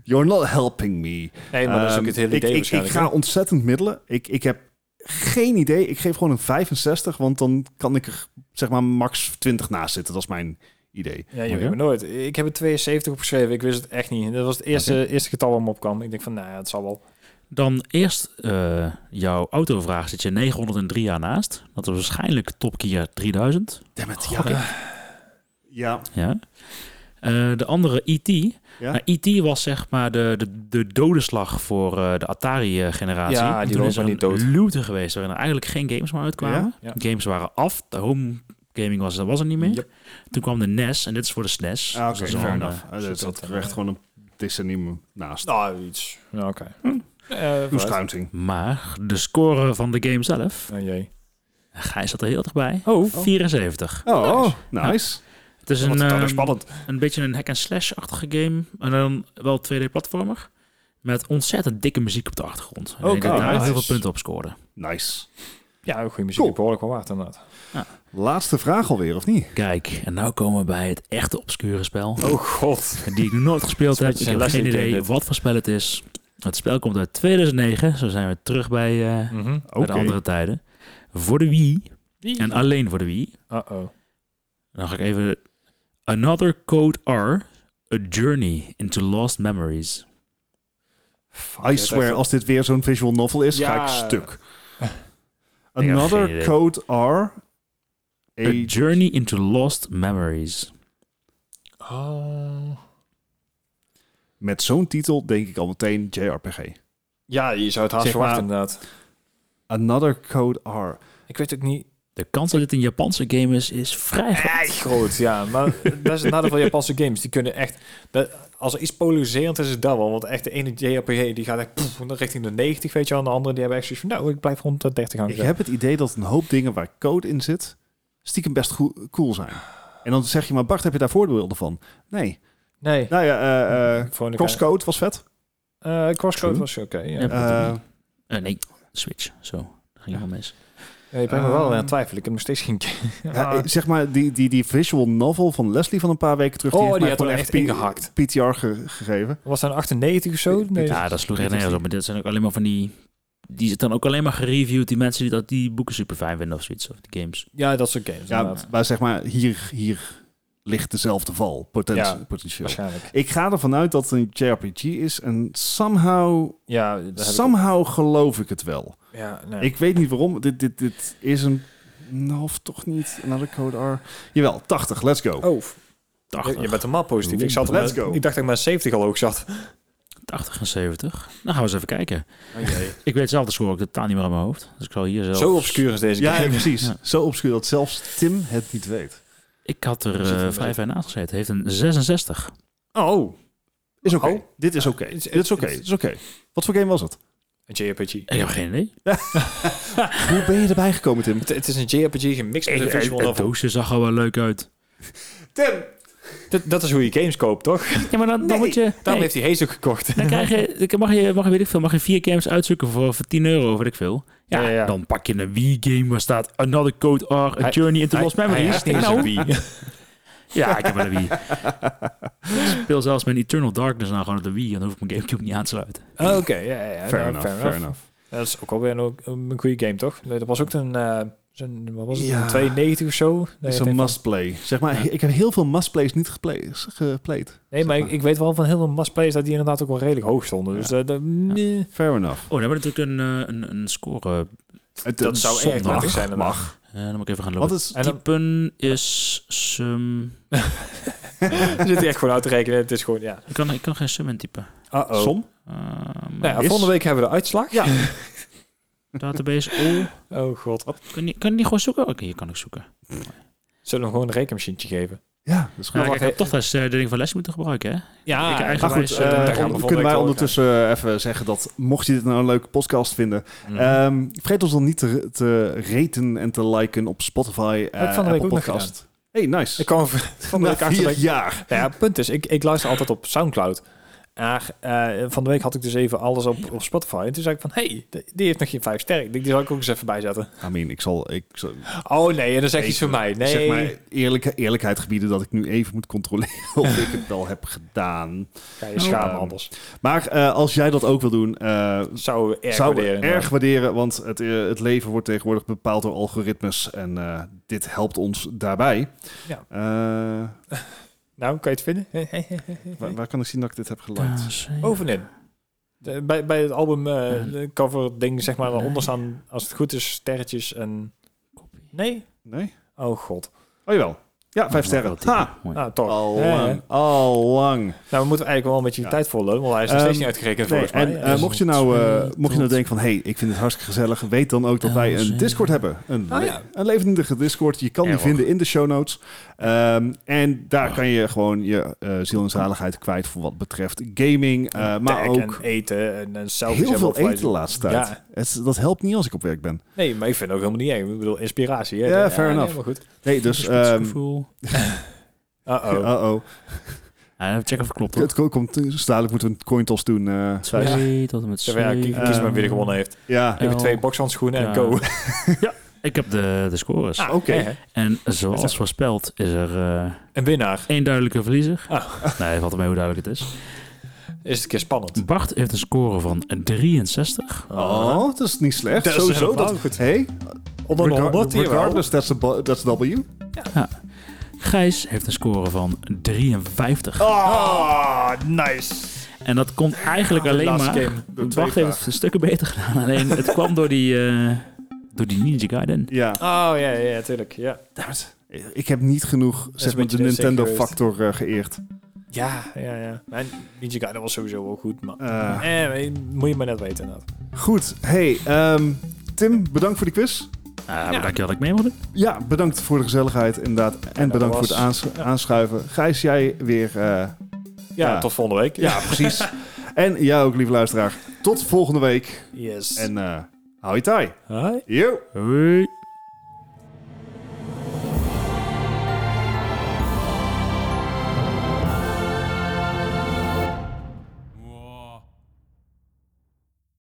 A: You're not helping me.
B: Nee, maar dat is ook
A: Ehm,
B: het hele
A: ik,
B: idee
A: ik, ik
B: waarschijnlijk.
A: ga
B: hè?
A: ontzettend middelen. Ik, ik heb geen idee. Ik geef gewoon een 65, want dan kan ik er zeg maar max 20 naast zitten. Dat is mijn idee.
B: Ja, je
D: Oké.
B: weet maar nooit. Ik heb het 72 opgeschreven. Ik wist het echt niet. Dat was het eerste, eerste getal wat me opkwam. Ik denk van, nou ja, het zal wel.
D: Dan eerst eh, jouw autovraag. Zit je 903 jaar naast? Dat is waarschijnlijk Top Gear 3000.
A: Damn it, ja. Ja,
D: Ja. Eh, de andere E.T.
A: Ja.
D: Nou, E.T. was zeg maar de, de, de dodenslag voor eh, de Atari-generatie.
B: Ja, die
D: Toen
B: was
D: is er
B: maar
D: een
B: niet dood.
D: luwte geweest waarin er eigenlijk geen games meer uitkwamen.
B: Ja?
D: Games waren af. De home gaming was, was er niet meer.
B: Yep.
D: Toen kwam de NES en dit is voor de SNES.
A: Ah, oké,
D: Dus dat is
A: fair
D: wel,
A: enough.
D: eh,
A: Ah, dat zat
B: zit,
A: er
B: eh,
A: echt gewoon een decennium naast.
B: Nou, iets. Ja, oké.
A: Hm.
B: Eh, vooruit.
A: Een schuimting.
D: Maar de score van de game zelf,
B: Oh jee.
D: Gijs zat er heel dichtbij.
B: Oh.
D: 74.
A: Oh, nice.
D: nice. Het is
B: Want
D: een,
B: dat is
D: ehm,
B: spannend.
D: een beetje een hack-and-slash-achtige game. En dan wel 2D-platformer. Met ontzettend dikke muziek op de achtergrond. En ik denk
A: Oké,
D: dat ik daar
A: nice.
D: heel veel punten op scoren.
A: Nice.
B: Ja, goede muziek.
A: Cool.
B: Behoorlijk wel waard inderdaad.
A: Laatste vraag alweer, of niet?
D: Kijk, en nou komen we bij het echte obscure spel.
B: Oh god.
D: Die ik nog nooit gespeeld
B: Dat
D: heb.
B: is
D: Ik
B: een
D: heb
B: leslie
D: geen
B: game,
D: idee
B: dit.
D: wat voor spel het is. Het spel komt uit 2009. Zo zijn we terug bij, eh,
B: Mhm.
A: Oké.
D: bij de andere tijden. Voor de Wii. En alleen voor de Wii.
A: Oh.
B: Uh-oh.
D: Dan ga ik even... Another Code R. A Journey into Lost Memories.
B: Fuck,
A: I
B: dit is
A: swear,
B: echt-
A: als dit weer zo'n visual novel is, ga
B: Ja.
A: ik
D: (laughs)
A: stuk.
D: geen
A: Another
D: idee.
A: Code R.
D: A
A: A-
D: Journey into Lost Memories.
B: Oh.
A: Met zo'n titel denk ik al meteen JRPG.
B: Ja, je zou het haast
A: Zeg
B: verwachten
A: maar-
B: inderdaad.
A: Another Code R.
B: Ik weet ook niet...
D: De kans dat dit een Japanse game is, is vrij groot.
B: Echt groot, ja. Maar (laughs) dat is het nadeel van Japanse games. Die kunnen echt... Dat, als er iets polariserend is, is het dat wel. Want echt de ene JRPG die gaat echt poef, richting de 90, weet je wel. En de andere die hebben echt zoiets van... Nou, ik blijf rond de 30 hangen.
A: Ik heb het idee dat een hoop dingen waar code in zit, stiekem best goe- cool zijn. En dan zeg je maar, Bart, heb je daar voorbeelden van? Nee.
B: Nee.
A: Nou ja, eh, eh,
B: Voor een
A: Crosscode was vet.
B: Eh, crosscode
A: True.
B: was oké, ja.
D: Ja.
A: Eh,
D: Eh, nee, Switch. Zo, dat ging wel mis.
B: Ja, je bent me wel
A: Ehm.
B: aan het twijfelen. Ik heb nog steeds geen... (laughs)
A: ja, eh, zeg maar, die, die, die visual novel van Leslie van een paar weken terug...
B: Oh,
A: heeft
B: die
A: mij
B: had
A: gewoon
B: er echt ingehakt.
A: PTR ge- gegeven.
B: Was dat een 98 of zo? Nee.
D: Ja, dat sloeg echt nergens op. Maar dit zijn ook alleen maar van die... Die zit dan ook alleen maar gereviewd. Die mensen die dat die boeken super fijn vinden of zoiets. Of die games.
B: Ja, dat is oké. games.
A: Ja,
B: inderdaad.
A: maar zeg maar, hier, hier ligt dezelfde val, poten-
B: Ja,
A: potentieel.
B: waarschijnlijk.
A: Ik ga ervan uit dat het een JRPG is en somehow,
B: Ja, dat heb ik
A: somehow geloof ik het wel.
B: ook. ja nee.
A: Ik weet niet waarom. Dit, dit, dit is een... Nou, of toch niet. Another code R. Jawel, 80. Let's go.
B: Oh,
D: Dacht
B: je bent helemaal positief. Ik, zat er
A: Let's
B: met-
A: go.
B: ik dacht dat ik met 70 al ook zat.
D: 80 en 70. Nou, gaan we eens even kijken. Ik weet zelf de score ook totaal niet meer aan mijn hoofd. Dus ik zal hier zelf...
B: Zo obscuur is deze
A: ja,
B: game.
A: precies.
D: Ja.
A: Zo obscuur dat zelfs Tim het niet weet.
D: Ik had er
B: Zit er
D: eh vijf en naast gezeten. Heeft een 66.
A: Oh. Is oké.
B: Oh.
A: Dit is oké.
B: It's-
A: Dit is oké.
B: it's-
A: Dit is oké. Wat voor game was het?
B: Een JRPG.
D: Ik heb geen idee.
A: Hoe ben je erbij gekomen, Tim?
B: Het, het is een JRPG gemixt met een visual
D: Het
B: novel.
D: doosje zag er wel leuk uit.
A: Tim!
B: Dat, dat is hoe je games koopt, toch?
D: Ja, maar dan, dan
A: Nee,
D: moet je...
B: Daarom
D: nee.
B: heeft hij Haze ook gekocht.
D: Dan krijg
B: (laughs)
D: je, dan mag je, mag je, weet ik veel, mag je vier games uitzoeken voor, voor 10 euro, of weet ik veel. Ja,
B: Ja, ja.
D: dan pak je een Wii-game waar staat Another Code R, A
B: Hij-
D: Journey into Lost Memories.
B: Hij, hij
D: Nou,
B: nou.
D: (laughs) ja, ik heb wel een Wii. Ik speel zelfs mijn Eternal Darkness nou gewoon op de Wii, dan hoef ik mijn Gamecube niet aan te sluiten.
B: Oh, Oké, ja, ja,
A: (laughs)
B: ja.
A: Fair
B: Nou,
A: enough. Fair enough.
B: Ja, Dat is ook alweer een, een goede game, toch? Nee, dat was ook een... eh, zo'n- wat was het?
A: Ja.
B: Een 92 of zo? Nee,
A: Het
B: het
A: is
B: heeft-
A: een must-play. Zeg maar, ik heb heel veel must-plays niet geplay- geplayed.
B: Nee, maar ik, ik weet wel van heel veel massplays dat die inderdaad ook wel redelijk hoog stonden. Dus eh, dat, nee.
A: Fair enough.
D: Oh, dan hebben we natuurlijk een, eh, een, een score.
A: Het-
B: Dat
A: het-
B: zou
A: zondag
B: erg nuttig zijn, inderdaad. (laughs)
A: Mag.
D: Eh, dan moet ik even gaan
A: Wat
D: lopen.
A: is...
B: En dan
D: Typen is sum...
B: zit hij echt gewoon uit te rekenen. Het is gewoon, ja.
D: Ik kan, ik kan geen sum intypen.
B: Uh-oh.
A: Som?
D: Eh, maar
B: Nou ja,
A: Is-
B: volgende week hebben we de uitslag.
A: Ja.
D: Database all.
B: (laughs) Oh god.
D: Kan je, kan je niet gewoon zoeken? Oké, je kan ook zoeken.
B: Zullen we hem gewoon een rekenmachientje geven?
A: Ja, dat is goed.
D: Ja,
B: wacht,
D: ik heb
B: eh,
D: toch dat ze de ding van les moeten gebruiken, hè?
B: Ja,
D: Ik eigenlijk-
A: Maar
D: Maar
A: goed,
D: is,
A: eh,
D: eh, daar gaan we
A: on-
B: volgende
A: kunnen
B: week
A: wij
B: door.
A: ondertussen eh, even zeggen dat mocht je dit nou een leuke podcast vinden, ehm, vergeet ons dan niet te, te raten en te liken op Spotify. eh
B: Heb ik van de week
A: Apple
B: ook nog
A: Podcast. Hey, nice.
B: Ik (laughs) kwam van de
A: Na
B: week achter
A: vier
B: dat ik-
A: jaar.
B: Nou ja, het punt is, ik, ik luister altijd op Soundcloud. Maar eh, van de week had ik dus even alles op, op Spotify. En toen zei ik van, hé, hey, die- die heeft nog geen vijf sterren. Ik denk, Die zal ik ook eens even bijzetten.
A: I mean, ik zal, ik zal
B: Oh nee, en dan zeg je iets
A: Even,
B: voor mij. Nee,
A: zeg maar eerlijk, eerlijkheid gebieden dat ik nu even moet controleren (laughs) of ik het wel heb gedaan.
B: ga je schamen
A: Ehm,
B: anders.
A: Maar eh, als jij dat ook wil doen, eh,
B: Zou we erg
A: zou we
B: waarderen. nou.
A: erg waarderen, want het, eh, het leven wordt tegenwoordig bepaald door algoritmes en eh, dit helpt ons daarbij.
B: Ja.
A: Eh,
B: Nou, kan je het vinden?
A: Waar, waar kan ik zien dat ik dit heb geliked?
B: Bovenin. De- bij, bij het album eh, de cover ding, zeg maar, daaronder staan, als het goed is, sterretjes en... Nee?
A: Nee?
B: Oh god.
A: Oh jawel. Ja, vijf sterren. Ha!
B: Nou, toch.
A: Al
B: Eh,
A: lang. Al Oh, lang.
B: Nou, we moeten eigenlijk wel een beetje die
A: Ja.
B: tijd volgen, want hij is nog
A: Ehm,
B: steeds niet uitgerekend
A: Nee,
B: volgens mij.
A: en
B: Ja,
A: eh,
B: dus-
A: mocht, je nou, eh,
D: twee
A: mocht je nou
D: tot-
A: denken van... hey, ik vind het hartstikke gezellig... weet dan ook dat wij een
D: Elf,
A: Discord hebben. Een,
B: Ah,
A: le-
B: Oh, ja.
A: een levendige Discord. Je kan die
D: Erg.
A: vinden in de show notes. Ehm, en daar kan je gewoon je eh, ziel en zaligheid kwijt... voor wat betreft gaming, eh, maar
B: Tag
A: ook...
B: en eten en, en selfies.
A: Heel
B: en
A: veel
B: wat voor-
A: eten de laatste tijd.
B: Ja.
A: Het is- dat helpt niet als ik op werk ben.
B: Nee, maar ik vind het ook helemaal niet eng. Ik bedoel, inspiratie. Hè?
A: Ja, fair
B: nee,
A: enough.
B: maar goed. Oh.
A: Nee, dus ehm,
B: Uh-oh.
A: (laughs) Uh-oh.
D: Ja, even checken of het klopt. hoor.
A: Het ko- komt, eh, dus dadelijk moeten we een coin toss doen. eh.
B: Ja.
D: Twee Ehm, tot en met
B: Zeg maar, ja,
D: zeven.
B: kie- kies maar
A: Ehm,
B: wie er gewonnen heeft.
A: ja,
B: Even
D: Ja.
B: twee bokshandschoenen
D: Ja.
A: (laughs)
B: en go.
D: Ik heb de, de scores.
A: oké.
B: Ah, Hè?
D: En zoals voorspeld is er eh,
B: Een winnaar.
D: één duidelijke verliezer.
B: Ah.
D: Nee, valt mee hoe duidelijk het is.
B: Is het een keer spannend.
D: Bart heeft een score van 63.
A: Oh, dat is niet slecht.
B: Dat is
A: Sowieso.
B: helemaal
A: dat,
B: goed.
A: Hey,
B: Eh, Onder de
A: regar-
B: 100 hier wel.
A: regardless, that's a, bu- that's a W.
D: Gijs heeft een score van 53.
B: Oh. Ah, nice. Ah,
D: En dat komt eigenlijk alleen
B: Laatste
D: maar...
B: game.
A: De twee
D: Bart heeft
A: vragen.
D: het stukken beter gedaan. Alleen het kwam door die, eh, door die Ninja Gaiden.
A: Ja.
B: Oh, ja, ja, tuurlijk. Ja,
A: Damn it. Ik heb niet genoeg zeg
B: een
A: maar, de
B: beetje de zekerheid.
A: Nintendo-factor eh, geëerd.
B: ja, ja. ja. Mijn Ninja Gaiden was sowieso wel goed, maar...
A: Eh,
B: Eh, moet je maar net weten. inderdaad.
A: goed, hey, ehm, Tim, bedankt voor de quiz.
D: Ah,
B: Ja.
D: Dank je dat ik mee mocht doen.
A: Ja, bedankt voor de gezelligheid inderdaad. En
B: dat
A: bedankt
B: was-
A: voor het aans-
B: ja.
A: aanschuiven. Gijs, jij weer... eh,
B: Ja,
A: Ja.
B: tot volgende week.
A: ja,
B: (laughs)
A: precies. En jij ook, lieve luisteraar. Tot volgende week.
B: Yes.
A: En eh hou je taai.
B: Hi.
A: Yo.
D: Hoi.